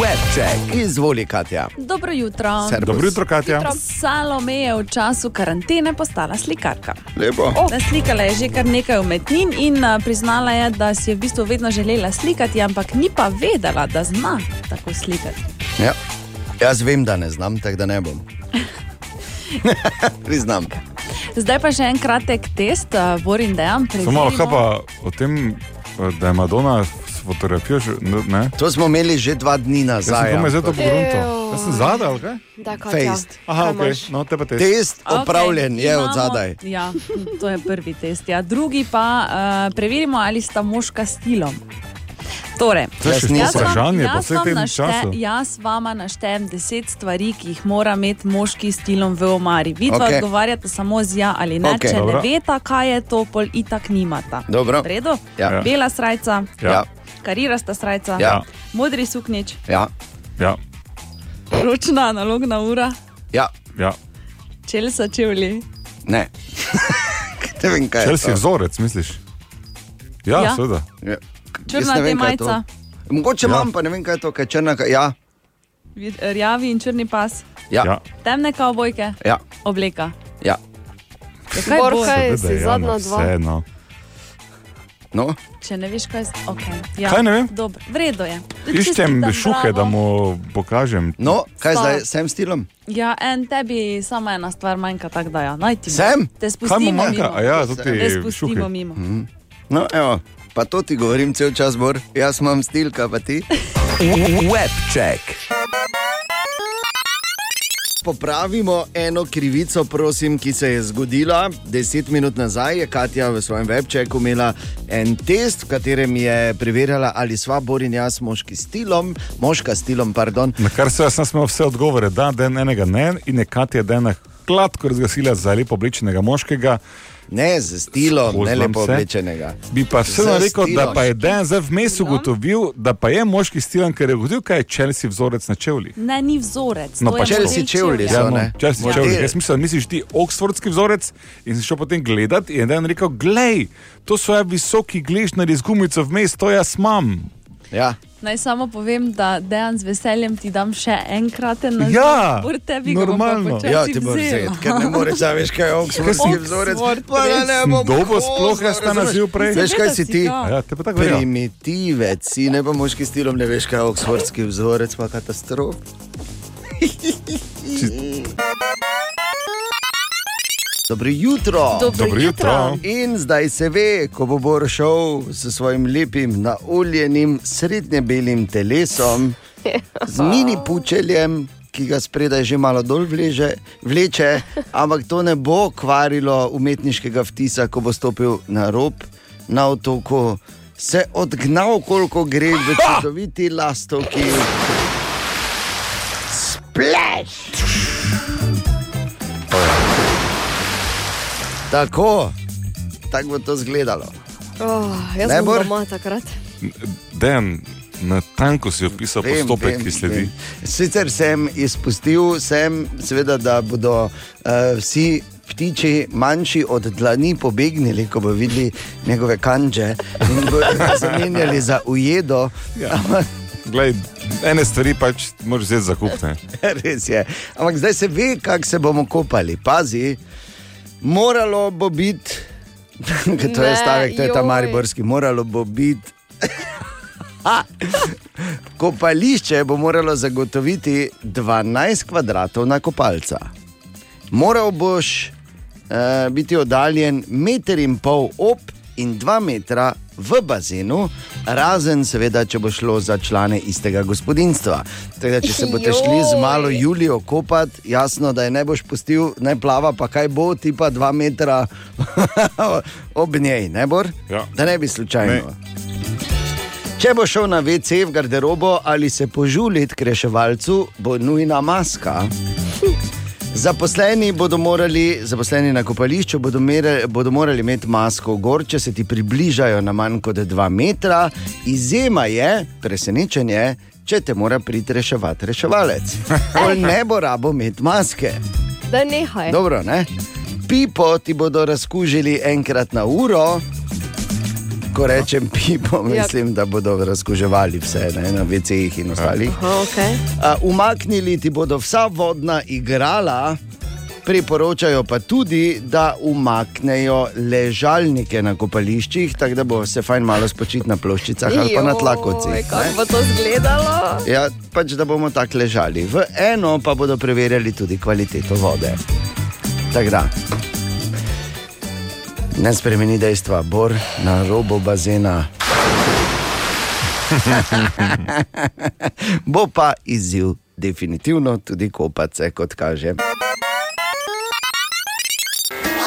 Speaker 7: web check.
Speaker 3: Izvoli, Katja.
Speaker 6: Dobro jutro.
Speaker 3: Servus.
Speaker 2: Dobro jutro, Katja.
Speaker 6: Salome je v času karantene postala slikarka.
Speaker 3: Lepo.
Speaker 2: Oh.
Speaker 6: Naslikala je že kar nekaj umetnin in a, priznala je, da si je v bistvu vedno želela slikati, ampak ni pa vedela, da zna tako slikati.
Speaker 3: Ja. Jaz vem, da ne znam, tako da ne bom. Priznam.
Speaker 6: Zdaj pa še en kratek test, a, Borin Dejan.
Speaker 2: Samo
Speaker 6: preverimo.
Speaker 2: kaj pa o tem, eh, da je Madonna s fotografijo že. ne, Ne?
Speaker 3: To smo imeli že dva dni
Speaker 2: Jaz sem
Speaker 3: nazaj.
Speaker 2: komaj zdaj to
Speaker 3: ampak
Speaker 2: pogrunto.
Speaker 5: Evo.
Speaker 2: Jaz sem zadaj, ali kaj?
Speaker 5: Da, Katja,
Speaker 3: Fejst.
Speaker 2: Aha,
Speaker 5: kaj
Speaker 2: ok,
Speaker 5: imaš?
Speaker 2: no te pa te.
Speaker 3: Test
Speaker 6: ja. Okej,
Speaker 3: opravljen okay, je
Speaker 6: imamo-
Speaker 3: od zadaj.
Speaker 6: Ja, to je prvi test. Ja. Drugi pa uh, preverimo, ali sta moška s stilom. Torej,
Speaker 2: To je še
Speaker 3: Jaz
Speaker 2: to
Speaker 3: vam-
Speaker 2: vprašanje po
Speaker 6: jaz,
Speaker 2: vsej
Speaker 6: vam
Speaker 2: tem
Speaker 6: našte,
Speaker 2: času.
Speaker 6: jaz vama naštejem deset stvari, ki jih mora imeti moški s stilom v omari. Vi okay.
Speaker 3: Okej.
Speaker 6: odgovarjate samo z ja ali ne.
Speaker 3: Okej.
Speaker 6: Okay. Če
Speaker 2: Dobro.
Speaker 6: ne veste, kaj je to, pol itak nimata.
Speaker 3: Dobro.
Speaker 6: V redu?
Speaker 3: Ja.
Speaker 6: Bela srca,
Speaker 3: Ja.
Speaker 6: karirasta srca,
Speaker 3: Ja.
Speaker 6: modri suknič,
Speaker 3: Ja.
Speaker 2: ja,
Speaker 6: ročna analogna ura,
Speaker 3: ja,
Speaker 2: ja.
Speaker 6: čelsa čevlji.
Speaker 3: ne. ne vem, kaj
Speaker 2: Če si
Speaker 3: je. to.
Speaker 2: vzorec, misliš? Ja,
Speaker 6: Ja.
Speaker 2: ja. seveda.
Speaker 3: Ja. Jaz
Speaker 6: Črna
Speaker 3: ne vem, kaj je
Speaker 6: temajca.
Speaker 3: to. Mogoče
Speaker 2: Ja.
Speaker 3: imam, pa ne vem, kaj je to, kaj je črna. kaj- Ja,
Speaker 6: vid- Rjavi in črni pas,
Speaker 3: ja, ja.
Speaker 2: Ja.
Speaker 6: temne kavbojke,
Speaker 3: ja.
Speaker 6: obleka.
Speaker 3: ja.
Speaker 6: Ja, kaj
Speaker 5: Borka
Speaker 6: bo,
Speaker 2: Seveda
Speaker 5: je- si
Speaker 2: je,
Speaker 5: zadnja
Speaker 2: Jana,
Speaker 5: dva.
Speaker 2: Vseeno.
Speaker 3: No.
Speaker 6: če ne veš, kaj je. Okay, ja.
Speaker 2: Kaj ne vem?
Speaker 6: Dobro, Vredno je. Čestitam,
Speaker 2: Iščem šuhe, da
Speaker 6: bravo.
Speaker 2: mu pokažem.
Speaker 3: no, kaj
Speaker 6: Sta.
Speaker 3: zdaj, sem stilom?
Speaker 6: Ja, en tebi samo ena stvar manjka, tako da ja, naj ti. bo.
Speaker 3: Sem?
Speaker 2: Kaj
Speaker 6: Te
Speaker 2: mu
Speaker 6: spustimo
Speaker 2: manjka?
Speaker 6: mimo.
Speaker 2: A Ja, tudi
Speaker 6: Te spustimo
Speaker 2: šuhe. Mhm.
Speaker 6: mimo.
Speaker 3: No, evo. Pa to ti govorim cel čas, Bor. Jaz imam stil, kaj pa ti.
Speaker 7: Web check.
Speaker 3: Popravimo eno krivico, prosim, ki se je zgodila. Deset minut nazaj je Katja v svojem webčeku imela en test, v katerem je preverjala, ali sva Borin jaz moški stilom, moška stilom, pardon.
Speaker 2: Na kar se jaz nisem imel vse odgovore, da den enega ne in je Katja dena kladko razglasila za lepo oblečenega moškega.
Speaker 3: Ne z stilom, ne
Speaker 2: Spoznam
Speaker 3: lepo
Speaker 2: se.
Speaker 3: oblečenega.
Speaker 2: Bi pa vseeno
Speaker 3: Z
Speaker 2: rekel, da
Speaker 3: stilom.
Speaker 2: pa je den zdaj vmes ugotovil, da pa je moški stilen, ker je ugotovil, kaj je Chelsea vzorec na čevlji.
Speaker 6: Ne, ni vzorec.
Speaker 2: No,
Speaker 6: to
Speaker 2: pa
Speaker 6: je
Speaker 2: če
Speaker 6: model
Speaker 3: si čevlji,
Speaker 6: čevlja.
Speaker 3: so-
Speaker 2: Ja, no,
Speaker 3: ne.
Speaker 2: če si
Speaker 3: Ja.
Speaker 2: čevlji. Jaz mislim, da misliš ti oksfordski vzorec in si šel potem gledat in en rekel, glej, to so ja visoki gležnari z gumico vmes, to jaz imam.
Speaker 3: Ja.
Speaker 6: Naj samo povem, da dejan z veseljem ti dam še enkrat na
Speaker 2: Ja,
Speaker 6: tebi ga bom pa
Speaker 2: normalno.
Speaker 6: počasi
Speaker 3: Ja, ti moraš
Speaker 6: vzela.
Speaker 3: vzeti, ker ne moreš, da veš, kaj je oksfordski
Speaker 6: Oxford
Speaker 3: vzorec.
Speaker 6: res.
Speaker 3: Pa da ne bom
Speaker 2: Dobo
Speaker 3: kozel,
Speaker 2: sploh jaz ta
Speaker 3: razumeš?
Speaker 2: naziv prej.
Speaker 3: Veš, kaj si
Speaker 6: Seveda si
Speaker 3: ti?
Speaker 6: ga.
Speaker 2: Ja, te pa tako verjamem.
Speaker 3: Primitivec, si ne pa moški stilom, ne veš, kaj je oksfordski vzorec, pa katastrof. Dobro jutro.
Speaker 6: Dobro,
Speaker 2: Dobro jutro.
Speaker 3: In zdaj se ve, ko bo Bor šel s svojim lepim, naoljenim, srednje belim telesom, z mini pučeljem, ki ga spredaj že malo dol vleže, vleče, ampak to ne bo kvarilo umetniškega vtisa, ko bo stopil na rob na otoku, se odgnal, koliko gre v čudoviti lastovki. Splash! Tako, tako bo to izgledalo.
Speaker 5: Oh, jaz
Speaker 3: Ne,
Speaker 5: ne, bom
Speaker 3: Bor?
Speaker 5: doma takrat.
Speaker 2: Den, na tanko si opisal
Speaker 3: Vem,
Speaker 2: postopek,
Speaker 3: vem,
Speaker 2: ki sledi.
Speaker 3: vem. Sicer sem izpustil, sem, seveda, da bodo uh, vsi ptiči manjši od dlani pobegnili, ko bodo videli njegove kanče in bodo zamenjali za ujedo.
Speaker 2: Ja. Glej, ene stvari pač moraš vzeti za kupne.
Speaker 3: Res je. Ampak zdaj se ve, kako se bomo kopali. Pazi, Moralo bo biti, to je
Speaker 5: Ne,
Speaker 3: stavek, to je ta
Speaker 5: joj.
Speaker 3: mariborski, moralo bo biti. Kopališče bo moralo zagotoviti 12 kvadratov na kopalca. Moral boš eh, biti oddaljen meter in pol ob in dva metra v bazenu, razen, seveda, če bo šlo za člane istega gospodinstva. Tako da, če se boste šli z malo
Speaker 5: Joj.
Speaker 3: Julijo kopati, jasno, da je ne boš pustil, ne plava, pa kaj bo, ti pa dva metra ob njej, ne bor?
Speaker 2: Ja.
Speaker 3: Da ne bi slučajno.
Speaker 2: Ne.
Speaker 3: Ne. Če bo šel na WC v garderobo ali se požulit k reševalcu, bo nujna maska. Zaposleni, bodo morali, zaposleni na kopališču bodo, mere, bodo morali imeti masko gor, če se ti približajo na manj kot 2 metra. Izjema je, presenečenje, če te mora priti reševati reševalec. On ne bo rabo imeti maske.
Speaker 5: Da nehaj.
Speaker 3: Dobro, ne? Pipo ti bodo razkužili enkrat na uro. Ko rečem pipo, mislim, da bodo razkuževali vse ne, na VC-jih
Speaker 2: Ja.
Speaker 3: in ostalih.
Speaker 5: Aha, okay.
Speaker 3: A, Uh, Umaknili ti bodo vsa vodna igrala, priporočajo pa tudi, da umaknejo ležalnike na kopališčih, tako da bo se fajn malo spočiti na ploščicah ali pa na tlakovcih.
Speaker 5: Joj,
Speaker 3: ne.
Speaker 5: Kako bo to izgledalo?
Speaker 3: Ja, pač da bomo tako ležali. V eno pa bodo preverjali tudi kvaliteto vode. Tako da. Ne spremeni dejstva, bor na robu bazena. Bo pa izziv, definitivno tudi kopace, kot kaže.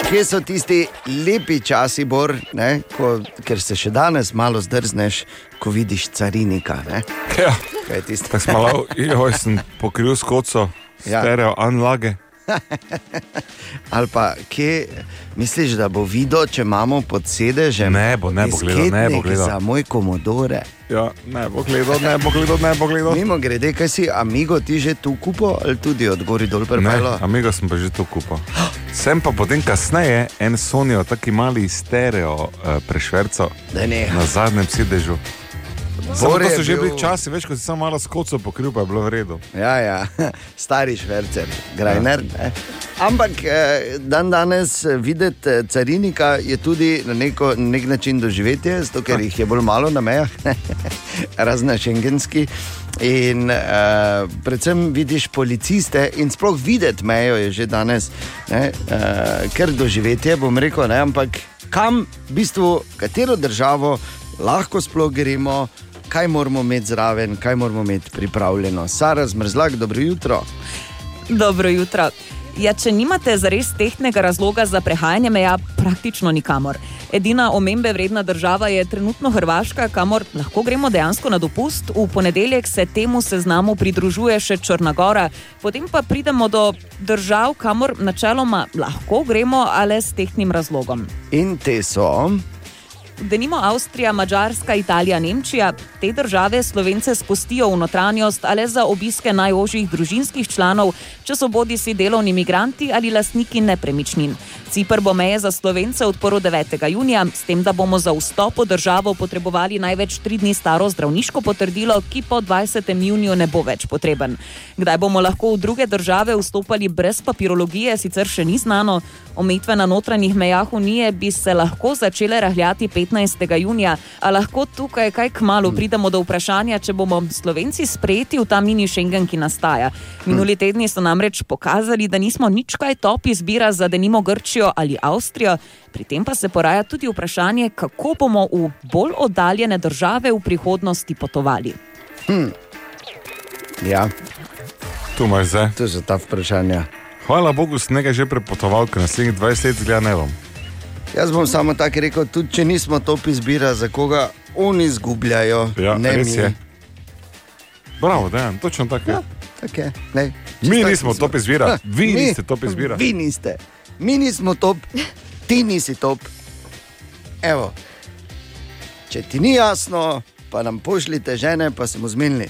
Speaker 3: Kje so tisti lepi časi, bor, ne, ko, ker se še danes malo zdrzneš, ko vidiš carinika? Ne?
Speaker 2: Ja.
Speaker 3: Kaj je tisto?
Speaker 2: Tako smo malo, joj, sem pokril skoco,
Speaker 3: Ja.
Speaker 2: stereo, unlage.
Speaker 3: Ali pa kje misliš, da bo videl, če imamo pod sedežem?
Speaker 2: Ne bo, ne bo gledal, ne bo
Speaker 3: disketnik
Speaker 2: gledal.
Speaker 3: Za moj komodore.
Speaker 2: Ja, ne bo gledal, ne bo gledal, ne bo gledal.
Speaker 3: Mimo grede, kaj si, amigo, ti že tu kupo ali tudi od gori dol prepelo?
Speaker 2: Amiga sem pa že to kupil. Sem pa potem kasneje en Sonijo, taki mali stereo eh, prešvercal
Speaker 3: Da ne.
Speaker 2: na zadnjem sedežu. Samo
Speaker 3: Bor
Speaker 2: to
Speaker 3: je
Speaker 2: so že
Speaker 3: bil-
Speaker 2: bili časi, več kot si samo malo skoco pokril, pa je bilo v redu.
Speaker 3: Ja, ja, stari švercer, grajner. Ja. Ampak eh, dan danes videti eh, carinika je tudi na neko, na nek način doživetje, zato ker jih je bolj malo na mejah, razen šengenski. In eh, predvsem vidiš policiste, in sploh videti mejo je že danes, ne, eh, ker doživetje, bom rekel, ne, ampak kam, v bistvu, katero državo lahko sploh gremo kaj moramo imeti zraven, kaj moramo imeti pripravljeno. Sara zmrzlak, dobro jutro.
Speaker 11: Dobro jutro. Ja, če nimate zares tehnega razloga za prehajanje meja, praktično nikamor. Edina omembe vredna država je trenutno Hrvaška, kamor lahko gremo dejansko na dopust. V ponedeljek se temu seznamu pridružuje še Črnagora, potem pa pridemo do držav, kamor načeloma lahko gremo, ale s tehnim razlogom.
Speaker 3: In te so,
Speaker 11: Denimo Avstrija, Mačarska, Italija, Nemčija. Te države slovence spustijo v notranjost ali za obiske najožjih družinskih članov, če so bodi si delovni migranti ali lastniki nepremičnin. Cipr bo meje za slovence odprl 9. junija, s tem, da bomo za vstop v državo potrebovali največ tri dni staro zdravniško potrdilo, ki po 20. juniju ne bo več potreben. Kdaj bomo lahko v druge države vstopali brez papirologije, sicer še ni znano. Omejitve na notranjih mejah Unije bi se lahko začele rahljati 15. junija, a lahko tukaj kaj k malu pridemo do vprašanja, če bomo Slovenci sprejeti v ta mini Schengen, ki nastaja. Minuli tedni so namreč pokazali, da nismo nič kaj top izbira za denimo Grčijo ali Avstrijo, pri tem pa se poraja tudi vprašanje, kako bomo v bolj oddaljene države v prihodnosti potovali.
Speaker 3: ja,
Speaker 2: Tu imaš zdaj.
Speaker 3: to so ta vprašanja.
Speaker 2: Hvala Bogu, sem nekaj že prepotoval, ker naslednjih 20 let zgleda ne bom.
Speaker 3: Jaz bom samo tako rekel, tudi če nismo top izbira, za koga oni izgubljajo.
Speaker 2: Ja,
Speaker 3: ne
Speaker 2: res
Speaker 3: mi.
Speaker 2: je. Bravo, da, točno tako. Ja,
Speaker 3: Tako je, ne. Čisto
Speaker 2: Mi
Speaker 3: tako
Speaker 2: nismo
Speaker 3: smo.
Speaker 2: top izbira, vi
Speaker 3: Mi-
Speaker 2: niste top izbira.
Speaker 3: Vi niste, mi nismo top, ti nisi top. Evo, če ti ni jasno, pa nam pošljite žene, pa smo zmenili.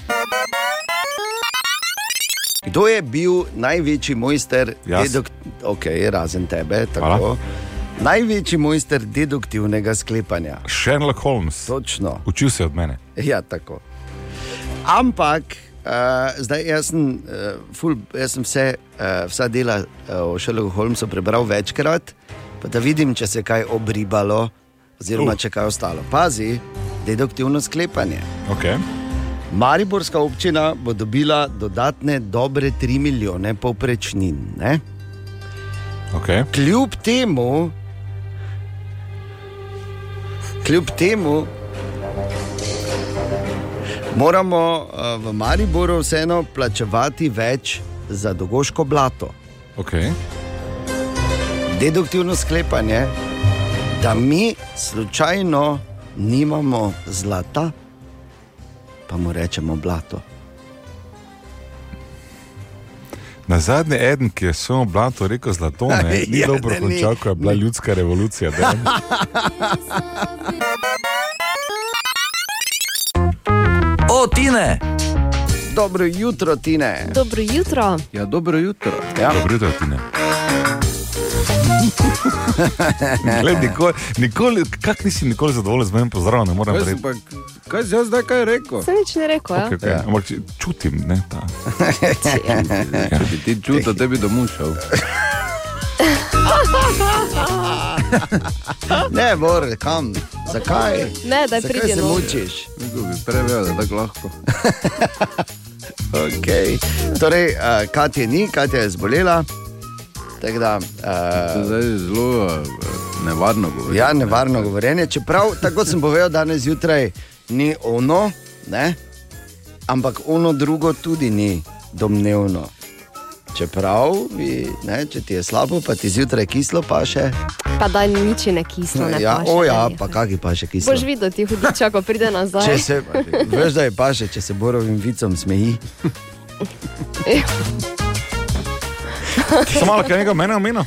Speaker 3: Kdo je bil največji mojster,
Speaker 2: Jaz.
Speaker 3: okay, razen tebe, tako,
Speaker 2: Hvala.
Speaker 3: največji mojster deduktivnega sklepanja?
Speaker 2: Sherlock Holmes,
Speaker 3: Točno.
Speaker 2: učil se je od mene.
Speaker 3: Ja, tako. Ja, Ampak Uh, zdaj, jaz sem, uh, ful, jaz sem vse, uh, vsa dela uh, o Šerloku Holmesu prebral večkrat, pa da vidim, če se je kaj obribalo, oziroma če kaj ostalo. Pazi, deduktivno sklepanje.
Speaker 2: Okay.
Speaker 3: Mariborska občina bo dobila dodatne dobre 3 milijone povprečnin. Ne?
Speaker 2: Okay.
Speaker 3: Kljub temu, kljub temu, moramo eh, v Mariboru vseeno plačevati več za dogoško blato.
Speaker 2: Okay.
Speaker 3: Deduktivno sklepanje, da mi slučajno nimamo zlata, pa mu rečemo blato.
Speaker 2: Na zadnji eden, ki je samo blato rekel zlato, ne, ni
Speaker 3: Ja,
Speaker 2: dobro
Speaker 3: da ni.
Speaker 2: končal, ko je bila ljudska revolucija. da ne.
Speaker 12: O, Tine!
Speaker 3: Dobro jutro, Tine.
Speaker 5: Dobro jutro.
Speaker 9: Ja, dobro jutro.
Speaker 3: Ja.
Speaker 2: Dobro jutro, Tine. Glej, nikoli, nikoli, kak nisi nikoli zadovoljen z mojim pozdravom, ne morem
Speaker 9: Kaj
Speaker 2: reči.
Speaker 9: sem pa, kaj sem jaz zdaj kaj rekel?
Speaker 5: Sem nič ne rekel, ja?
Speaker 2: Okay, okay. ja. Ampak če- čutim, ne, ta. Ja.
Speaker 9: Če bi ti čutil, te bi domušal.
Speaker 3: Ne, bor, kam, zakaj?
Speaker 5: Ne, da
Speaker 3: Zakaj se
Speaker 5: pridemo.
Speaker 3: mučiš?
Speaker 9: Tako bi prevel, da tako lahko.
Speaker 3: Okay. Torej, uh, Katja ni, Katja je zbolela. Tako Da,
Speaker 9: To
Speaker 3: uh,
Speaker 9: Zdaj je zelo eh, nevarno govoriti.
Speaker 3: ja, nevarno govorjenje. Čeprav, tako kot sem povedal danes zjutraj, ni ono, ne? ampak ono drugo tudi ni domnevno. Čeprav, bi, ne, če ti je slabo, pa ti zjutraj kislo, pa še.
Speaker 5: Pa da nič je ne kislo. Ne
Speaker 3: ja,
Speaker 5: paše,
Speaker 3: o ja,
Speaker 5: ne.
Speaker 3: pa kaki pa še kislo.
Speaker 5: Boš videl, ti hudiča, ko pride nazaj.
Speaker 3: Če se, veš, da je paše, če se borovim vicom smeji.
Speaker 5: Ja.
Speaker 2: Samo malo, kaj Ja. nekaj mene omenil.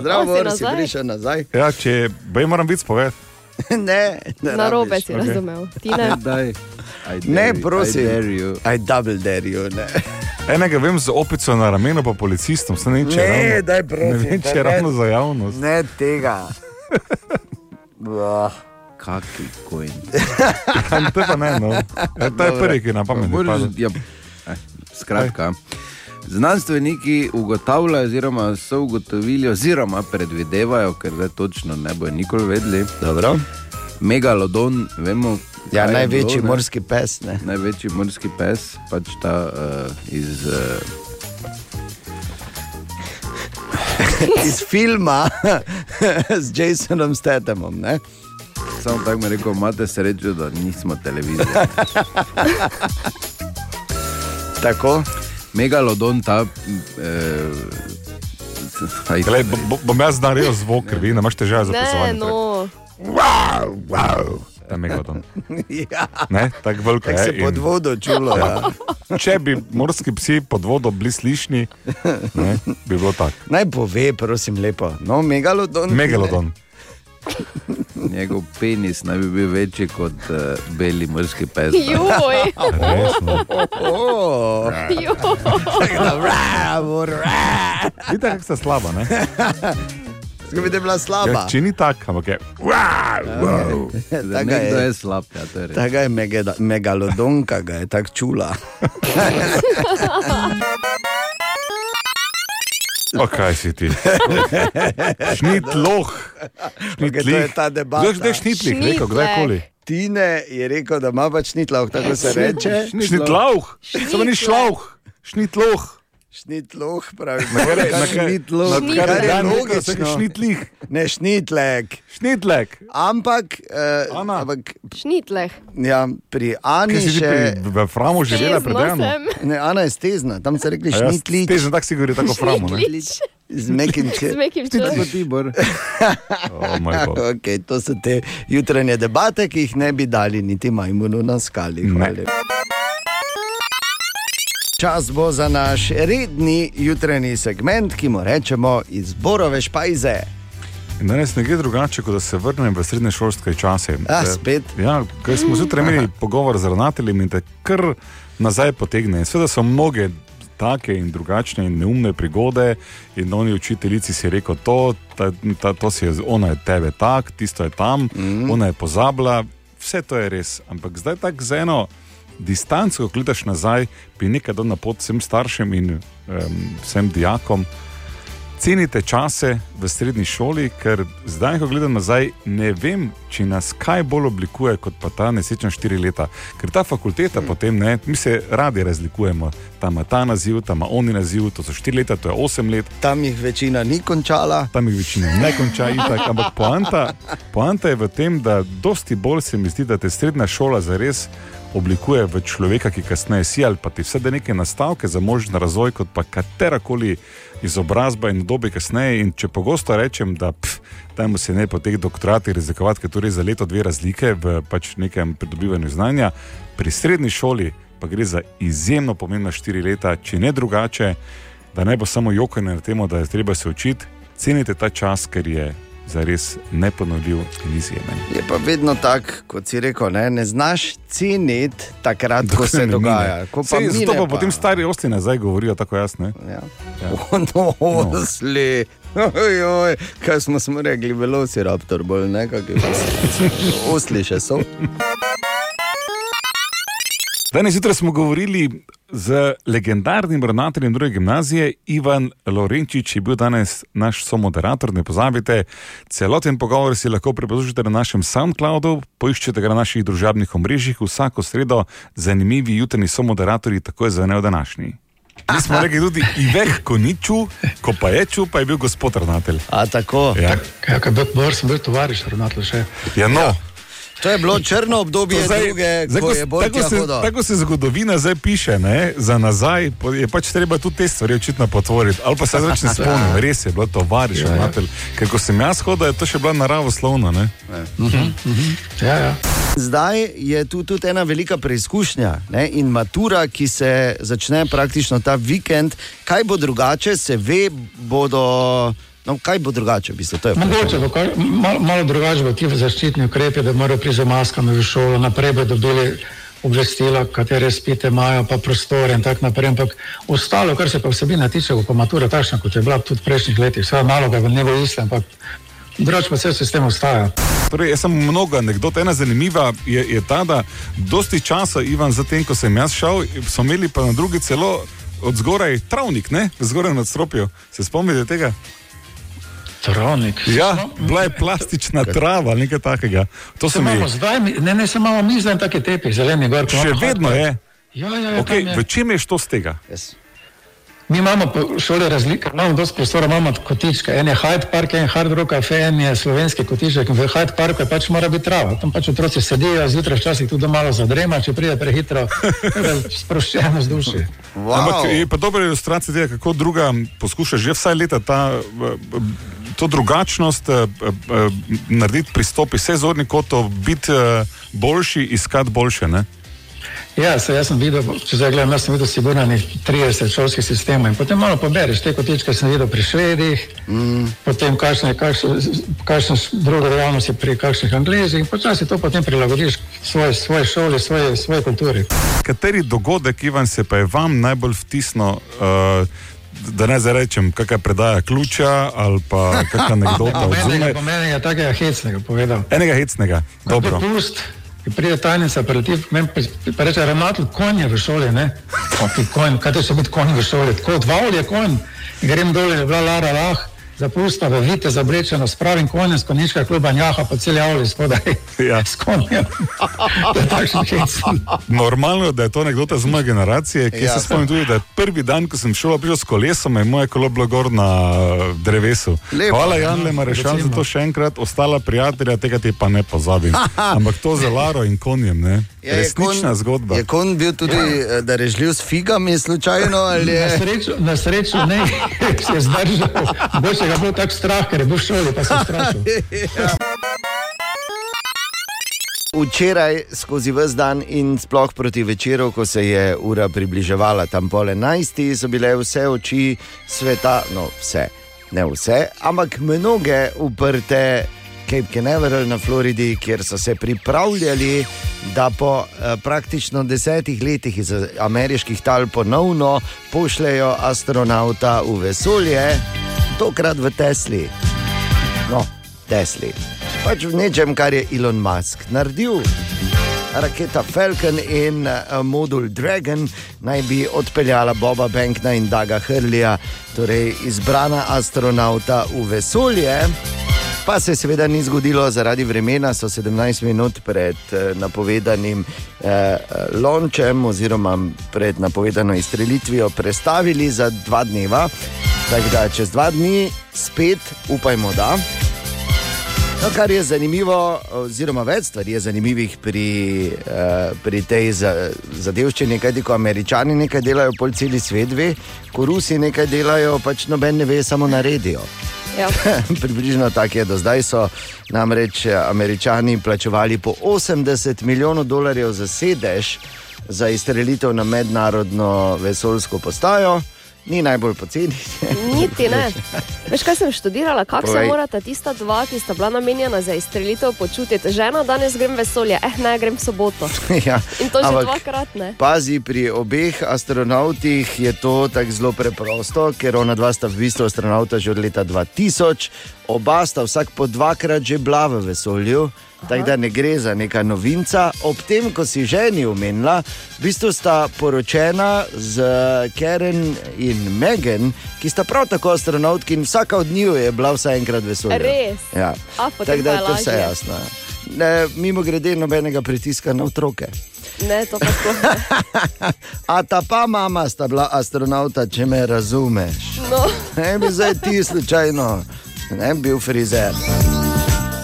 Speaker 3: Zdravo,
Speaker 5: O, si
Speaker 3: Bor, si
Speaker 5: nazaj?
Speaker 3: prišel nazaj.
Speaker 2: Ja, če bej moram biti spovedati.
Speaker 3: ne, ne
Speaker 5: Na robe
Speaker 3: rabiš.
Speaker 5: si razumel. Ti ne.
Speaker 9: Daj, I dare
Speaker 3: Ne,
Speaker 9: you,
Speaker 3: prosim.
Speaker 9: I dare you.
Speaker 3: Aj, double derijo. Ne,
Speaker 2: Enega vem z opico na ramenu, pa policistom, se ne vem, če je
Speaker 3: Ne,
Speaker 2: ravno-
Speaker 3: daj, prosim,
Speaker 2: Ne vem, če je
Speaker 3: daj,
Speaker 2: ravno za javnost.
Speaker 3: ne tega. Bah.
Speaker 9: Kaki kojn.
Speaker 2: Tam te pa ne, no. Ja, ta je prvi, ki nam pamet.
Speaker 9: Moraš, ja, eh, skratka. Znanstveniki ugotavljajo, oziroma so ugotovili, oziroma predvidevajo, ker zdaj točno ne bojo nikoli vedeli.
Speaker 3: Dobro.
Speaker 9: Megalodon, vemo.
Speaker 3: Ja,
Speaker 9: kaj je
Speaker 3: največji
Speaker 9: bilo, ne?
Speaker 3: morski pes. Ne.
Speaker 9: največji morski pes, pač ta uh,
Speaker 3: eh,
Speaker 9: iz. Uh,
Speaker 3: Iz filma z Jasonom Stetemom. Ne?
Speaker 9: Samo tako mi je rekel, imate srečo, da nismo televizija.
Speaker 3: Tako.
Speaker 9: Megalodon, ta. Eh, aj,
Speaker 2: Glej, bo- bo- bom jaz naredil zvok, ker vi ne imaš težave z
Speaker 5: Ne,
Speaker 2: opisovanjem.
Speaker 5: no.
Speaker 2: Ta megalodon.
Speaker 3: Ja,
Speaker 2: Ne, tako velika
Speaker 3: tako se
Speaker 2: je.
Speaker 3: pod
Speaker 2: in
Speaker 3: vodo čulo. Ja.
Speaker 2: Če bi morski psi pod vodo bili slišni, ne, bi bilo tako.
Speaker 3: Naj pove, prosim, lepo. No, megalodon.
Speaker 2: Megalodon.
Speaker 9: njegov penis naj bi bil večji kot eh, beli morski pes.
Speaker 5: Joj,
Speaker 2: Resno.
Speaker 3: Oh,
Speaker 5: joj.
Speaker 3: bravo, bravo.
Speaker 2: Vidite, kako ste slaba, ne?
Speaker 3: Zgodi, da je bila slaba.
Speaker 2: Ja, če ni tako, ampak je.
Speaker 9: Da,
Speaker 3: Ja. Taka
Speaker 9: nekdo
Speaker 3: je.
Speaker 9: je slab, ja, to je res.
Speaker 3: Tega je megeda- megalodonka, ga je tako čula.
Speaker 2: O, kaj si ti? Šnitloh.
Speaker 3: Okay, to je
Speaker 2: Šnitlih.
Speaker 3: ta debata.
Speaker 2: Kdo je šnitlih, rekel,
Speaker 5: Šnitlek.
Speaker 2: kdajkoli?
Speaker 3: Tine je rekel, da ima pač nitlav, tako se reče.
Speaker 2: Šnitlauh. Samo ni šlauh. Šnitloh.
Speaker 3: Šnitloh, pravi.
Speaker 9: Šnitlov.
Speaker 2: Kar
Speaker 3: Kar
Speaker 2: je
Speaker 3: je
Speaker 2: dan rekel,
Speaker 3: logično.
Speaker 2: vsak je šnitlih.
Speaker 3: Ne šnitlek.
Speaker 2: Šnitlek.
Speaker 3: Ampak, eh,
Speaker 2: Ana.
Speaker 3: ampak
Speaker 5: Šnitleh.
Speaker 3: ja, pri Ani
Speaker 2: Kaj si ti pri
Speaker 3: še.
Speaker 2: v Framu živela pred
Speaker 5: Jezno
Speaker 2: Dejano?
Speaker 5: sem.
Speaker 3: Ne, Ana je stezna, tam se rekli
Speaker 2: A ja,
Speaker 3: šnitlič
Speaker 2: Težko tako si govori, tako Framu. ne?
Speaker 5: Šnitlih.
Speaker 3: z nekim
Speaker 5: Z
Speaker 3: če.
Speaker 5: nekim čujem.
Speaker 9: Ti, Bor.
Speaker 2: O, moj bog.
Speaker 3: Okay, to so te jutranje debate, ki jih ne bi dali niti majmunu na skali. Hvala lepa. Čas bo za naš redni jutranji segment, ki mu rečemo izborove špajze.
Speaker 2: In Danes ne gre drugače, kot da se vrnem v srednje šolske čase.
Speaker 3: A,
Speaker 2: Eh,
Speaker 3: spet?
Speaker 2: Ja, ker smo zjutraj imeli pogovor z ravnateljem in te kar nazaj potegne. In Seveda so mnoge take in drugačne in neumne prigode in oni učiteljici si je rekel to, ta, ta, to si je, ona je tebe
Speaker 3: Mhm.
Speaker 2: tak, tisto je tam, mm. ona je pozabila, vse to je res. Ampak zdaj tako z eno distanco, ko gledaš nazaj, bi nekaj dal na pot vsem staršem in um, vsem dijakom. Cenite čase v srednji šoli, ker zdaj, ko gledam nazaj, ne vem, če nas kaj bolj oblikuje kot pa ta nesrečna štiri leta. Ker ta
Speaker 3: Hm.
Speaker 2: fakulteta hmm. potem, ne, mi se radi razlikujemo. Tam ima ta naziv, tam ima oni naziv, to so štiri leta, to je osem let,
Speaker 3: Tam jih večina ni končala.
Speaker 2: tam jih večina ne konča, itak, ampak poanta, poanta je v tem, da dosti bolj se mi zdi, da te srednja šola zares oblikuje v človeka, ki kasneje si ali pa ti vse da neke nastavke za možen razvoj, kot pa katerakoli izobrazba in dobi kasneje. In če pogosto rečem, da pf, dajmo se ne po teh doktoratih razlikovati, ker torej za leto dve razlike v pač nekem pridobivanju znanja, pri srednji šoli pa gre za izjemno pomembna štiri leta, če ne drugače, da ne bo samo jokanje na temo, da je treba se učiti, cenite ta čas, ker je zares neponovljiv in izjemen.
Speaker 3: Je pa vedno tako, kot si rekel, ne, ne znaš ceniti takrat, ko se
Speaker 2: Ne
Speaker 3: dogaja.
Speaker 2: mine.
Speaker 3: Ko pa
Speaker 2: Sej,
Speaker 3: mine,
Speaker 2: zato pa, pa potem stari osli nazaj govorijo tako jasno.
Speaker 3: Ja. No, osli. Oj, oj, kaj smo, smo rekli, velociraptor, bolj nekako. Osli še so.
Speaker 2: Danes jutro smo govorili z legendarnim ravnateljem druge gimnazije Ivan Lorenčič, ki je bil danes naš somoderator. Ne pozabite, celoten pogovor si lahko preposlušate na našem SoundCloudu, poiščete ga na naših družabnih omrežjih. Vsako sredo zanimivi jutrni somoderatorji, tako je zvenel današnji. Mi smo rekli tudi Ivek Koniču, ko pa je ču, pa je bil gospod ravnatelj.
Speaker 3: A tako.
Speaker 2: Ja,
Speaker 13: Kaj, kaj, bil sem bil tovariš, ravnatelj še.
Speaker 2: ja no.
Speaker 3: To je bilo črno obdobje,
Speaker 2: To
Speaker 3: zdaj, druge, zdaj, ko
Speaker 2: ko-
Speaker 3: je bolj
Speaker 2: tako, se,
Speaker 3: težko.
Speaker 2: tako se zgodovina zdaj piše, ne? za nazaj po- je pač treba tudi te stvari očitno potvoriti. Ali pa se zdaj več ne spomnim, res je bilo to variš, ja, ja. ker ko sem jaz hodil, je to še bila naravoslovna. Ne?
Speaker 3: Mhm.
Speaker 13: Mhm, Ja, ja.
Speaker 3: Zdaj je tu tudi ena velika preizkušnja ne? in matura, ki se začne praktično ta vikend. Kaj bo drugače, se ve, bodo. No, kaj bo drugače, v bistvu, to je
Speaker 13: Mogoče bo kaj, malo, malo drugače bo ti zaščitni ukrepi, da morajo priti z maskami v šolo, naprej bodo dobili obvestila, katere spite imajo, pa prostore in tako naprej. Ampak ostalo, kar se pa vsebina tiče, bo pa matura takšna, kot je bila tudi v prejšnjih letih. Vsa naloga bo ne bo ista, ampak drugače pa vse sistem ostaja.
Speaker 2: Torej, jaz sem mnogo anegdot. Ena zanimiva je, je ta, da dosti časa, Ivan, zatem, ko sem jaz šel, so imeli pa na drugi celo od zgoraj travnik, ne? zgoraj na stropju. Se spomnite tega?
Speaker 13: Tronik.
Speaker 2: Ja, bila je plastična trava, nekaj takega. To
Speaker 13: Se
Speaker 2: sem
Speaker 13: imamo
Speaker 2: jih.
Speaker 13: zdaj, mi- ne, ne, se imamo mi zdaj taki tepi, zeleni gor. ko
Speaker 2: Še
Speaker 13: imamo
Speaker 2: vedno
Speaker 13: hladko.
Speaker 2: je.
Speaker 13: Ja, ja, ja,
Speaker 2: Okay,
Speaker 13: tam je.
Speaker 2: v čem je šlo z tega?
Speaker 13: Mi imamo po šoli razlike, imamo dosti prostora, imamo kotičke. En je Hyde Park, en je Hard Rock Cafe, en je slovenski kotiček. In v Hyde Parku je pač mora biti trava. Tam pač otroci sedijo, zjutraj včasih tudi malo zadrema, če pride prehitro, sproščeno z duši.
Speaker 2: Wow. Ampak je pa dobra ilustracija tega, kako druga poskuša že vsaj leta ta, eh, eh, to drugačnost eh, eh, eh, narediti, pristopi vse zorni kot biti eh, boljši, iskati boljše. Ne?
Speaker 13: Ja, se, jaz sem videl, če zdaj gledam, jaz sem videl sigurno nekih 30 šolskih sistemov in potem malo pobereš te kotičke, sem videl pri švedih, mm. potem kakšne, kakšne, kakšne druge dejavnosti pri kakšnih anglezih in počasi to potem prilagodiš svoje, svoje šole, svoje, svoje kulturi.
Speaker 2: Kateri dogodek, Ivan, se pa je vam najbolj vtisnil, uh, da ne zdaj rečem, kakšna predaja ključa ali pa kakšna anekdota od
Speaker 13: Pomenega,
Speaker 2: zunaj?
Speaker 13: pomenega, takega hecnega povedal.
Speaker 2: Enega hecnega, dobro.
Speaker 13: Dopust, ki pride tajnica, operativ, meni pa- pa reče, ravnatelj, konj je v šoli, ne? O, ti konj, kaj te še biti konj v šoli? Tako odval je konj. In grem dol, je bila Lara Lah, zapusta v vite zablečena, spravim konjem z konjiška kluba njaha po celi avli spodaj.
Speaker 2: Ja.
Speaker 13: S konjem. To je takšen hecen.
Speaker 2: Normalno je, da je to anekdota z moje generacije, ki ja.
Speaker 3: Ja.
Speaker 2: se spomnim tudi, da je prvi dan, ko sem šel, prišel s kolesom, je moje kolo bilo gor na eh, drevesu.
Speaker 3: Lepo.
Speaker 2: Hvala, Jan Le Marešan, za to še enkrat, ostala prijatelja, tega ti pa ne pozabim. Ampak to z Laro in konjem, ne? Ja, Resnična
Speaker 3: kon,
Speaker 2: zgodba.
Speaker 3: Je kon bil tudi ja. darežljiv s figami, slučajno? no, ali
Speaker 13: Na
Speaker 3: je-
Speaker 13: srečo, na srečo ne, se je zdržal. Boljše ga je bilo tako strah, ker je bil v šoli, pa se je strašil.
Speaker 9: Ja,
Speaker 3: Včeraj, skozi vse dan in sploh proti večeru, ko se je ura približevala tam pol enajstih, so bile vse oči sveta, no vse, ne vse, ampak mnoge uprte. Cape Canaveral na Floridi, kjer so se pripravljali, da po eh, praktično desetih letih iz eh, ameriških tal ponovno pošljejo astronauta v vesolje, tokrat v Tesli. No, Tesli. Pač v nečem, kar je Elon Musk naredil. Raketa Falcon in eh, modul Dragon naj bi odpeljala Boba Bankna in Daga Hrlija, torej izbrana astronauta v vesolje. Pa se seveda ni zgodilo zaradi vremena, so 17 minut pred eh, napovedanim eh, lončem, oziroma pred napovedano izstrelitvijo, prestavili za dva dneva. Tako da čez dva dni spet upajmo, da. No, kar je zanimivo, oziroma več stvari je zanimivih pri, eh, pri tej za- zadevščini, kajti ko američani nekaj delajo, pol celi svet ve, ko rusi nekaj delajo, pač noben ne ve, samo naredijo.
Speaker 5: Ja.
Speaker 3: Približno tako je do zdaj. So namreč eh, američani plačevali po 80 milijonov dolarjev za sedež za izstrelitev na mednarodno vesoljsko postajo. Ni najbolj poceni.
Speaker 5: Niti ne. Veš, kaj sem študirala, kako se
Speaker 3: Povej.
Speaker 5: morata tista dva, ki sta bila namenjena za izstrelitev, počutiti. Žena, danes grem v vesolje, eh, ne grem v soboto.
Speaker 3: ja.
Speaker 5: In to že
Speaker 3: ampak-
Speaker 5: dvakrat ne.
Speaker 3: Pazi, pri obeh astronautih je to tako zelo preprosto, ker ona dva sta v bistvu astronauta že od leta 2000, oba sta vsak po dvakrat že bila v vesolju. Tako da ne gre za neka novinca. Ob tem, ko si ženi omenila, v bistvu sta poročena z Karen in Megan, ki sta prav tako astronautki in vsaka od njiju je bila vsaj enkrat vesolja.
Speaker 5: Res?
Speaker 3: Ja.
Speaker 5: A, potem
Speaker 3: Tako da
Speaker 5: pa
Speaker 3: je
Speaker 5: je
Speaker 3: to vse
Speaker 5: lažje.
Speaker 3: jasno. ja. Ne, mimo grede, nobenega pritiska na otroke.
Speaker 5: Ne, to pa sploh ne.
Speaker 3: A ta pa mama sta bila astronauta, če me razumeš.
Speaker 5: No.
Speaker 3: Ne bi zdaj ti slučajno, ne bi bil frizer.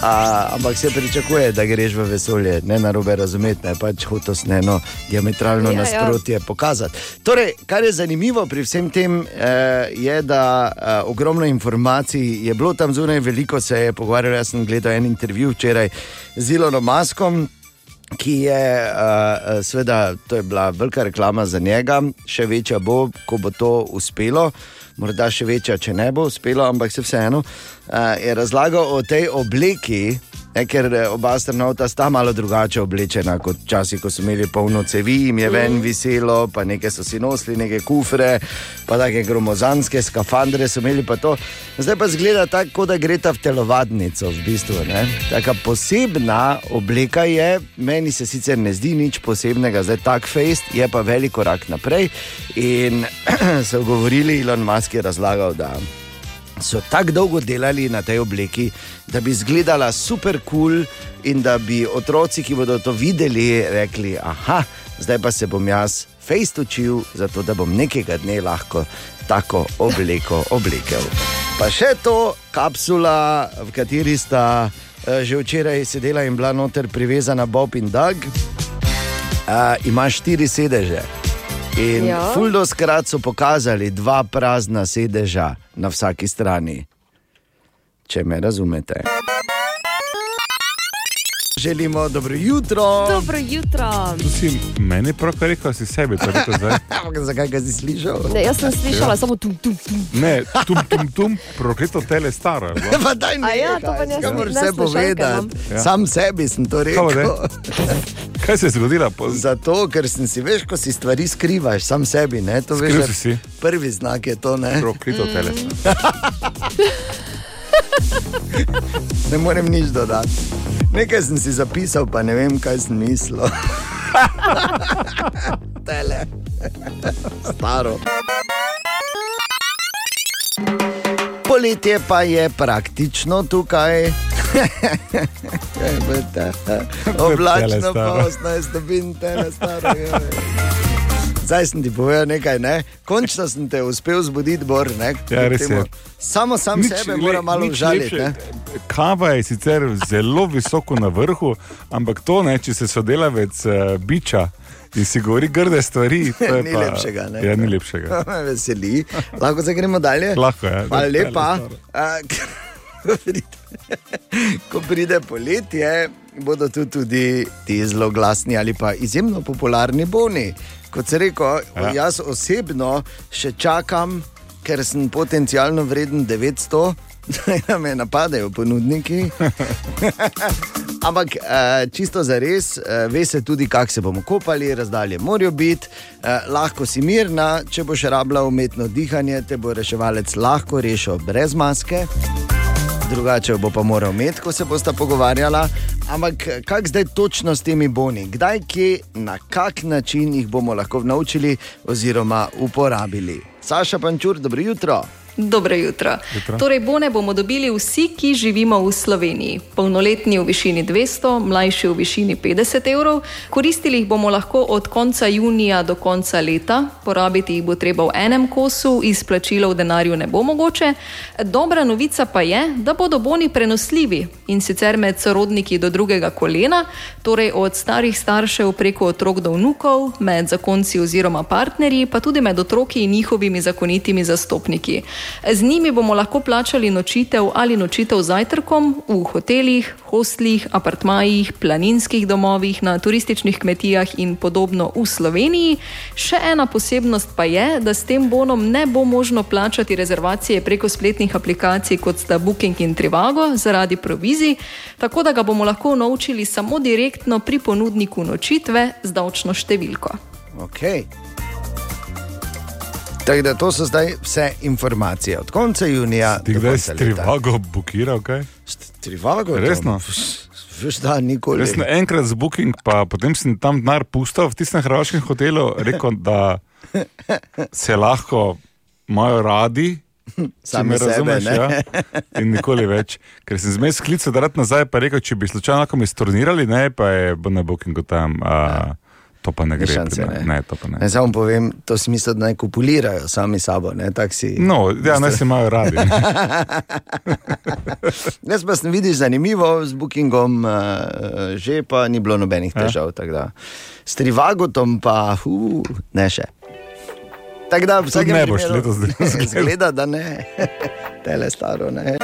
Speaker 3: A, ampak se pričakuje, da greš v vesolje, ne na robe razumeti, ne pač hotel sneno diametralno
Speaker 1: Ja, ja.
Speaker 3: ja, nasprotje ja. pokazati. Torej, kar je zanimivo pri vsem tem, eh, je, da eh, ogromno informacij je bilo tam zunaj, veliko se je pogovarjalo. Jaz sem gledal en intervju včeraj z Ilonom Maskom, ki je, uh, seveda, to je bila velika reklama za njega, še večja bo, ko bo to uspelo. Morda še večja, če ne bo uspelo, ampak se vseeno uh, je razlagal o tej obleki, ne, ker eh, oba astronauta sta malo drugače oblečena kot časi, ko so imeli polno cevi, jim je ven viselo, pa nekaj so si nosili, neke kufre, pa take gromozanske skafandre so imeli pa to. Zdaj pa zgleda tako, kot da gre ta v telovadnico, v bistvu. Ne? Taka posebna obleka je, meni se sicer ne zdi nič posebnega, zdaj tak fejst, je pa velik korak naprej. In so govorili, Elon Musk je razlagal, da so tako dolgo delali na tej obleki, da bi izgledala super kul cool in da bi otroci, ki bodo to videli, rekli: Aha, zdaj pa se bom jaz fejst učil, zato da bom nekega dne lahko tako obleko oblekel. Pa še to kapsula, v kateri sta eh, že včeraj sedela in bila noter privezana Bob in Doug, eh, ima štiri sedeže. In
Speaker 1: Ja.
Speaker 3: fuldo skrat so pokazali dva prazna sedeža na vsaki strani. Če me razumete. Želimo dobro jutro.
Speaker 5: Dobro jutro.
Speaker 2: Tu si meni pravkar rekel, si sebi to rekel zdaj.
Speaker 3: Ampak zakaj ga si slišal?
Speaker 5: Ne, jaz sem slišala samo tu, tu, tu.
Speaker 2: Ne, tum, tum, tum, prokleto tele staro. je bilo.
Speaker 3: Pa daj mi,
Speaker 5: ja, to pa ne no.
Speaker 3: ne
Speaker 5: smem
Speaker 3: moreš vse povedati.
Speaker 2: Ja.
Speaker 3: Sam sebi sem to rekel.
Speaker 2: Kaj bo Kaj se je zgodilo? Po...
Speaker 3: Zato, ker sem si veš, ko si stvari skrivaš, sam sebi. Ne, to veš,
Speaker 2: Skril
Speaker 3: da
Speaker 2: si si.
Speaker 3: prvi znak je to. Ne,
Speaker 2: Prokrito tele.
Speaker 3: ne morem nič dodati. Nekaj sem si zapisal, pa ne vem, kaj sem mislil. Tele. Staro. Poletje pa je praktično tukaj. Oblačno pa 18 stopinj, tele staro.
Speaker 9: ja.
Speaker 3: joj. Zdaj sem ti povedal nekaj, ne? končno sem te uspel zbuditi, bor. Ne?
Speaker 2: Ja, res je.
Speaker 3: Temu- Samo sam nič, sebe moram malo užaliti. ne.
Speaker 2: Kava je sicer zelo visoko na vrhu, ampak to ne, če se sodelavec uh, biča in si govori grde stvari. to je
Speaker 3: Ni
Speaker 2: pa,
Speaker 3: lepšega, ne?
Speaker 2: Ja, ni lepšega.
Speaker 3: Me veseli. Lahko zdaj gremo dalje.
Speaker 2: Lahko ja. je.
Speaker 3: Hvala
Speaker 2: Tele
Speaker 3: lepa.
Speaker 2: staro.
Speaker 3: A, ko pride- Ko pride poletje, bodo tu tudi ti zelo glasni ali pa izjemno popularni boni. Kot se reko,
Speaker 1: Ja.
Speaker 3: jaz osebno še čakam, ker sem potencialno vreden 900, da me napadajo ponudniki. Ampak eh, čisto za res, eh, ve se tudi, kako se bomo kopali, razdalje morajo biti, eh, lahko si mirna, če boš rabila umetno dihanje, te bo reševalec lahko rešil brez maske. drugače jo bo pa moral imeti, ko se bosta pogovarjala. Ampak kako zdaj točno s temi boni, kdaj, kje, na kak način jih bomo lahko naučili oziroma uporabili. Saša Pančur, dobro jutro.
Speaker 14: Dobro jutro. jutro. Torej, bone bomo dobili vsi, ki živimo v Sloveniji. Polnoletni v višini 200, mlajši v višini 50 evrov. Koristili jih bomo lahko od konca junija do konca leta, porabiti jih bo treba v enem kosu, izplačilo v denarju ne bo mogoče. Dobra novica pa je, da bodo boni prenosljivi in sicer med sorodniki do drugega kolena, torej od starih staršev preko otrok do vnukov, med zakonci oziroma partnerji, pa tudi med otroki in njihovimi zakonitimi zastopniki. Z njimi bomo lahko plačali nočitev ali nočitev zajtrkom v hotelih, hostlih, apartmajih, planinskih domovih, na turističnih kmetijah in podobno v Sloveniji. Še ena posebnost pa je, da s tem bonom ne bo možno plačati rezervacije preko spletnih aplikacij kot sta Booking in Trivago zaradi provizij, tako da ga bomo lahko naučili samo direktno pri ponudniku nočitve z davčno številko.
Speaker 3: Okay. Tako da to so zdaj vse informacije od konca junija.
Speaker 2: Ti kdaj si trivago bukiral? Kaj?
Speaker 3: Trivago?
Speaker 2: Resno.
Speaker 3: Veš, da nikoli.
Speaker 2: Resno, enkrat z Booking, pa potem sem tam denar pustil v tistem hrvaškem hotelu, rekel, da se lahko imajo radi. Sam me razumeš, sebe, ja? in nikoli več. Ker sem zmeraj sklical, da rad nazaj, pa rekel, če bi slučajno kam izturnirali, ne, pa je na Bookingu tam. A, ja to pa ne gre.
Speaker 3: Šanse,
Speaker 2: ne. Ne, to pa ne.
Speaker 3: Ne, samo povem, to smisel, da naj kupulirajo sami sabo. Ne, si,
Speaker 2: no, ja, naj se imajo radi.
Speaker 3: Jaz pa sem videl zanimivo, z Bookingom eh, že pa ni bilo nobenih težav. Ja. S Trivagotom pa uh, ne še. Tako da vsak
Speaker 2: ne boš letos
Speaker 3: zgledal. Zgleda, da ne. Tele staro ne.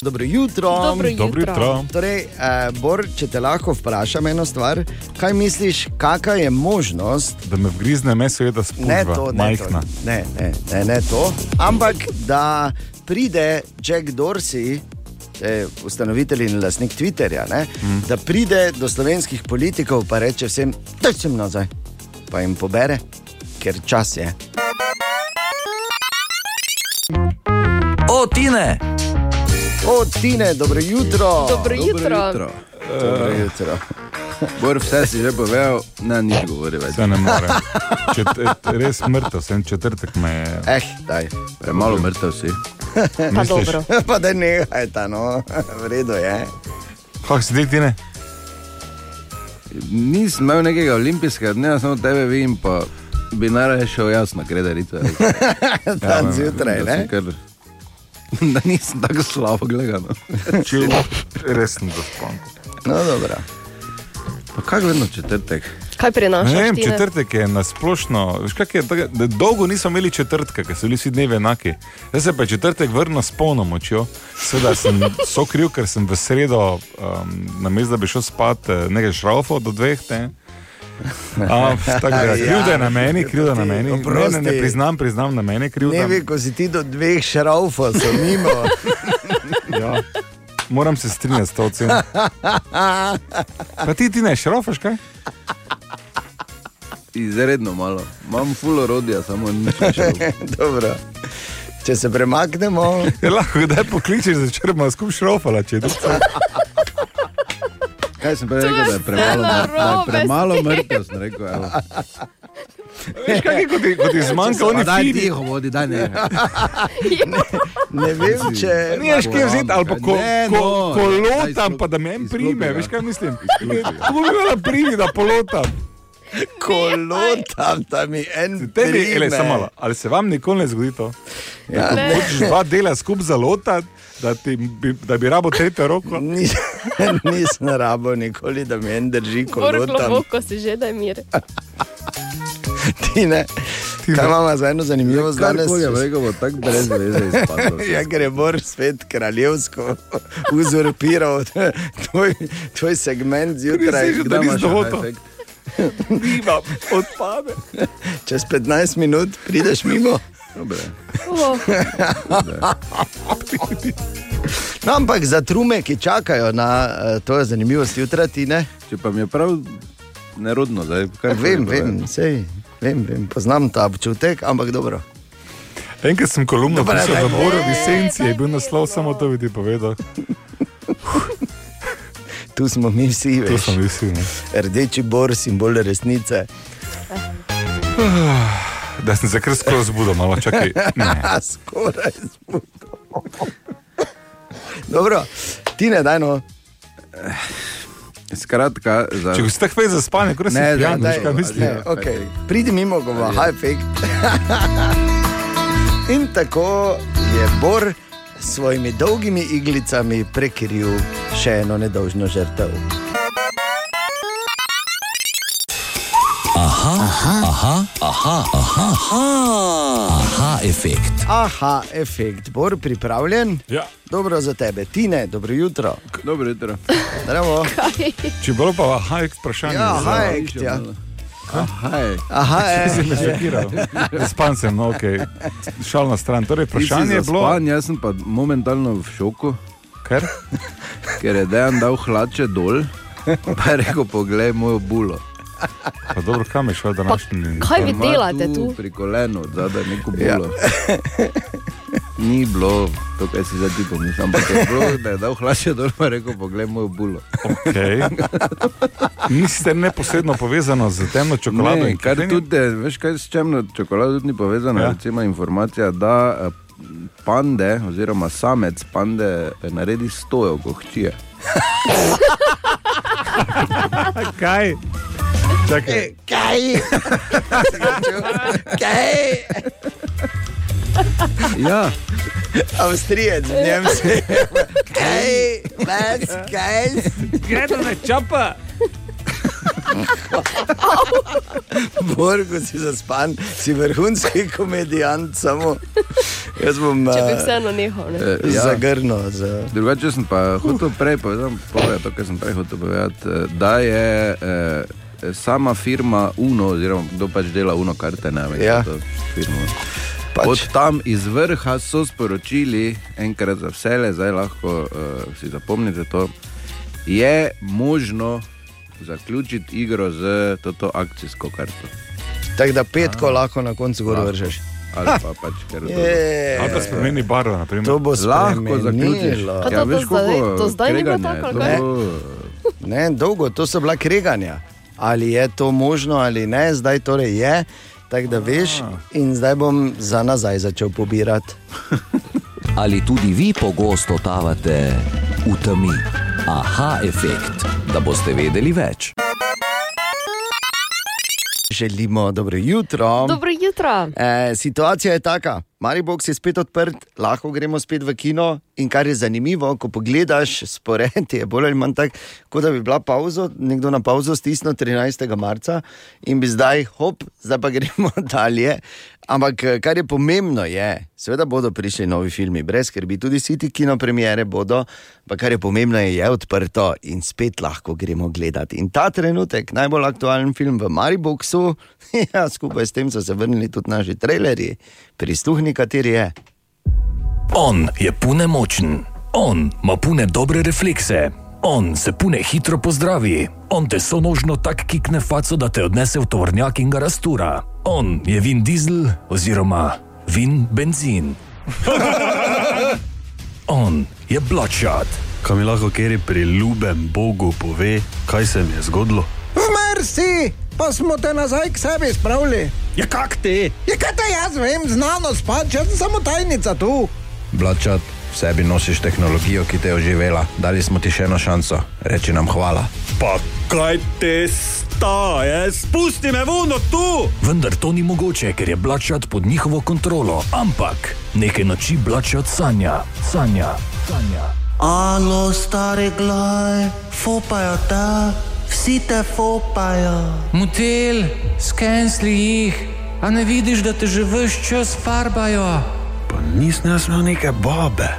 Speaker 3: Dobro jutro.
Speaker 2: Dobro jutro. Dobro jutro.
Speaker 3: Torej, eh, Bor, če te lahko vprašam eno stvar, kaj misliš, kakšna je možnost,
Speaker 2: da me vgrizne meso, je, da spušča
Speaker 3: ne to, ne,
Speaker 2: majhna.
Speaker 3: To, ne, ne, ne, ne to, ampak da pride Jack Dorsey. Eh, ustanovitelj in lastnik Twitterja, ne, mm. da pride do slovenskih politikov in reče vsem, da sem nazaj, pa jim pobere, ker čas je.
Speaker 7: O, tine!
Speaker 3: Od Tine, dobro jutro.
Speaker 5: Dobro jutro.
Speaker 9: Dobro jutro.
Speaker 3: Dobro jutro.
Speaker 9: Bor, vse si že povedal, ne, nič govori več.
Speaker 2: Se ne more. Čet, res mrtev sem, četrtek me je.
Speaker 3: Eh, daj.
Speaker 9: Premalo mrtev si.
Speaker 5: Pa dobro.
Speaker 3: pa da nehaj ta, no, v redu je.
Speaker 2: Kako si ti, Tine?
Speaker 9: Nisem imel nekega olimpijskega dneva, samo tebe vidim, pa bi najraje šel jaz na kredarice.
Speaker 3: Dan ja, zjutraj, ne?
Speaker 9: Kar da nisem tako slabo gledal. no.
Speaker 2: Če resno zaspam.
Speaker 3: No, dobro.
Speaker 9: Pa kaj gledano četrtek?
Speaker 5: Kaj prinaša?
Speaker 2: Ne vem, četrtek je nasplošno. Veš, je, tako, dolgo nismo imeli četrtka, ker so bili vsi dnevi enaki. Jaz se pa četrtek vrnil s polno močjo. Seveda sem sokriv, ker sem v sredo, um, na mestu, da bi šel spat eh, nekaj šraufov do dveh. Ne? Um,
Speaker 3: Ja,
Speaker 2: krivda je na meni, krivda je na meni. Ne, ne, ne priznam, priznam na meni krivdo.
Speaker 3: Ne vem, ko si ti do dveh šraufov, sem mimo.
Speaker 2: ja. Moram se strinjati s to oceno. Pa ti, ti ne šraufaš, kaj?
Speaker 9: Izredno malo. Imam full orodja, samo nič.
Speaker 3: Dobro. Če se premaknemo.
Speaker 2: Je Ja, lahko kdaj pokličeš, da črma skup šraufala, če ti.
Speaker 9: Kaj sem prej rekel, da je premalo, da je premalo mrtev, sem rekel. Evo.
Speaker 2: Veš, kaj je, kot, je, kot je zmanjka, oni
Speaker 9: daj
Speaker 2: fidi.
Speaker 9: tiho vodi, daj ne.
Speaker 3: Ne, ne vem, če.
Speaker 2: Niješ kje vzeti, ali pa ko,
Speaker 9: Ne,
Speaker 2: ko,
Speaker 9: no,
Speaker 2: ko
Speaker 9: ne, daj
Speaker 2: lotam,
Speaker 9: izklopi-
Speaker 2: pa da me en prime,
Speaker 9: izklopi ga.
Speaker 2: veš kaj mislim?
Speaker 9: ja.
Speaker 2: To bi bila primi, da polotam.
Speaker 3: Kolo tam, tam je en.
Speaker 2: Tebi,
Speaker 3: prime.
Speaker 2: ele, samo, malo, ali se vam nikoli ne zgodi to?
Speaker 3: Ja,
Speaker 2: Ja,
Speaker 3: ne.
Speaker 2: ne. Hočeš dva dela skupaj zalotati, da, ti bi, da bi rabo tretjo roko.
Speaker 3: Nis, nisem rabo nikoli, da me en drži
Speaker 5: Bor,
Speaker 3: kolo tam.
Speaker 5: globoko si že, da je mir.
Speaker 3: Ti ne. Kaj imamo za eno zanimivo
Speaker 9: Danes
Speaker 3: danes?
Speaker 9: Ja, je rekel, bo tako brez veze izpadlo.
Speaker 3: Ja, ker je Bor svet kraljevsko uzurpiral tvoj, tvoj segment zjutraj.
Speaker 2: Prisežem,
Speaker 3: Kdaj
Speaker 2: da
Speaker 3: imaš-
Speaker 2: nisem hotel.
Speaker 9: efekt?
Speaker 2: Nima, odpade.
Speaker 3: Čez 15 minut prideš mimo.
Speaker 9: Dobre.
Speaker 5: Oh,
Speaker 3: No, ampak za trume, ki čakajo na eh, to zanimivost jutra, ti ne.
Speaker 9: Če pa mi je prav
Speaker 2: No,
Speaker 9: nerodno, zdaj kar
Speaker 3: Vem, vem, sej, vem, vem, poznam ta občutek, ampak dobro.
Speaker 2: Enkrat sem kolumno
Speaker 15: Dobre,
Speaker 2: pisal
Speaker 15: daj,
Speaker 2: v Borovi
Speaker 15: ne,
Speaker 2: senci, je bil naslov samo to, bi ti povedal.
Speaker 3: Tu smo mi vsi,
Speaker 2: Tu
Speaker 3: veš.
Speaker 2: smo mi vsi. Ne?
Speaker 3: Rdeči bor, simbol resnice.
Speaker 2: Da sem se kar skroz zbudil, malo čakaj. Ne.
Speaker 3: Skoraj zbudil. Dobro, ti ne daj no.
Speaker 9: Skratka, za...
Speaker 2: Če boš tako za spanje, kot si
Speaker 3: Ne,
Speaker 2: ti,
Speaker 3: daj,
Speaker 2: kaj
Speaker 3: daj,
Speaker 2: misliš.
Speaker 3: ne, okej. Pridi mimo, gova, high fake. In tako je Bor s svojimi dolgimi iglicami prekril še eno nedolžno žrtev.
Speaker 16: Aha, aha, aha, aha, aha, aha, efekt.
Speaker 3: Aha, efekt, Bor pripravljen.
Speaker 2: Ja.
Speaker 3: Dobro za tebe, Tine, dobro jutro.
Speaker 9: Dobro jutro.
Speaker 3: Zdravo.
Speaker 2: Če bo pa aha, je vprašanje.
Speaker 3: Ja,
Speaker 2: za-
Speaker 3: aha, je, ja.
Speaker 9: Aha, je.
Speaker 3: Aha,
Speaker 2: Če si me
Speaker 3: je.
Speaker 2: šokiral. Span sem, no, ok. Šal na stran. Torej, vprašanje je bilo.
Speaker 9: Span, jaz sem pa momentalno v šoku,
Speaker 2: Ker?
Speaker 9: ker je dejan dal hlače dol. Pa je rekel, poglej mojo bulo.
Speaker 2: Pa dobro, kam je šel današnji dan? Ja.
Speaker 5: Kaj vi
Speaker 9: Ima
Speaker 5: delate tu?
Speaker 9: Pri kolenu, zadaj neko bulo. Ni bilo to, kar si zdaj ti pomisliš, ampak je bilo, da je dal hlače dol in rekel, poglej mojo bulo.
Speaker 2: Okay. Niste neposredno povezani z temno čokolado
Speaker 9: Ne,
Speaker 2: in
Speaker 9: kar
Speaker 2: kafein?
Speaker 9: tudi, veš, kaj s čemno čokolado tudi ni povezano,
Speaker 2: Ja.
Speaker 9: ja. recimo informacija, da eh, pande, oziroma samec pande eh, naredi stojo, ko hčije.
Speaker 2: Kaj? Čakaj,
Speaker 3: Kaj? Kaj?
Speaker 9: Ja,
Speaker 3: Avstrijec, v njem se je. Kaj? Vas, kaj?
Speaker 2: gremo na čapa.
Speaker 3: Borgo si zaspan, si vrhunski komedijant, samo jaz bom
Speaker 5: Če Ja bi
Speaker 3: eh,
Speaker 5: vseeno nehal. Ne?
Speaker 9: eh, ja.
Speaker 3: zagrnil. Za...
Speaker 9: Drugače sem pa hotel prej povedati, povedati to, kar sem prej hotel povedati, eh, da je eh, sama firma Uno, oziroma kdo pač dela Uno, kar te ne ve.
Speaker 3: Ja.
Speaker 9: Pač.
Speaker 3: Pač.
Speaker 9: Od tam iz vrha so sporočili, enkrat za vse, le, zdaj lahko uh, si zapomnite to. Je možno zaključiti igro z to, to akcijsko karto.
Speaker 3: Tako da petko lahko na koncu gor vržeš.
Speaker 9: Ali pa pač, ker
Speaker 3: Je,
Speaker 2: Ali pa spremeni barvo, naprimer.
Speaker 3: To bo
Speaker 9: lahko zaključiš.
Speaker 3: spremenilo.
Speaker 5: Pa to- to zdaj- to zdaj ni bilo tako, ali kaj?
Speaker 3: Ne, dolgo, to so bila kreganja. Ali je to možno ali ne, zdaj torej je. Tako da veš, in zdaj bom za nazaj začel pobirati.
Speaker 16: Ali tudi vi pogosto totavate v temi? Aha, efekt, da boste vedeli več.
Speaker 3: Želimo dobro jutro.
Speaker 5: Dobro jutro.
Speaker 3: E, situacija je taka, Maribor je spet odprt, lahko gremo spet v kino. In kar je zanimivo, ko pogledaš spored, je bolj ali manj tako, kot da bi bila pauza, nekdo na pauzo stisnil 13. marca in bi zdaj, hop, zdaj pa gremo dalje. Ampak eh, kar je pomembno, je, seveda bodo prišli novi filmi, brez skrbi, tudi vsi ti kinopremiere bodo, pa kar je pomembno, je, je odprto in spet lahko gremo gledati. In ta trenutek, najbolj aktualen film v Mariboku, ja, skupaj s tem so se vrnili tudi naši trailerji, pristuhni, kateri je.
Speaker 16: On je pune močen, on ima pune dobre reflekse, on se pune hitro pozdravi, on te sonožno tak kikne faco, da te odnese v tovornjak in ga rastura. On je vin dizel oziroma vin benzin. on je bloodshot.
Speaker 17: Kaj mi lahko, ker je priljubljen Bogu, pove, kaj se mi je zgodilo?
Speaker 18: Umr si, pa smo te nazaj k sebi spravili.
Speaker 17: Ja, kak ti?
Speaker 18: Je kaj te jaz vem, znanost pač, jaz sem samo tajnica tu.
Speaker 19: Blačat, v sebi nosiš tehnologijo, ki te je oživela. Dali smo ti še eno šanso, reči nam hvala.
Speaker 17: Pa kaj te staje, spusti me vuno tu!
Speaker 16: Vendar to ni mogoče, ker je Blačat pod njihovo kontrolo, ampak neke noči Blačat sanja, sanja, sanja.
Speaker 7: Alo, stari glaj, fopajo ta, vsi te fopajo.
Speaker 20: Motel, skensli jih, a ne vidiš, da te že vse čas farbajo.
Speaker 17: Pa nisem jaz imel neke babe,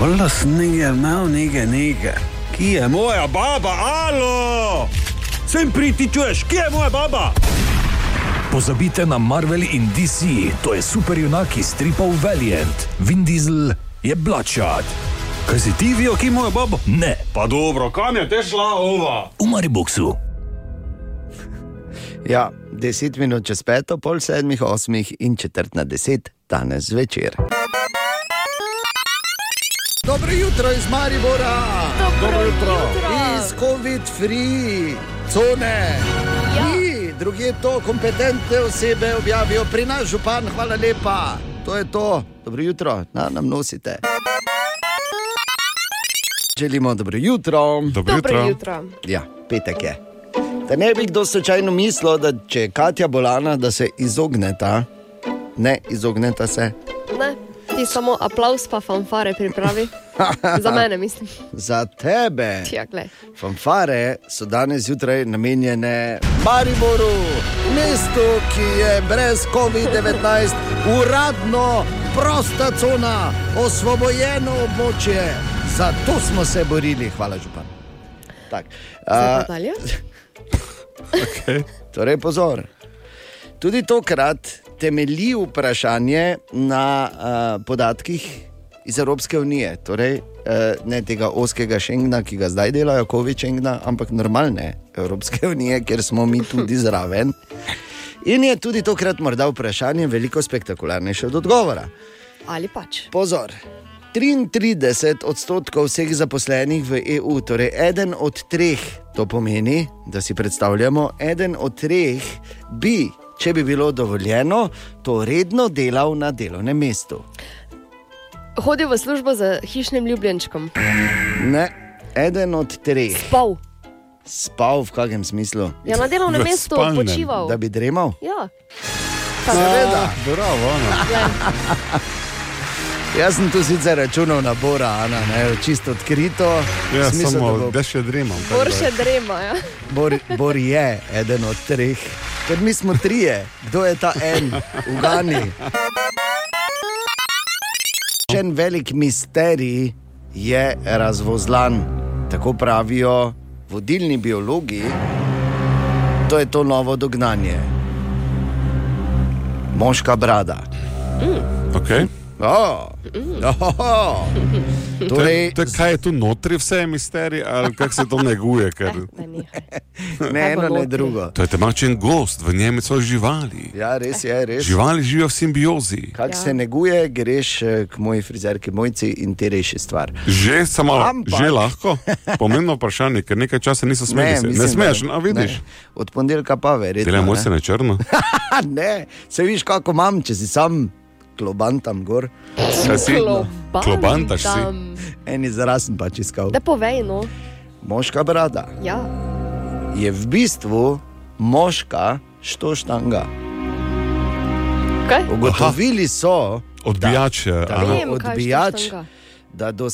Speaker 17: vrlo snige imel neke neke. Ki je moja baba, alo! Sem pritičuješ, kje je moja baba?
Speaker 16: Pozabite na Marvel in DC, to je superjunak iz stripov Valiant, Vin Diesel je Blačat. Kaj si ti vijo, ki moja baba? Ne,
Speaker 17: Pa dobro, kam je te šla ova?
Speaker 16: v Mariboku.
Speaker 3: Ja, 10 minut čez peto, pol sedmih, osmih in četrt na deset danes zvečer.
Speaker 9: Dobro jutro iz Maribora,
Speaker 3: Dobro Dobro jutro. jutro.
Speaker 9: iz COVID-free cone. Ja. Mi, druge to kompetentne osebe objavijo, pri nas župan, hvala lepa. To je to, dobro jutro, na, nam nosite. Želimo dobro jutro.
Speaker 5: Dobro Dobro jutro. jutro.
Speaker 3: Ja, petek je. Da ne bi kdo slučajno mislil, da če je Katja bolana, da se izogneta, ne izogneta se.
Speaker 5: Ne, ti samo aplaus pa fanfare pripravi. Za mene mislim.
Speaker 3: Za tebe.
Speaker 5: Ja, glej.
Speaker 3: Fanfare so danes zjutraj namenjene Mariboru, mestu, ki je brez COVID-19 uradno prosta cona, osvobojeno območje. Zato smo se borili, hvala župan. Tak.
Speaker 5: Zdaj
Speaker 3: a,
Speaker 5: pa dalje?
Speaker 3: Torej, pozor. Tudi tokrat temelji vprašanje na uh, podatkih iz Evropske unije, torej uh, ne tega oskega Schengna, ki ga zdaj delajo, kovi Schengna, ampak normalne Evropske unije, kjer smo mi tudi zraven. In je tudi tokrat morda vprašanje veliko spektakularnejše od odgovora.
Speaker 5: Ali pač.
Speaker 3: Pozor. 33 odstotkov vseh zaposlenih v EU, torej eden od treh, to pomeni, da si predstavljamo, eden od treh bi, če bi bilo dovoljeno, to redno delal na delovnem mestu.
Speaker 5: Hodi v službo za hišnim ljubljenčkom.
Speaker 3: Ne, eden od treh.
Speaker 5: Spal.
Speaker 3: Spal v kakšnem smislu?
Speaker 5: Ja, na delovnem V mestu spalnem. počival.
Speaker 3: Da bi dremal?
Speaker 5: Ja.
Speaker 3: Seveda.
Speaker 2: Ja, Bravo, Ana.
Speaker 3: Jaz sem tu sicer računal na Bora, Ana, ne, čisto odkrito.
Speaker 2: Ja,
Speaker 3: Smisel, da
Speaker 2: samo
Speaker 3: bo-
Speaker 2: da še dremam. tako
Speaker 5: Bor
Speaker 2: da-
Speaker 5: še drema. Ja.
Speaker 3: Bor, Bor je eden od treh, ker mi smo trije, kdo je ta en, ugani. Še en velik misterij je razvozlan, tako pravijo vodilni biologi. To je to novo dognanje. Moška brada.
Speaker 2: Okay.
Speaker 3: Oh. Oh. Torej,
Speaker 2: Te, te, kaj je tu notri, vse je misterij, ali kako se to neguje? Ker...
Speaker 3: ne eno, ne drugo.
Speaker 2: To je temačen gost, v njem so živali.
Speaker 3: Ja, res je, res.
Speaker 2: Živali živijo v simbiozi.
Speaker 3: Kaj ja. se neguje, greš eh, k moji frizerki, mojci in ti reši stvar.
Speaker 2: Že samo,
Speaker 3: Ampak-
Speaker 2: Ampak... že lahko. Pomembno vprašanje, ker nekaj časa niso smeli. Ne, se. ne
Speaker 3: mislim,
Speaker 2: smeš,
Speaker 3: da-
Speaker 2: a vidiš.
Speaker 3: Ne. Od ponedeljka pa verjetno.
Speaker 2: Delaj moj
Speaker 3: ne.
Speaker 2: se na črno.
Speaker 3: Ha, ne, se vidiš, kako imam, če si sam kloban tam gor.
Speaker 2: Kaj si? Klobantam. Klobantaš si?
Speaker 3: En izraz sem pač iskal.
Speaker 5: Da povej, no.
Speaker 3: Moška brada
Speaker 5: Ja.
Speaker 3: je v bistvu moška štoštanga.
Speaker 5: Kaj?
Speaker 3: Ugotovili so,
Speaker 2: Odbijač, eh, da,
Speaker 3: da
Speaker 2: da,
Speaker 3: odbijač, da do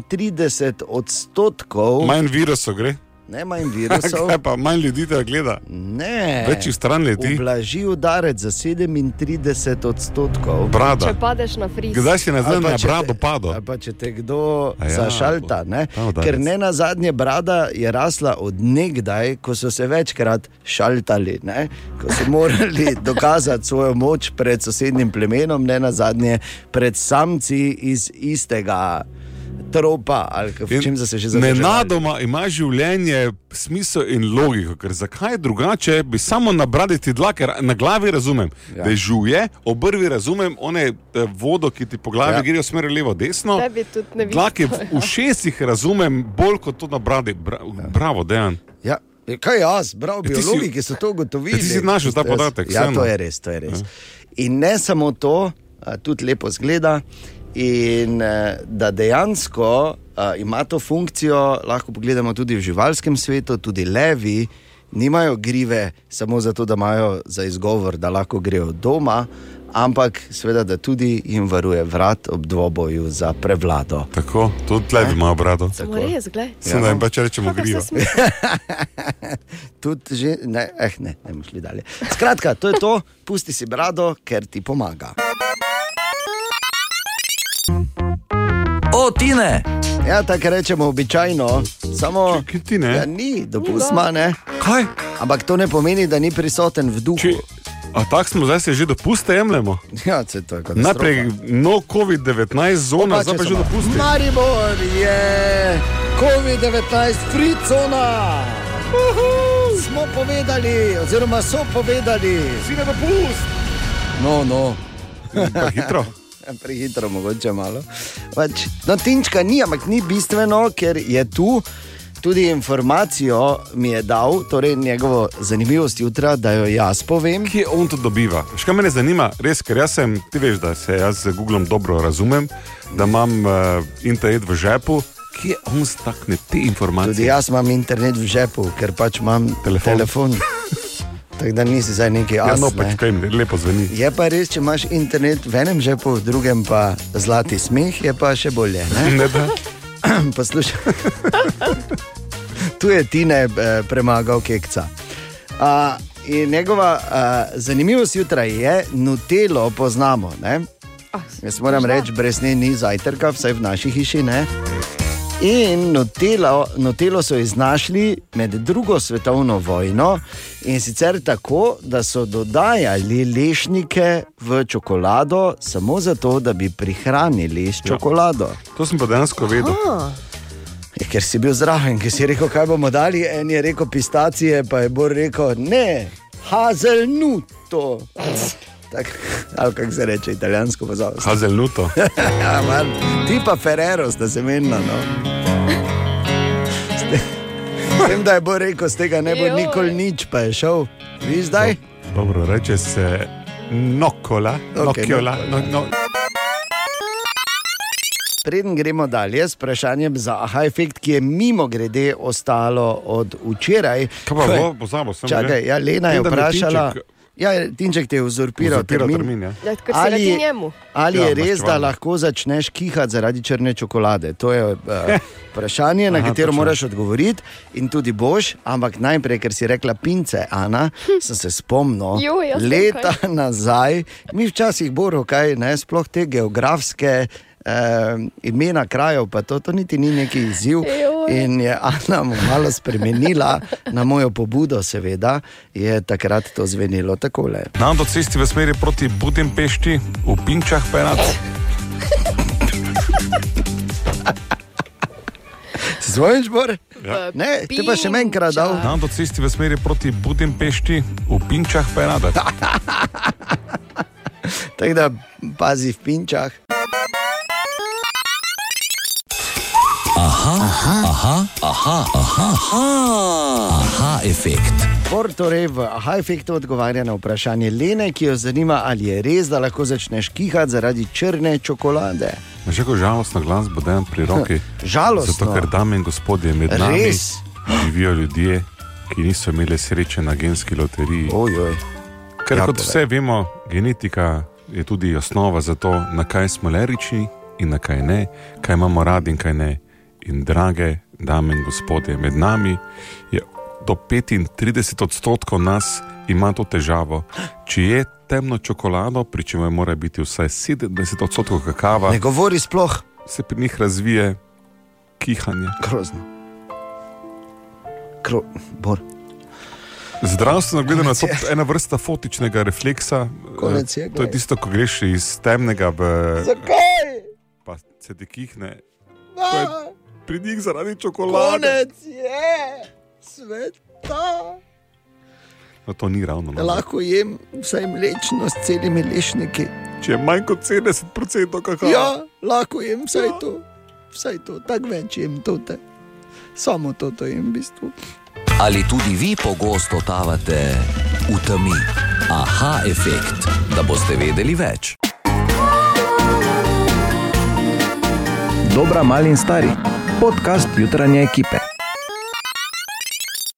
Speaker 3: 37 odstotkov
Speaker 2: manj virusov gre.
Speaker 3: Ne manj virusov.
Speaker 2: Kaj pa manj ljudi tega gleda?
Speaker 3: Ne.
Speaker 2: Večjih stran leti.
Speaker 3: Ublaži udarec za 37 odstotkov.
Speaker 5: Če padeš na friz.
Speaker 3: Ali pa če te-
Speaker 2: padel?
Speaker 3: ali Pa če te kdo
Speaker 2: A
Speaker 3: ja,
Speaker 2: ja,
Speaker 3: zašalta, ne?
Speaker 2: ta udarec.
Speaker 3: ker ne na zadnje brada je rasla od nekdaj, ko so se večkrat šaltali, ne? ko so morali dokazati svojo moč pred sosednjim plemenom, ne na zadnje pred samci iz istega tropa ali k- v čem so se že zavedali.
Speaker 2: Nenadoma ima življenje smisel in logiko, ker zakaj drugače bi samo nabraditi dlak, ker na glavi razumem, ja. dežuje, obrvi razumem, one eh, vodo, ki ti po glavi
Speaker 5: Ja.
Speaker 2: ja. gre v smer levo, desno.
Speaker 5: Tebi tudi ne ja. vidiš.
Speaker 2: Dlake v ušesih razumem bolj kot to na bradi. Bra, bravo, dejan.
Speaker 3: Ja. Ja, Kaj jaz, bravo,
Speaker 2: Ja, ti si-
Speaker 3: biologi, ki so to ugotovili.
Speaker 2: Ja, ti si našel ta podatek,
Speaker 3: Ja,
Speaker 2: vseeno.
Speaker 3: to je res, to je res. In ne samo to, a, tudi lepo zgleda. In eh, da dejansko a, ima to funkcijo, lahko pogledamo tudi v živalskem svetu, tudi levi nimajo grive samo zato, da imajo za izgovor, da lahko grejo doma, ampak seveda, da tudi jim varuje vrat ob dvoboju za prevlado. Ja.
Speaker 2: Tako, tudi levi imajo brado.
Speaker 5: Samo res, glej.
Speaker 2: Samo jim pač rečemo
Speaker 5: Kakor se
Speaker 2: griva.
Speaker 5: smešno.
Speaker 3: Tudi že, ne, eh, ne, ne bomo šli dalje. Skratka, to je to, pusti si brado, ker ti pomaga.
Speaker 21: O, tine!
Speaker 3: Ja, tako rečemo običajno, samo
Speaker 2: ti ne.
Speaker 3: Ja, ni dopustma, ne.
Speaker 2: Kaj?
Speaker 3: Ampak to ne pomeni, da ni prisoten v duhu. Či...
Speaker 2: A tako smo zdaj se že dopuste jemljemo.
Speaker 3: Ja, se to je katastrofa.
Speaker 2: Najprej no COVID-19 zona, zdaj pa že dopusti.
Speaker 3: Maribor je COVID-19 free cona. Uhu. Smo po povedali, oziroma so povedali.
Speaker 2: Si ne dopust.
Speaker 3: No, no. Ja,
Speaker 2: Prehitro.
Speaker 3: Prehitro, mogoče malo. Pač, no, tinčka ni, ampak ni bistveno, ker je tu. Tudi informacijo mi je dal, torej njegovo zanimivost jutra, da jo jaz povem.
Speaker 2: Kje on to dobiva? Še kaj me zanima, res, ker jaz sem, ti veš, da se jaz z Googlom dobro razumem, da imam uh, internet v žepu. Kje on stakne te informacije?
Speaker 3: Tudi jaz imam internet v žepu, ker pač imam telefon. telefon. Tako da nisi zdaj neki
Speaker 2: Ja,
Speaker 3: as,
Speaker 2: no,
Speaker 3: ne.
Speaker 2: pač kaj, lepo zveni.
Speaker 3: Je pa res, če imaš internet v enem žepu, v drugem pa zlati smeh, je pa še bolje. Ne?
Speaker 2: Ne, da.
Speaker 3: Poslušaj. tu je Tine eh, premagal Kekca. A, in njegova a, zanimivost jutra je, nutelo poznamo. Ne? Jaz moram reči, brez nje ni zajtrka, vsaj v naši hiši. Ne? In notelo, notelo so iznašli med drugo svetovno vojno in sicer tako, da so dodajali lešnike v čokolado, samo zato, da bi prihranili s čokolado. Ja.
Speaker 2: To sem pa dejansko vedel.
Speaker 3: Ja, ker si bil zraven, ker si rekel, kaj bomo dali. En je rekel pistacije, pa je bolj rekel, ne, hazelnuto. Tak, ali kako se reče italijansko, pa zavod.
Speaker 2: Hazelnuto.
Speaker 3: ja, man, ti pa Ferrero, sta se menila. No. S te- Vem, da je bolj rekel, z tega ne bo nikoli nič, pa je šel. Vi zdaj?
Speaker 2: Dobro, No, reče se nokola,
Speaker 3: Okej,
Speaker 2: nokiola. No, no.
Speaker 3: Preden gremo dalje s vprašanjem za aha efekt, ki je mimo grede ostalo od včeraj.
Speaker 2: Kaj pa bilo? Pozabil sem že.
Speaker 3: Čakaj, ja, Lena
Speaker 2: Vem,
Speaker 3: je
Speaker 2: da mi je
Speaker 3: vprašala.
Speaker 2: Tinček-
Speaker 3: Ja, Tinček ti je uzurpiral,
Speaker 2: Uzurpiral
Speaker 3: termin.
Speaker 2: termin, ja.
Speaker 5: Ja, ker si ga ti njemu.
Speaker 3: ali
Speaker 2: Ja,
Speaker 3: je res, da
Speaker 2: maščevanje.
Speaker 3: lahko začneš kihati zaradi črne čokolade? To je uh, vprašanje, na
Speaker 2: Aha,
Speaker 3: katero
Speaker 2: točno.
Speaker 3: moraš odgovoriti in tudi boš, ampak najprej, ker si rekla pince, Ana, sem se spomnil.
Speaker 5: Jo, jaz vem,
Speaker 3: leta nazaj, mi včasih boro kaj, ne, sploh te geografske. Uh, imena krajev, pa to, to niti ni neki izziv. In je Ana mu malo spremenila, na mojo pobudo, seveda, je takrat to zvenelo takole.
Speaker 2: Na avtocesti v smeri proti Budimpešti, v Pinčah pa je nad.
Speaker 3: Zvoniš, Bor?
Speaker 2: Ja.
Speaker 3: Ne, ti E, pa še enkrat dal.
Speaker 2: Na avtocesti v smeri proti Budimpešti, v Pinčah pa je nad.
Speaker 3: Tako da pazi v pinčah.
Speaker 7: Aha, aha, aha, aha, aha, aha, efekt.
Speaker 3: Bor torej v aha efektu odgovarja na vprašanje Lene, ki jo zanima, ali je res, da lahko začneš kihati zaradi črne čokolade.
Speaker 2: Že kako žalostno glasbo dajem pri roki.
Speaker 3: Žalostno.
Speaker 2: Zato, ker dame in gospodje med nami
Speaker 3: Res?
Speaker 2: živijo ljudje, ki niso imeli sreče na genski loteriji.
Speaker 3: Ojoj.
Speaker 2: Ker
Speaker 3: Ja,
Speaker 2: ja, kot
Speaker 3: torej.
Speaker 2: vse vemo, genetika je tudi osnova za to, na kaj smo lerični in na kaj ne, kaj imamo radi in kaj ne. In drage dame in gospodje, med nami je do 35 odstotkov nas ima to težavo. Če je temno čokolado, pri čemer mora biti vsaj 70 odstotkov kakava,
Speaker 3: Ne govori sploh.
Speaker 2: se pri njih razvije kihanje.
Speaker 3: Grozno. Kro... Bor.
Speaker 2: Zdravstveno gledano je to ena vrsta fotičnega refleksa.
Speaker 3: Konec je,
Speaker 2: Eh, to
Speaker 3: glej.
Speaker 2: je tisto, ko greš iz temnega v.
Speaker 3: Zakaj? Ah,
Speaker 2: Pa se ti kihne. To je pri njih zaradi čokolade.
Speaker 3: Konec je sveta.
Speaker 2: No, to ni ravno. No.
Speaker 3: Lahko jem vsaj mlečno s celimi lešniki.
Speaker 2: Če je manj kot 70% kakao.
Speaker 3: Ja, lahko jem vsaj ja. to, vsaj to, tako več jem to. Te. Samo to, to jem v bistvu.
Speaker 7: Ali tudi vi pogosto totavate v temi? Aha, efekt, da boste vedeli več.
Speaker 22: Dobra, mali in stari. Podcast jutranje ekipe.